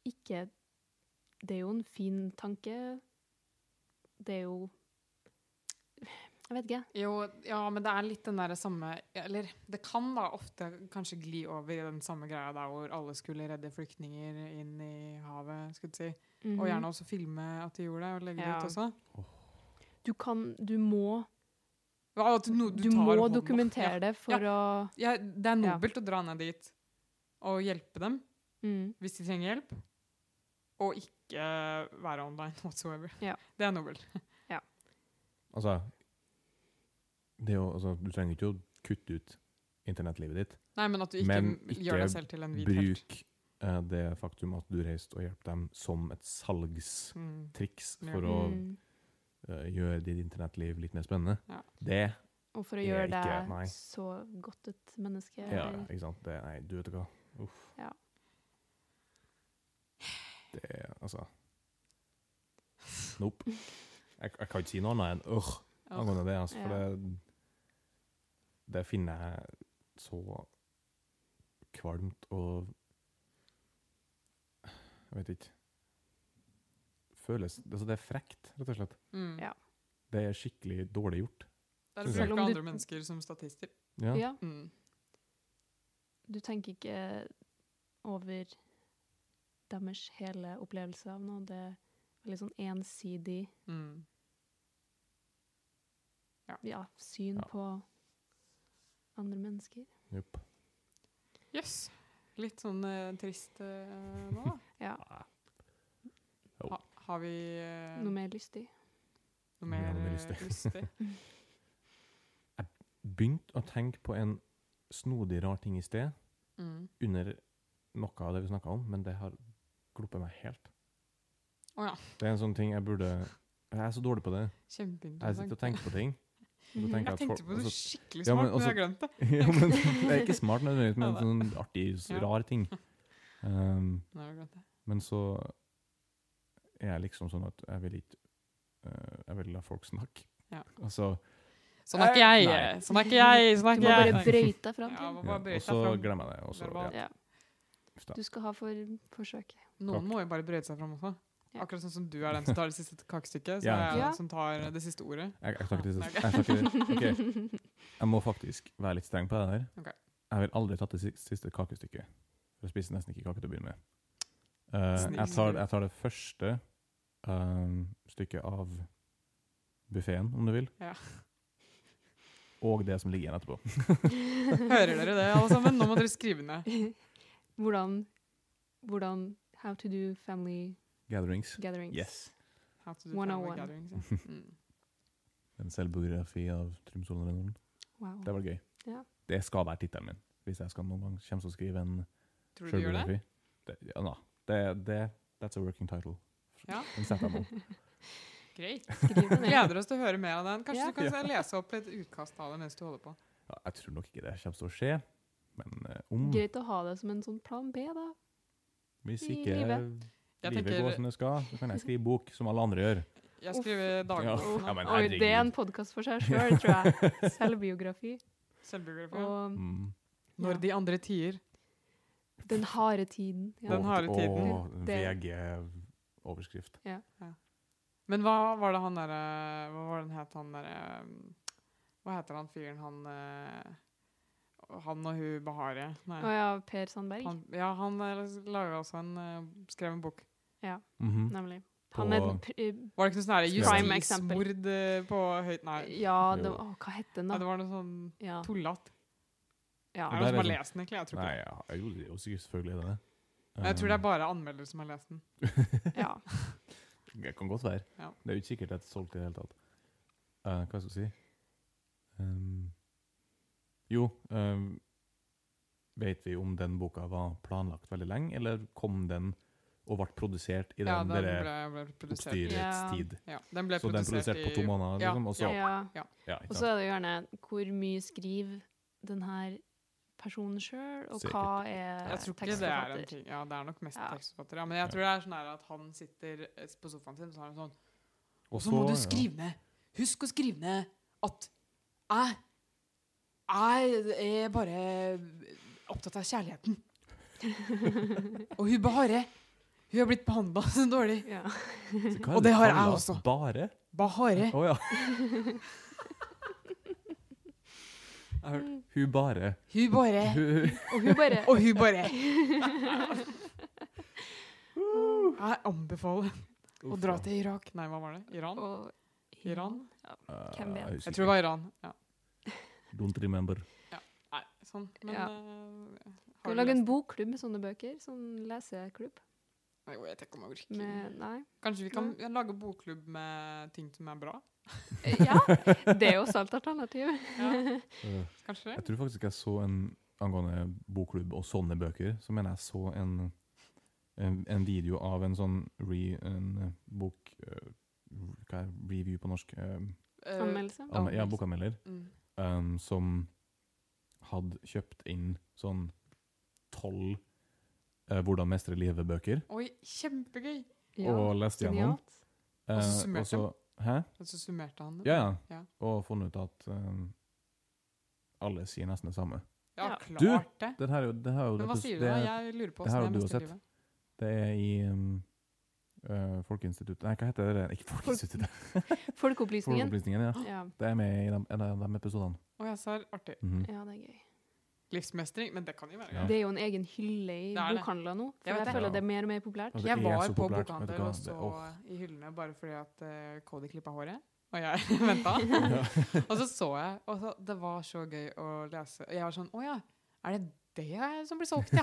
[SPEAKER 2] ikke Det er jo en fin tanke. Det er jo Jeg vet ikke.
[SPEAKER 3] Jo, ja, men det er litt den der samme Eller det kan da ofte kanskje gli over i den samme greia der hvor alle skulle redde flyktninger inn i havet, skulle jeg si.
[SPEAKER 2] Mhm.
[SPEAKER 3] Og gjerne også filme at de gjorde det, og legge
[SPEAKER 2] Ja.
[SPEAKER 3] det ut også.
[SPEAKER 2] Du kan Du må
[SPEAKER 3] Ja, At du, no, du,
[SPEAKER 2] Du
[SPEAKER 3] tar
[SPEAKER 2] må
[SPEAKER 3] hånda.
[SPEAKER 2] dokumentere det for å
[SPEAKER 3] Ja. Ja, det er nobelt å dra ned dit og hjelpe dem
[SPEAKER 2] mm,
[SPEAKER 3] hvis de trenger hjelp, og ikke være online whatsoever.
[SPEAKER 2] Ja.
[SPEAKER 3] Det er nobelt.
[SPEAKER 1] Altså, det er jo, altså, du trenger ikke å kutte ut internettlivet ditt.
[SPEAKER 3] Nei, men at du ikke,
[SPEAKER 1] Men
[SPEAKER 3] m-
[SPEAKER 1] ikke
[SPEAKER 3] gjør deg selv til en hvit helt.
[SPEAKER 1] Bruk eh, det faktum at du reiste og hjalp dem som et salgstriks
[SPEAKER 3] Mm.
[SPEAKER 1] for
[SPEAKER 3] Ja.
[SPEAKER 1] å
[SPEAKER 2] mm,
[SPEAKER 1] eh, gjøre ditt internettliv litt mer spennende.
[SPEAKER 3] Ja.
[SPEAKER 1] Det
[SPEAKER 2] Og for å
[SPEAKER 1] Det er
[SPEAKER 2] gjøre
[SPEAKER 1] ikke-
[SPEAKER 2] deg
[SPEAKER 1] nei.
[SPEAKER 2] så godt et menneske.
[SPEAKER 1] ja,
[SPEAKER 2] eller-
[SPEAKER 1] ikke sant? Det, nei, du vet hva. Uff.
[SPEAKER 2] Ja.
[SPEAKER 1] Det er altså Nope. Jeg, jeg kan ikke si noe annet enn øh
[SPEAKER 3] Ja.
[SPEAKER 1] angående det, altså, for
[SPEAKER 2] Ja.
[SPEAKER 1] det, det finner jeg så kvalmt og Jeg vet ikke. Føles altså Det er frekt, rett og slett.
[SPEAKER 3] Mm.
[SPEAKER 2] Ja.
[SPEAKER 1] Det er skikkelig dårlig gjort.
[SPEAKER 3] Det er å
[SPEAKER 2] Selv om
[SPEAKER 3] bruke
[SPEAKER 2] du-
[SPEAKER 3] andre mennesker som statister.
[SPEAKER 1] Ja.
[SPEAKER 2] ja.
[SPEAKER 3] Mm.
[SPEAKER 2] Du tenker ikke over deres hele opplevelse av noe. Det er veldig sånn ensidig
[SPEAKER 3] Mm.
[SPEAKER 2] ja, syn
[SPEAKER 1] Ja.
[SPEAKER 2] på andre mennesker.
[SPEAKER 1] Jupp.
[SPEAKER 3] Jøss. Litt sånn eh, trist eh, nå, da.
[SPEAKER 2] Ja,
[SPEAKER 3] Ha, har vi eh,
[SPEAKER 2] noe mer lystig.
[SPEAKER 3] noe mer
[SPEAKER 1] Ja, noe mer
[SPEAKER 3] eh,
[SPEAKER 1] lystig.
[SPEAKER 3] lystig?
[SPEAKER 1] Begynte å tenke på en snodig, rar ting i sted,
[SPEAKER 3] Mm.
[SPEAKER 1] under noe av det vi snakka om, men det har gluppet meg helt.
[SPEAKER 3] Å ja.
[SPEAKER 1] Det er en sånn ting jeg burde Jeg er så dårlig på det. Jeg sitter og
[SPEAKER 3] Kjempeinteressant.
[SPEAKER 1] tenker på ting. og så tenker
[SPEAKER 3] sånn- Mm, Jeg
[SPEAKER 1] jeg at
[SPEAKER 3] tenkte
[SPEAKER 1] folk-
[SPEAKER 3] på noe
[SPEAKER 1] altså,
[SPEAKER 3] skikkelig
[SPEAKER 1] Ja, men
[SPEAKER 3] smart, men jeg har glemt det.
[SPEAKER 1] ja, men, det er ikke smart nødvendigvis, men
[SPEAKER 3] Ja,
[SPEAKER 1] sånn artig, s-
[SPEAKER 3] Ja.
[SPEAKER 1] rar ting. Um,
[SPEAKER 3] Nå har jeg glemt det.
[SPEAKER 1] men så er jeg liksom sånn at jeg vil ikke eh, Jeg vil la folk snakke.
[SPEAKER 3] Ja.
[SPEAKER 1] Altså,
[SPEAKER 3] Sånn er ikke jeg.
[SPEAKER 1] Nei.
[SPEAKER 3] Sånn er ikke jeg. Sånn
[SPEAKER 2] Du
[SPEAKER 3] er
[SPEAKER 2] må
[SPEAKER 3] ikke
[SPEAKER 2] bare
[SPEAKER 3] jeg.
[SPEAKER 2] brøyte deg fram
[SPEAKER 3] Ja,
[SPEAKER 2] til.
[SPEAKER 3] må
[SPEAKER 1] ja,
[SPEAKER 3] bare
[SPEAKER 1] og
[SPEAKER 3] brøyte
[SPEAKER 1] så
[SPEAKER 3] seg fram.
[SPEAKER 1] glemmer jeg det. Og så,
[SPEAKER 3] verbalt.
[SPEAKER 1] ja,
[SPEAKER 2] Ja.
[SPEAKER 1] uff da.
[SPEAKER 2] Du skal ha for forsøket.
[SPEAKER 3] Noen må jo bare brøyte seg fram også.
[SPEAKER 2] Ja.
[SPEAKER 3] Akkurat sånn som du er den som tar det siste kakestykket. Så
[SPEAKER 1] Ja.
[SPEAKER 3] er jeg
[SPEAKER 2] Ja.
[SPEAKER 3] den som tar det siste ordet.
[SPEAKER 1] Jeg, jeg tar ikke det. Jeg, tar ikke det. Ok. jeg må faktisk være litt streng på det der.
[SPEAKER 3] Ok.
[SPEAKER 1] Jeg vil aldri tatt det si- siste kakestykket. For Jeg spiser nesten ikke kake til å begynne med. Eh, jeg, tar,
[SPEAKER 3] Snill.
[SPEAKER 1] jeg tar det første eh, stykket av buffeen, om du vil.
[SPEAKER 3] Ja.
[SPEAKER 1] Og det som ligger igjen etterpå.
[SPEAKER 3] Hører dere det, alle sammen? Nå må dere skrive ned.
[SPEAKER 2] Hvordan, hvordan How to do family
[SPEAKER 1] Gatherings.
[SPEAKER 2] gatherings.
[SPEAKER 1] Yes.
[SPEAKER 3] How to do
[SPEAKER 2] 101.
[SPEAKER 3] family gatherings, ja. Mm.
[SPEAKER 1] En selvbiografi av Trym Solon Renholm.
[SPEAKER 2] Wow.
[SPEAKER 1] Det var gøy.
[SPEAKER 2] Ja.
[SPEAKER 1] Det skal være tittelen min, hvis jeg skal noen gang kommer til å skrive en
[SPEAKER 3] Tror du du gjør det?
[SPEAKER 1] selvbiografi. Det, ja, na. det, det, that's a working title.
[SPEAKER 3] Ja.
[SPEAKER 1] Den setter jeg nå.
[SPEAKER 3] Greit.
[SPEAKER 2] Skriv det ned.
[SPEAKER 3] Gleder oss til å høre mer av den. Kanskje
[SPEAKER 2] Ja.
[SPEAKER 3] du kan se- lese opp et utkast av det mens du holder på.
[SPEAKER 1] Ja, jeg tror nok ikke det kommer til å skje, men eh, om
[SPEAKER 2] Greit å ha det som en sånn plan B, da.
[SPEAKER 1] Hvis
[SPEAKER 2] i
[SPEAKER 1] ikke
[SPEAKER 2] livet.
[SPEAKER 3] Jeg
[SPEAKER 1] livet går
[SPEAKER 3] tenker
[SPEAKER 1] som det skal, så kan jeg skrive bok som alle andre gjør.
[SPEAKER 3] Jeg skriver
[SPEAKER 1] Ja,
[SPEAKER 3] dagboken.
[SPEAKER 1] men
[SPEAKER 2] Oi,
[SPEAKER 1] herregud.
[SPEAKER 2] det er en podkast for seg sjøl, tror jeg. Selvbiografi.
[SPEAKER 3] Selvbiografi.
[SPEAKER 2] Og
[SPEAKER 1] Mm.
[SPEAKER 2] ja,
[SPEAKER 3] Når de andre tier.
[SPEAKER 2] den harde tiden. Ja.
[SPEAKER 3] Den harde tiden.
[SPEAKER 1] Og
[SPEAKER 2] Det-
[SPEAKER 1] VG-overskrift.
[SPEAKER 3] Men hva var det han derre Hva var den het han derre um, Hva heter han fyren han eh, Han og hun Bahareh? Nei.
[SPEAKER 2] Å ja, Per Sandberg.
[SPEAKER 3] Han, ja, han eh, laga også en eh, Skrev en bok.
[SPEAKER 1] Mhm.
[SPEAKER 2] Nemlig.
[SPEAKER 1] På-
[SPEAKER 2] Han er den pr- eh,
[SPEAKER 3] Var det ikke noe sånn
[SPEAKER 1] Prime
[SPEAKER 3] derre
[SPEAKER 2] example.
[SPEAKER 3] justismord eh, på høyt Nei.
[SPEAKER 2] Ja, det
[SPEAKER 1] Jo.
[SPEAKER 2] var, å, hva het den,
[SPEAKER 3] Nei, det
[SPEAKER 2] da?
[SPEAKER 3] var noe sånn
[SPEAKER 2] Ja.
[SPEAKER 3] tullete.
[SPEAKER 2] ja.
[SPEAKER 1] der
[SPEAKER 3] Er det noen som
[SPEAKER 1] er
[SPEAKER 3] har
[SPEAKER 1] sånn-
[SPEAKER 3] lest den, egentlig? Jeg tror ikke
[SPEAKER 1] Nei,
[SPEAKER 3] det.
[SPEAKER 1] ja, jo, det er jo sikkert selvfølgelig er det det.
[SPEAKER 3] Jeg tror det er
[SPEAKER 1] Um,
[SPEAKER 3] bare anmeldere som har lest den.
[SPEAKER 2] ja.
[SPEAKER 1] Det kan godt være.
[SPEAKER 3] Ja.
[SPEAKER 1] Det er jo ikke sikkert at det er solgt i det hele tatt. Eh, hva skal jeg si um, Jo, um, vet vi om den boka var planlagt veldig lenge, eller kom den og ble produsert i den,
[SPEAKER 3] Ja, den
[SPEAKER 1] dere
[SPEAKER 3] ble, ble produsert.
[SPEAKER 1] oppstyrets
[SPEAKER 2] Ja.
[SPEAKER 1] tid?
[SPEAKER 3] Ja, den ble
[SPEAKER 1] Så den
[SPEAKER 3] produsert,
[SPEAKER 1] produsert på to
[SPEAKER 3] i-
[SPEAKER 1] måneder,
[SPEAKER 3] Ja.
[SPEAKER 1] liksom? Og så, ja.
[SPEAKER 2] ja.
[SPEAKER 1] ikke
[SPEAKER 2] Og så
[SPEAKER 1] sant?
[SPEAKER 2] er det jo gjerne hvor mye skriver den her personen sjøl, og
[SPEAKER 1] Sikkert.
[SPEAKER 2] hva er
[SPEAKER 3] Jeg tror ikke det er en
[SPEAKER 2] tekstforfatter?
[SPEAKER 3] ting. Ja, det er nok mest
[SPEAKER 2] Ja.
[SPEAKER 3] tekstforfatter. Ja, men jeg tror det er sånn her at han sitter eh, på sofaen sin, så har han sånn
[SPEAKER 1] Og
[SPEAKER 3] Og så må du
[SPEAKER 1] ja.
[SPEAKER 3] skrive ned. Husk å skrive ned at jeg Jeg er bare opptatt av kjærligheten. Og hun Bahare, hun har blitt behandla så dårlig.
[SPEAKER 2] Ja.
[SPEAKER 1] Så hva er
[SPEAKER 3] Og det har jeg
[SPEAKER 1] kallet?
[SPEAKER 3] også.
[SPEAKER 1] Bare?
[SPEAKER 3] Bahare.
[SPEAKER 1] Å ja. Jeg har hørt Hun bare
[SPEAKER 3] Hun bare
[SPEAKER 1] Hun
[SPEAKER 2] Og hun bare
[SPEAKER 3] Og hun bare Jeg anbefaler å dra til Irak. Nei, hva var det? Iran?
[SPEAKER 2] og,
[SPEAKER 3] Iran?
[SPEAKER 1] Eh,
[SPEAKER 2] Hvem vet?
[SPEAKER 1] husker
[SPEAKER 3] Jeg tror det
[SPEAKER 1] ikke.
[SPEAKER 3] var Iran. Ja.
[SPEAKER 1] Don't remember.
[SPEAKER 3] Nei, sånn. Men
[SPEAKER 2] Ja.
[SPEAKER 3] eh, har
[SPEAKER 2] Skal vi
[SPEAKER 3] du
[SPEAKER 2] lage en
[SPEAKER 3] lest-
[SPEAKER 2] bokklubb med sånne bøker? Sånn leseklubb?
[SPEAKER 3] Nei, jo, jeg vet ikke om jeg orker.
[SPEAKER 2] Med, nei.
[SPEAKER 3] Kanskje vi kan lage bokklubb med ting som er bra?
[SPEAKER 2] Eh, Ja! Det er jo også et alternativ.
[SPEAKER 3] Ja,
[SPEAKER 1] Eh,
[SPEAKER 3] kanskje det?
[SPEAKER 1] Jeg tror faktisk jeg så en angående bokklubb og sånne bøker, så mener jeg så en en, en video av en sånn re, en eh, bok eh, Hva er review på norsk? Eh,
[SPEAKER 3] Eh,
[SPEAKER 2] Anmeldelse.
[SPEAKER 1] anme- ja,
[SPEAKER 3] Anmeldelse.
[SPEAKER 1] bokanmelder.
[SPEAKER 3] mm.
[SPEAKER 1] um, som hadde kjøpt inn sånn tolv eh, 'Hvordan mestre livet'-bøker,
[SPEAKER 3] Oi, kjempegøy!
[SPEAKER 2] Ja.
[SPEAKER 1] og lest gjennom.
[SPEAKER 2] Genialt.
[SPEAKER 1] eh,
[SPEAKER 3] Og så summerte
[SPEAKER 1] og så- Hæ?
[SPEAKER 3] Og så summerte han det.
[SPEAKER 1] Ja, ja.
[SPEAKER 3] Ja.
[SPEAKER 1] Og funnet ut at um, alle sier nesten det samme.
[SPEAKER 3] Ja,
[SPEAKER 2] Ja.
[SPEAKER 3] klart det!
[SPEAKER 1] Det her er jo, det her er jo
[SPEAKER 3] Men hva
[SPEAKER 1] dette-
[SPEAKER 3] sier du
[SPEAKER 1] det,
[SPEAKER 3] da?
[SPEAKER 1] er-
[SPEAKER 3] Jeg lurer på
[SPEAKER 1] det her
[SPEAKER 3] åssen
[SPEAKER 1] har
[SPEAKER 3] jeg
[SPEAKER 1] du jo
[SPEAKER 3] mester
[SPEAKER 1] sett.
[SPEAKER 3] livet.
[SPEAKER 1] Det er i um, eh, Folkeinstituttet Nei, hva heter det? Ikke Folkeinstituttet.
[SPEAKER 2] Folkeopplysningen.
[SPEAKER 1] Folkeopplysningen, ja.
[SPEAKER 2] Ja.
[SPEAKER 1] Det er med i de, en av de episodene.
[SPEAKER 3] Å, jeg ser artig.
[SPEAKER 1] Mhm.
[SPEAKER 2] ja, det er gøy.
[SPEAKER 3] Livsmestring, men det kan jo være
[SPEAKER 1] Ja.
[SPEAKER 3] gøy.
[SPEAKER 2] Det er jo en egen hylle i
[SPEAKER 3] Det er det.
[SPEAKER 2] bokhandler nå.
[SPEAKER 3] Jeg vet
[SPEAKER 2] For jeg
[SPEAKER 1] det.
[SPEAKER 2] føler det er mer og mer populært.
[SPEAKER 1] Og det
[SPEAKER 3] Jeg
[SPEAKER 1] er
[SPEAKER 3] var
[SPEAKER 1] så
[SPEAKER 3] på
[SPEAKER 1] populært, vet du
[SPEAKER 3] bokhandel
[SPEAKER 1] hva?
[SPEAKER 3] og
[SPEAKER 1] Det-
[SPEAKER 3] så
[SPEAKER 1] åh.
[SPEAKER 3] i hyllene bare fordi at eh, Cody klippa håret, og jeg venta. og så så jeg, og så, det var så gøy å lese. Og jeg var sånn Å ja, er det det er som blir solgt, ja.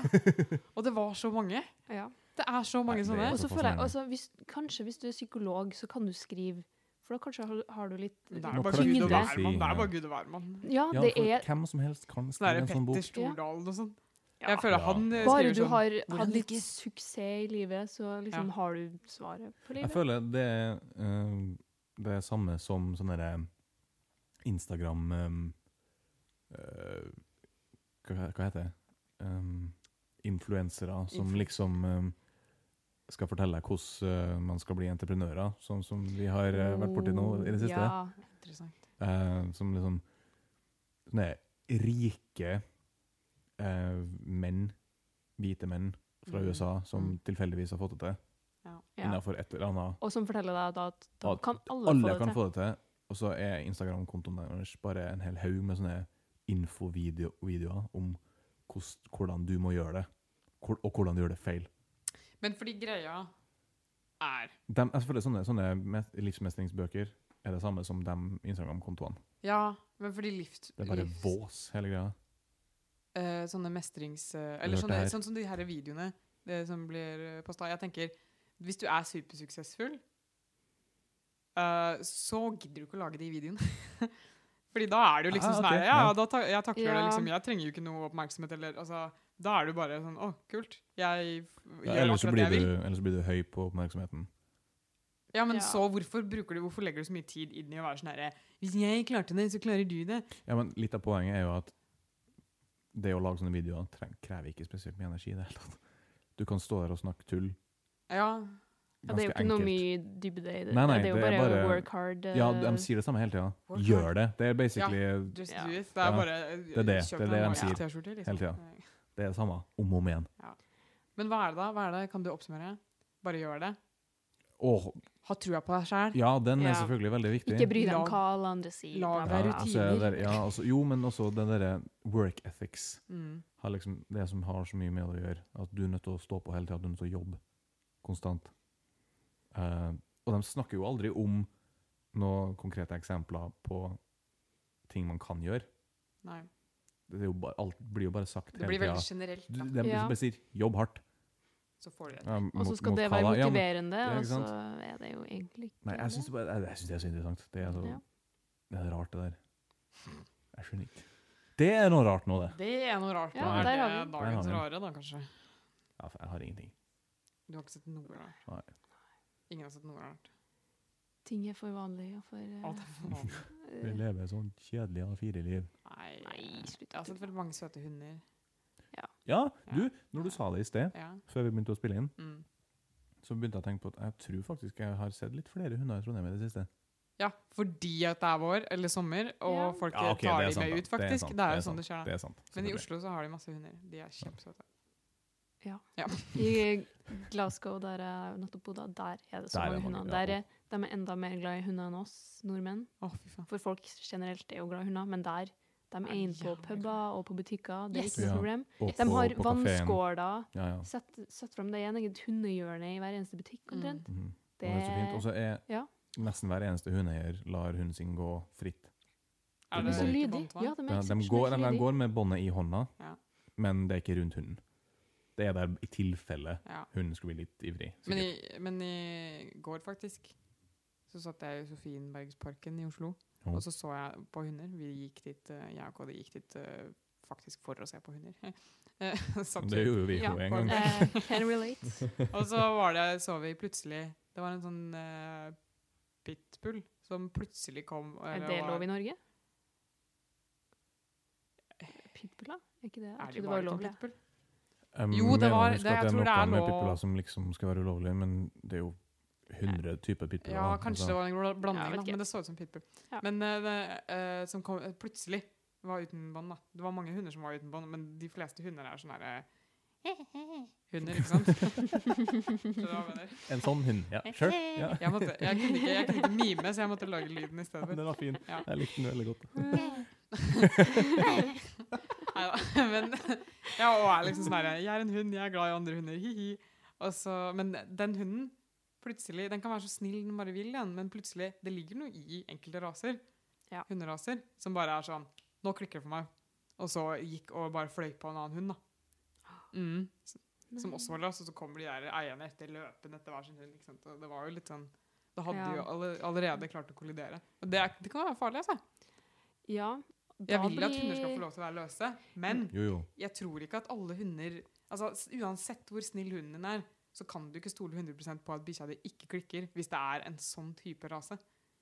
[SPEAKER 3] Og det var så mange.
[SPEAKER 2] Ja.
[SPEAKER 3] Det er så mange
[SPEAKER 1] Nei, det
[SPEAKER 3] sånne.
[SPEAKER 1] er
[SPEAKER 2] Og så
[SPEAKER 1] såpass
[SPEAKER 2] føler jeg,
[SPEAKER 1] mange.
[SPEAKER 2] altså, hvis, Kanskje hvis du er psykolog, så kan du skrive. For da kanskje har, har du litt
[SPEAKER 3] Det
[SPEAKER 1] Nå
[SPEAKER 3] er bare
[SPEAKER 1] prøvde
[SPEAKER 3] Gud
[SPEAKER 1] jeg å
[SPEAKER 3] og
[SPEAKER 1] si,
[SPEAKER 3] hvermann. Det
[SPEAKER 1] ja.
[SPEAKER 3] er bare Gud og hvermann.
[SPEAKER 2] Ja,
[SPEAKER 1] Ja,
[SPEAKER 2] det
[SPEAKER 1] for
[SPEAKER 2] er
[SPEAKER 1] Hvem som helst kan
[SPEAKER 3] Sånn
[SPEAKER 1] skrive en
[SPEAKER 3] der
[SPEAKER 1] sånn bok.
[SPEAKER 3] Petter Stordalen og sånn.
[SPEAKER 2] Ja.
[SPEAKER 3] Jeg føler han eh,
[SPEAKER 2] Bare
[SPEAKER 3] skriver
[SPEAKER 2] du
[SPEAKER 3] sånn.
[SPEAKER 2] har
[SPEAKER 3] hvordan
[SPEAKER 2] hatt litt
[SPEAKER 3] lykkes?
[SPEAKER 2] suksess i livet, så liksom har du svaret på
[SPEAKER 1] Jeg
[SPEAKER 2] livet.
[SPEAKER 1] føler det er eh, det er samme som sånne der Instagram eh, eh, hva, hva heter det? Um, influensere som
[SPEAKER 3] Influ-
[SPEAKER 1] liksom eh, skal fortelle deg hvordan eh, man skal bli entreprenører, sånn som vi har eh, vært borti nå i det siste.
[SPEAKER 2] Ja.
[SPEAKER 3] Interessant.
[SPEAKER 1] Eh, som liksom Sånne rike eh, menn, hvite menn fra
[SPEAKER 3] Mm.
[SPEAKER 1] USA, som
[SPEAKER 3] Mm.
[SPEAKER 1] tilfeldigvis har fått det til,
[SPEAKER 3] Ja.
[SPEAKER 2] Ja.
[SPEAKER 1] innenfor et eller annet
[SPEAKER 2] Og som forteller deg da at da
[SPEAKER 1] At
[SPEAKER 2] kan alle,
[SPEAKER 1] alle
[SPEAKER 2] få
[SPEAKER 1] kan
[SPEAKER 2] det til.
[SPEAKER 1] få det til. Og så er Instagram-kontoen deres bare en hel haug med sånne infovideoer om hvordan, hvordan du må gjøre det, hvor, og hvordan du gjør det feil.
[SPEAKER 3] Men fordi greia er
[SPEAKER 1] Dem- jeg føler sånne, sånne mes- livsmestringsbøker er det samme som de Instagram-kontoene.
[SPEAKER 3] Ja, men fordi livs...
[SPEAKER 1] Det er bare
[SPEAKER 3] livs-
[SPEAKER 1] vås, hele greia.
[SPEAKER 3] eh, sånne mestrings... eh, eller
[SPEAKER 1] Hørte
[SPEAKER 3] sånne,
[SPEAKER 1] her.
[SPEAKER 3] sånn som de her videoene det som blir posta. Jeg tenker, hvis du er supersuksessfull, eh, så gidder du ikke å lage de videoene. Fordi da er det jo liksom
[SPEAKER 1] Ah,
[SPEAKER 3] sånn
[SPEAKER 1] ok,
[SPEAKER 3] her,
[SPEAKER 1] ja.
[SPEAKER 3] Ja, da ta, jeg takler det,
[SPEAKER 2] Ja.
[SPEAKER 3] liksom. Jeg trenger jo ikke noe oppmerksomhet eller altså, Da er du bare sånn Å, kult. Jeg f-
[SPEAKER 1] Ja,
[SPEAKER 3] gjør
[SPEAKER 1] ellers, så
[SPEAKER 3] akkurat det
[SPEAKER 1] blir
[SPEAKER 3] jeg
[SPEAKER 1] du,
[SPEAKER 3] vil.
[SPEAKER 1] ellers så blir du høy på oppmerksomheten.
[SPEAKER 3] Ja, men
[SPEAKER 2] Ja.
[SPEAKER 3] så hvorfor bruker du Hvorfor legger du så mye tid inn i å være sånn herre Hvis jeg klarte det, så klarer du det.
[SPEAKER 1] Ja, men Litt av poenget er jo at det å lage sånne videoer treng, krever ikke spesielt mye energi. i det hele tatt. Du kan stå der og snakke tull.
[SPEAKER 3] Ja.
[SPEAKER 2] Ja, det er jo
[SPEAKER 1] ganske
[SPEAKER 2] ikke noe
[SPEAKER 1] enkelt.
[SPEAKER 2] mye dybde i det.
[SPEAKER 1] Nei, nei,
[SPEAKER 2] det er jo
[SPEAKER 1] det er
[SPEAKER 2] bare,
[SPEAKER 1] bare-
[SPEAKER 2] work hard.
[SPEAKER 1] Ja,
[SPEAKER 2] eh,
[SPEAKER 1] de sier det samme hele tida.
[SPEAKER 3] Work hard.
[SPEAKER 1] Gjør det. Det er basically
[SPEAKER 3] Just
[SPEAKER 2] Ja.
[SPEAKER 3] do it. Det er
[SPEAKER 1] Ja.
[SPEAKER 3] bare
[SPEAKER 1] er det.
[SPEAKER 3] kjøp
[SPEAKER 1] Det er
[SPEAKER 3] deg en liksom.
[SPEAKER 1] det de
[SPEAKER 3] masse
[SPEAKER 1] sier hele
[SPEAKER 3] T-skjorter,
[SPEAKER 1] tiden.
[SPEAKER 3] Nei.
[SPEAKER 1] det er det samme om og om igjen.
[SPEAKER 3] Men hva er det da? Hva er det? Kan du oppsummere? Bare gjør det.
[SPEAKER 1] Åh,
[SPEAKER 3] Ha trua på deg sjæl.
[SPEAKER 1] ja, den er
[SPEAKER 2] Ja.
[SPEAKER 1] selvfølgelig veldig viktig.
[SPEAKER 2] Ikke bry deg om
[SPEAKER 3] Lag-
[SPEAKER 2] hva alle andre sier.
[SPEAKER 3] lag
[SPEAKER 2] bla,
[SPEAKER 3] deg
[SPEAKER 1] ja,
[SPEAKER 2] bla, bla.
[SPEAKER 1] og så er det der- ja, altså, jo, men også den derre work ethics.
[SPEAKER 3] Mm.
[SPEAKER 1] Har liksom, det som har så mye med det å gjøre. At du er nødt til å stå på hele tida, du er nødt til å jobbe konstant. Eh, og de snakker jo aldri om noen konkrete eksempler på ting man kan gjøre.
[SPEAKER 3] Nei.
[SPEAKER 1] Det er jo bare, alt blir jo bare sagt
[SPEAKER 3] Det
[SPEAKER 1] hele
[SPEAKER 3] blir veldig
[SPEAKER 1] tida.
[SPEAKER 3] generelt, da.
[SPEAKER 1] De
[SPEAKER 2] Ja.
[SPEAKER 1] bare sier 'jobb hardt'.
[SPEAKER 3] Så får du det.
[SPEAKER 1] Ja,
[SPEAKER 2] Og så
[SPEAKER 1] Altså, mot-
[SPEAKER 2] skal
[SPEAKER 1] mot
[SPEAKER 2] det
[SPEAKER 1] hva
[SPEAKER 2] være
[SPEAKER 1] da? Ja, men-
[SPEAKER 2] motiverende,
[SPEAKER 1] Ja,
[SPEAKER 2] og
[SPEAKER 1] ikke
[SPEAKER 2] så
[SPEAKER 1] sant?
[SPEAKER 2] er det jo egentlig ikke
[SPEAKER 1] Nei, jeg syns det, bare- jeg- jeg synes det er så interessant. Det er, så,
[SPEAKER 2] Ja.
[SPEAKER 1] det er rart, det der. Jeg skjønner ikke. Det er noe rart nå, det.
[SPEAKER 3] Det er noe rart.
[SPEAKER 2] Ja,
[SPEAKER 3] da.
[SPEAKER 2] der
[SPEAKER 3] er
[SPEAKER 2] har vi
[SPEAKER 3] det
[SPEAKER 2] den.
[SPEAKER 3] dagens
[SPEAKER 1] Der har
[SPEAKER 3] rare, da, kanskje?
[SPEAKER 1] Ja, for jeg har ingenting.
[SPEAKER 3] Du har ikke sett noe rart?
[SPEAKER 1] Nei.
[SPEAKER 3] Ingen har sett noe rart?
[SPEAKER 2] Ting er for vanlig og for eh,
[SPEAKER 3] Alt er for vanlig.
[SPEAKER 1] Vi lever et sånn kjedelig A4-liv.
[SPEAKER 3] Nei.
[SPEAKER 2] Nei, slutt.
[SPEAKER 3] Jeg har sett veldig mange søte hunder.
[SPEAKER 1] Ja, du, når du sa det i sted,
[SPEAKER 3] Ja.
[SPEAKER 1] før vi begynte å spille inn,
[SPEAKER 3] Mm.
[SPEAKER 1] så begynte jeg å tenke på at jeg tror faktisk jeg har sett litt flere hunder i Trondheim i det siste.
[SPEAKER 3] ja, fordi at det er vår, eller sommer, og
[SPEAKER 2] Ja.
[SPEAKER 3] folk
[SPEAKER 1] Ja, ok,
[SPEAKER 3] tar
[SPEAKER 1] det er sant,
[SPEAKER 3] de
[SPEAKER 1] da.
[SPEAKER 3] med
[SPEAKER 1] Det
[SPEAKER 3] ut,
[SPEAKER 1] er
[SPEAKER 3] faktisk.
[SPEAKER 1] sant,
[SPEAKER 3] Det
[SPEAKER 1] det
[SPEAKER 3] er
[SPEAKER 1] er
[SPEAKER 3] jo sånn det skjer, da.
[SPEAKER 1] Det er sant.
[SPEAKER 3] Men i
[SPEAKER 1] selvfølgelig.
[SPEAKER 3] Oslo så har de masse hunder. De er kjempesøte.
[SPEAKER 2] I Glasgow, der jeg nettopp bodde, der er det så
[SPEAKER 1] Der er det
[SPEAKER 2] mange
[SPEAKER 1] mange,
[SPEAKER 2] hunder.
[SPEAKER 1] ja.
[SPEAKER 2] Der er, de er enda mer glad i hunder enn oss nordmenn.
[SPEAKER 3] Å, fy faen.
[SPEAKER 2] For folk generelt er jo glad i hunder, men der de
[SPEAKER 3] Er
[SPEAKER 2] er inne på
[SPEAKER 3] jævlig
[SPEAKER 2] puber og på butikker. Det er
[SPEAKER 3] Yes.
[SPEAKER 2] ikke
[SPEAKER 1] Ja.
[SPEAKER 2] noe problem.
[SPEAKER 1] Og
[SPEAKER 2] De
[SPEAKER 1] på-
[SPEAKER 2] har
[SPEAKER 1] på kaféen.
[SPEAKER 2] vannskåler.
[SPEAKER 1] Ja, ja.
[SPEAKER 2] Sett, sett frem det er en eget hundehjørne i hver eneste butikk,
[SPEAKER 3] Mm.
[SPEAKER 2] omtrent.
[SPEAKER 1] Mhm. Og
[SPEAKER 2] Det
[SPEAKER 1] Det er så fint. Og så er
[SPEAKER 2] Ja.
[SPEAKER 1] nesten hver eneste hundeeier lar hunden sin gå fritt.
[SPEAKER 3] Er det
[SPEAKER 2] de er så
[SPEAKER 1] ikke
[SPEAKER 3] ikke
[SPEAKER 2] lydige.
[SPEAKER 3] vant
[SPEAKER 2] Ja,
[SPEAKER 3] vann?
[SPEAKER 2] de er
[SPEAKER 1] De, de,
[SPEAKER 2] eksepsjonelt
[SPEAKER 1] går, de, de
[SPEAKER 2] lydige.
[SPEAKER 1] går med båndet i hånda,
[SPEAKER 3] Ja.
[SPEAKER 1] men det er ikke rundt hunden. Det er der i tilfelle
[SPEAKER 3] Ja.
[SPEAKER 1] hunden skulle bli litt ivrig.
[SPEAKER 3] Men
[SPEAKER 1] sikkert.
[SPEAKER 3] i, men i går faktisk så satt jeg i Sofienbergsparken i Oslo,
[SPEAKER 1] Ja.
[SPEAKER 3] og så så jeg på hunder. Vi gikk dit, eh, jeg og KD gikk dit eh, faktisk for å se på hunder. Eh, satt
[SPEAKER 1] Det gjorde vi jo
[SPEAKER 2] Ja,
[SPEAKER 1] en
[SPEAKER 3] folk-
[SPEAKER 1] gang.
[SPEAKER 2] Eh, Can relate.
[SPEAKER 3] og så var det, så vi plutselig Det var en sånn eh, pitbull som plutselig kom. eh,
[SPEAKER 2] Er
[SPEAKER 3] eller
[SPEAKER 2] det
[SPEAKER 3] var-
[SPEAKER 2] lov i Norge? Pitbuller? Er ikke det? Jeg
[SPEAKER 3] Er
[SPEAKER 2] trodde
[SPEAKER 3] de
[SPEAKER 2] det var
[SPEAKER 3] bare
[SPEAKER 2] ulovlig.
[SPEAKER 3] til pitbull?
[SPEAKER 1] Um,
[SPEAKER 3] Jo, det var- det- jeg
[SPEAKER 1] det er
[SPEAKER 3] tror det
[SPEAKER 1] noe
[SPEAKER 3] er
[SPEAKER 1] med
[SPEAKER 3] lov-
[SPEAKER 1] pitbuller som liksom skal være ulovlig, men det er jo 100 typer pitbuller.
[SPEAKER 3] Ja,
[SPEAKER 1] da.
[SPEAKER 3] kanskje
[SPEAKER 1] Altså,
[SPEAKER 3] det var en gl-
[SPEAKER 2] Ja, jeg
[SPEAKER 3] blanding,
[SPEAKER 2] vet
[SPEAKER 3] da,
[SPEAKER 2] ikke.
[SPEAKER 3] men det så ut som pitbull.
[SPEAKER 2] Ja.
[SPEAKER 3] Men eh, det, eh, som kom, eh, plutselig var uten bånd. da. Det var mange hunder som var uten bånd, men de fleste hunder er sånn herre Hunder, ikke sant? Skjønner du hva jeg mener?
[SPEAKER 1] En sånn hund. Ja, sure. Ja.
[SPEAKER 3] Jeg, måtte, jeg, kunne ikke, jeg kunne ikke mime, så jeg måtte lage lyden i stedet.
[SPEAKER 1] Den var fin.
[SPEAKER 3] Ja.
[SPEAKER 1] Jeg likte den veldig godt.
[SPEAKER 3] Neida, men ja, og er liksom sånn her, Jeg er en hund, jeg er glad i andre hunder, hi-hi. Og så- Men den hunden plutselig, den kan være så snill den bare vil, den, men plutselig Det ligger noe i enkelte raser,
[SPEAKER 2] Ja.
[SPEAKER 3] hunderaser, som bare er sånn Nå klikker det for meg. Og så gikk og bare fløy på en annen hund, da. Mm.
[SPEAKER 2] Mhm.
[SPEAKER 3] Som også var løs, og så kommer de der eierne etter løpende etter hver sin hund. Ikke sant? Og det var jo litt sånn Det hadde
[SPEAKER 2] Ja.
[SPEAKER 3] jo alle- allerede klart å kollidere. Og det, er, det kan være farlig, altså.
[SPEAKER 2] Ja.
[SPEAKER 3] Jeg
[SPEAKER 2] da
[SPEAKER 3] vil at
[SPEAKER 2] blir-
[SPEAKER 3] hunder skal få lov til å være løse, men
[SPEAKER 1] Jo, jo.
[SPEAKER 3] jeg tror ikke at alle hunder Altså, s- Uansett hvor snill hunden din er, så kan du ikke stole 100 på at bikkja di ikke klikker hvis det er en sånn type rase.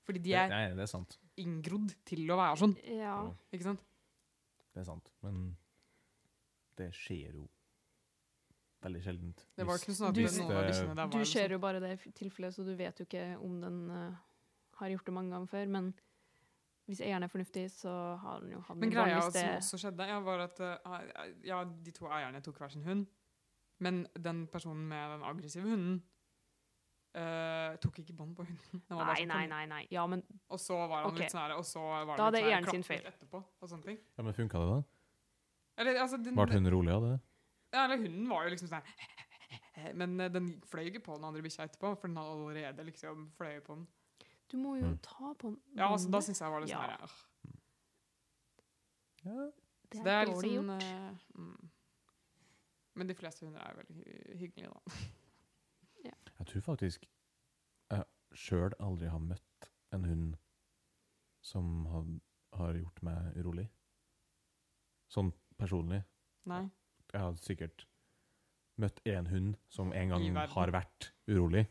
[SPEAKER 3] Fordi de er
[SPEAKER 1] Nei, det er sant.
[SPEAKER 3] inngrodd til å være sånn.
[SPEAKER 2] Ja.
[SPEAKER 3] ikke sant?
[SPEAKER 1] Det er sant. Men det skjer jo veldig sjeldent.
[SPEAKER 3] Det var
[SPEAKER 1] Hvis-
[SPEAKER 3] ikke noe sånn at
[SPEAKER 2] Du-
[SPEAKER 3] noen av bikkjene der var
[SPEAKER 2] Du
[SPEAKER 3] liksom-
[SPEAKER 2] ser jo bare det i f- tilfellet, så du vet jo ikke om den eh, har gjort det mange ganger før. Men hvis eieren er fornuftig, så har den jo hatt
[SPEAKER 3] Men
[SPEAKER 2] en dårlig
[SPEAKER 3] greia som
[SPEAKER 2] sted.
[SPEAKER 3] også skjedde, ja, var at eh, ja, de to eierne tok hver sin hund. Men den personen med den aggressive hunden eh, tok ikke bånd på hunden. Den var bare
[SPEAKER 2] Nei,
[SPEAKER 3] sånn,
[SPEAKER 2] nei, nei. nei. Ja, men
[SPEAKER 3] Og så var han
[SPEAKER 2] Ok.
[SPEAKER 3] litt sånn her, og så var
[SPEAKER 2] Da
[SPEAKER 3] han
[SPEAKER 2] er
[SPEAKER 3] litt
[SPEAKER 2] det
[SPEAKER 3] sånn her,
[SPEAKER 2] eieren sin
[SPEAKER 3] klappet
[SPEAKER 2] feil.
[SPEAKER 3] etterpå. Og sånne ting.
[SPEAKER 1] Ja, Men funka det, da?
[SPEAKER 3] Eller, altså, den,
[SPEAKER 1] Ble hun rolig av det?
[SPEAKER 3] ja, eller hunden var jo liksom sånn her, Men eh, den fløy ikke på den andre bikkja etterpå, for den hadde allerede liksom fløy på den.
[SPEAKER 2] du må jo
[SPEAKER 1] Mm.
[SPEAKER 2] ta på den.
[SPEAKER 3] Ja, altså, Da syns jeg var litt sånn
[SPEAKER 2] Mm. Ja.
[SPEAKER 3] her, øh.
[SPEAKER 1] Ja.
[SPEAKER 2] det
[SPEAKER 3] Så
[SPEAKER 2] er,
[SPEAKER 3] det er litt
[SPEAKER 2] dårlig
[SPEAKER 3] sånn,
[SPEAKER 2] gjort.
[SPEAKER 3] eh, mm. Men de fleste hunder er jo veldig hy- hyggelige, da.
[SPEAKER 1] Jeg tror faktisk jeg sjøl aldri har møtt en hund som har, har gjort meg urolig. Sånn personlig.
[SPEAKER 3] Nei.
[SPEAKER 1] Jeg har sikkert møtt én hund som en gang
[SPEAKER 3] I verden.
[SPEAKER 1] har vært urolig,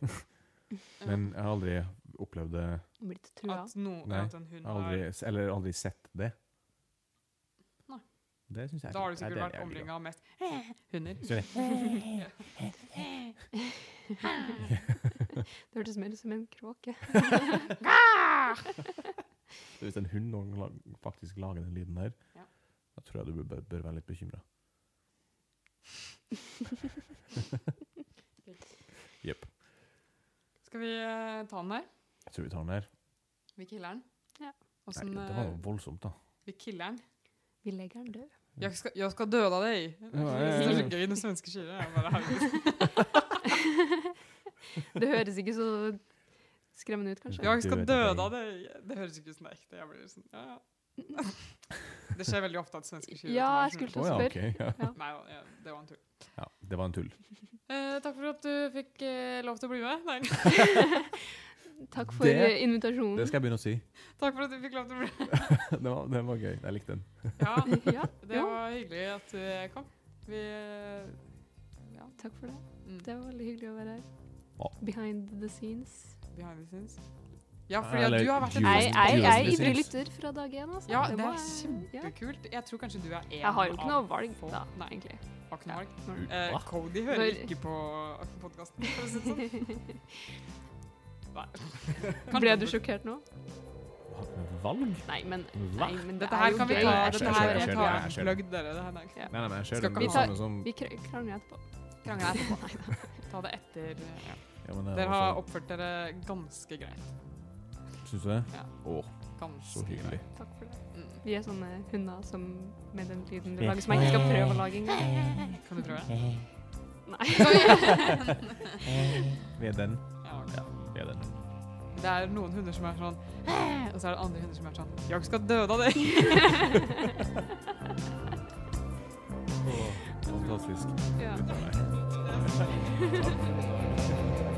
[SPEAKER 1] men jeg har aldri opplevd det
[SPEAKER 2] Blitt trua.
[SPEAKER 3] At, no,
[SPEAKER 1] Nei,
[SPEAKER 3] at en
[SPEAKER 1] Jeg
[SPEAKER 3] hund
[SPEAKER 1] har
[SPEAKER 3] har
[SPEAKER 1] aldri, eller aldri sett det.
[SPEAKER 3] Nei.
[SPEAKER 1] Det syns jeg
[SPEAKER 3] Da har du
[SPEAKER 1] nei,
[SPEAKER 3] sikkert
[SPEAKER 1] det er
[SPEAKER 3] vært
[SPEAKER 1] jævlig bra.
[SPEAKER 3] omringa av mest hunder.
[SPEAKER 2] Det hørtes mer ut som en kråke.
[SPEAKER 1] Hvis en hund noen gang lag- faktisk lager den lyden der,
[SPEAKER 3] Ja.
[SPEAKER 1] da tror jeg du bør, bør være litt bekymra. Jepp.
[SPEAKER 3] Skal vi eh, ta den der?
[SPEAKER 1] Jeg tror vi tar den der.
[SPEAKER 3] Vi killer den.
[SPEAKER 2] Ja.
[SPEAKER 3] Og
[SPEAKER 1] Nei,
[SPEAKER 3] sånn,
[SPEAKER 1] det var
[SPEAKER 3] eh,
[SPEAKER 1] jo voldsomt, da.
[SPEAKER 3] vi killer den.
[SPEAKER 2] Vi legger den død.
[SPEAKER 3] Jeg skal, jeg skal døde av deg!
[SPEAKER 1] ja, ja,
[SPEAKER 3] Det er
[SPEAKER 1] ja.
[SPEAKER 3] så gøy når svensker sier det. Jeg bare, herregud.
[SPEAKER 2] Det høres ikke så skremmende ut, kanskje.
[SPEAKER 1] Ja.
[SPEAKER 3] Jeg skal
[SPEAKER 1] Døde av
[SPEAKER 3] døde av deg! Det høres ikke ut som det er ekte. Jeg blir sånn, ja, ja. Det skjer veldig ofte at svensker sier
[SPEAKER 2] Ja,
[SPEAKER 3] det.
[SPEAKER 2] jeg skulle
[SPEAKER 1] Å
[SPEAKER 2] til å
[SPEAKER 1] ja,
[SPEAKER 2] spørre.
[SPEAKER 1] ok. Ja.
[SPEAKER 3] skulle Nei, ja, det var en tull.
[SPEAKER 1] ja, det var en tull.
[SPEAKER 3] Eh, takk for at du fikk eh, lov til å bli med. Nei,
[SPEAKER 2] Takk for
[SPEAKER 1] Det-
[SPEAKER 2] eh,
[SPEAKER 1] Det
[SPEAKER 2] invitasjonen.
[SPEAKER 1] skal jeg begynne å si.
[SPEAKER 3] takk for at du fikk lov til å bli med.
[SPEAKER 1] Det var, det var gøy. Jeg likte den.
[SPEAKER 3] Ja,
[SPEAKER 2] Ja,
[SPEAKER 3] det
[SPEAKER 2] jo,
[SPEAKER 3] var hyggelig at du kom. Vi eh, Ja.
[SPEAKER 2] takk for det.
[SPEAKER 3] Mm.
[SPEAKER 2] Det var veldig hyggelig å være her.
[SPEAKER 1] Ja.
[SPEAKER 2] Behind the scenes.
[SPEAKER 3] Behind the scenes. Ja, fordi
[SPEAKER 1] Eller
[SPEAKER 3] at du har vært en
[SPEAKER 1] Tusen-
[SPEAKER 2] Jeg, jeg,
[SPEAKER 1] tusen
[SPEAKER 2] jeg er
[SPEAKER 1] tusen
[SPEAKER 2] ivrig
[SPEAKER 1] takk.
[SPEAKER 2] lytter fra dag én. Altså.
[SPEAKER 3] Ja, det
[SPEAKER 2] må
[SPEAKER 3] er
[SPEAKER 2] jeg- ja.
[SPEAKER 3] kjempekult. Jeg tror kanskje du er en
[SPEAKER 2] Jeg har jo ikke noe
[SPEAKER 3] av
[SPEAKER 2] valg,
[SPEAKER 3] få.
[SPEAKER 2] da,
[SPEAKER 3] Nei,
[SPEAKER 2] egentlig.
[SPEAKER 3] har ikke noe valg.
[SPEAKER 2] Når-
[SPEAKER 3] Eh,
[SPEAKER 1] Hva?
[SPEAKER 3] Cody hører
[SPEAKER 2] Når-
[SPEAKER 3] ikke på podkasten, for å si det sånn. Nei.
[SPEAKER 2] Ble du sjokkert nå?
[SPEAKER 1] Har ikke noe valg?
[SPEAKER 2] Nei, men,
[SPEAKER 1] Hva?
[SPEAKER 2] nei, men det
[SPEAKER 3] Dette
[SPEAKER 2] er
[SPEAKER 3] her
[SPEAKER 2] jo
[SPEAKER 3] kan vi
[SPEAKER 2] gøy.
[SPEAKER 3] ta
[SPEAKER 1] Jeg skjønner,
[SPEAKER 3] Dette
[SPEAKER 1] jeg
[SPEAKER 3] her kan
[SPEAKER 1] skjønner,
[SPEAKER 3] vi ta
[SPEAKER 1] jeg skjønner.
[SPEAKER 3] Plugg dere. Det her nei.
[SPEAKER 2] Ja.
[SPEAKER 1] Nei, nei, men jeg ser
[SPEAKER 3] Skal
[SPEAKER 1] den
[SPEAKER 3] ikke
[SPEAKER 1] med
[SPEAKER 2] ha-
[SPEAKER 1] samme som
[SPEAKER 2] Vi kr- krangler etterpå.
[SPEAKER 3] Krangler etterpå. Ta det etter eh, ja.
[SPEAKER 1] ja, men jeg
[SPEAKER 3] Dere
[SPEAKER 1] var
[SPEAKER 3] har
[SPEAKER 1] så-
[SPEAKER 3] oppført dere ganske greit.
[SPEAKER 1] Syns du det?
[SPEAKER 3] Ja.
[SPEAKER 1] Å, så
[SPEAKER 3] Ganske
[SPEAKER 1] hyggelig.
[SPEAKER 3] greit.
[SPEAKER 2] Takk for det.
[SPEAKER 3] Mm.
[SPEAKER 2] Vi er sånne hunder som med den lyden du lager, som jeg ikke skal prøve å lage engang.
[SPEAKER 3] Kan du prøve?
[SPEAKER 2] Nei.
[SPEAKER 1] Vi er den.
[SPEAKER 3] Ja, ok.
[SPEAKER 1] Vi er den.
[SPEAKER 3] Det er noen hunder som er sånn «Hæ», Og så er det andre hunder som er sånn Jeg skal døde av deg.
[SPEAKER 1] Å, fantastisk.
[SPEAKER 2] Ja.
[SPEAKER 1] Takk.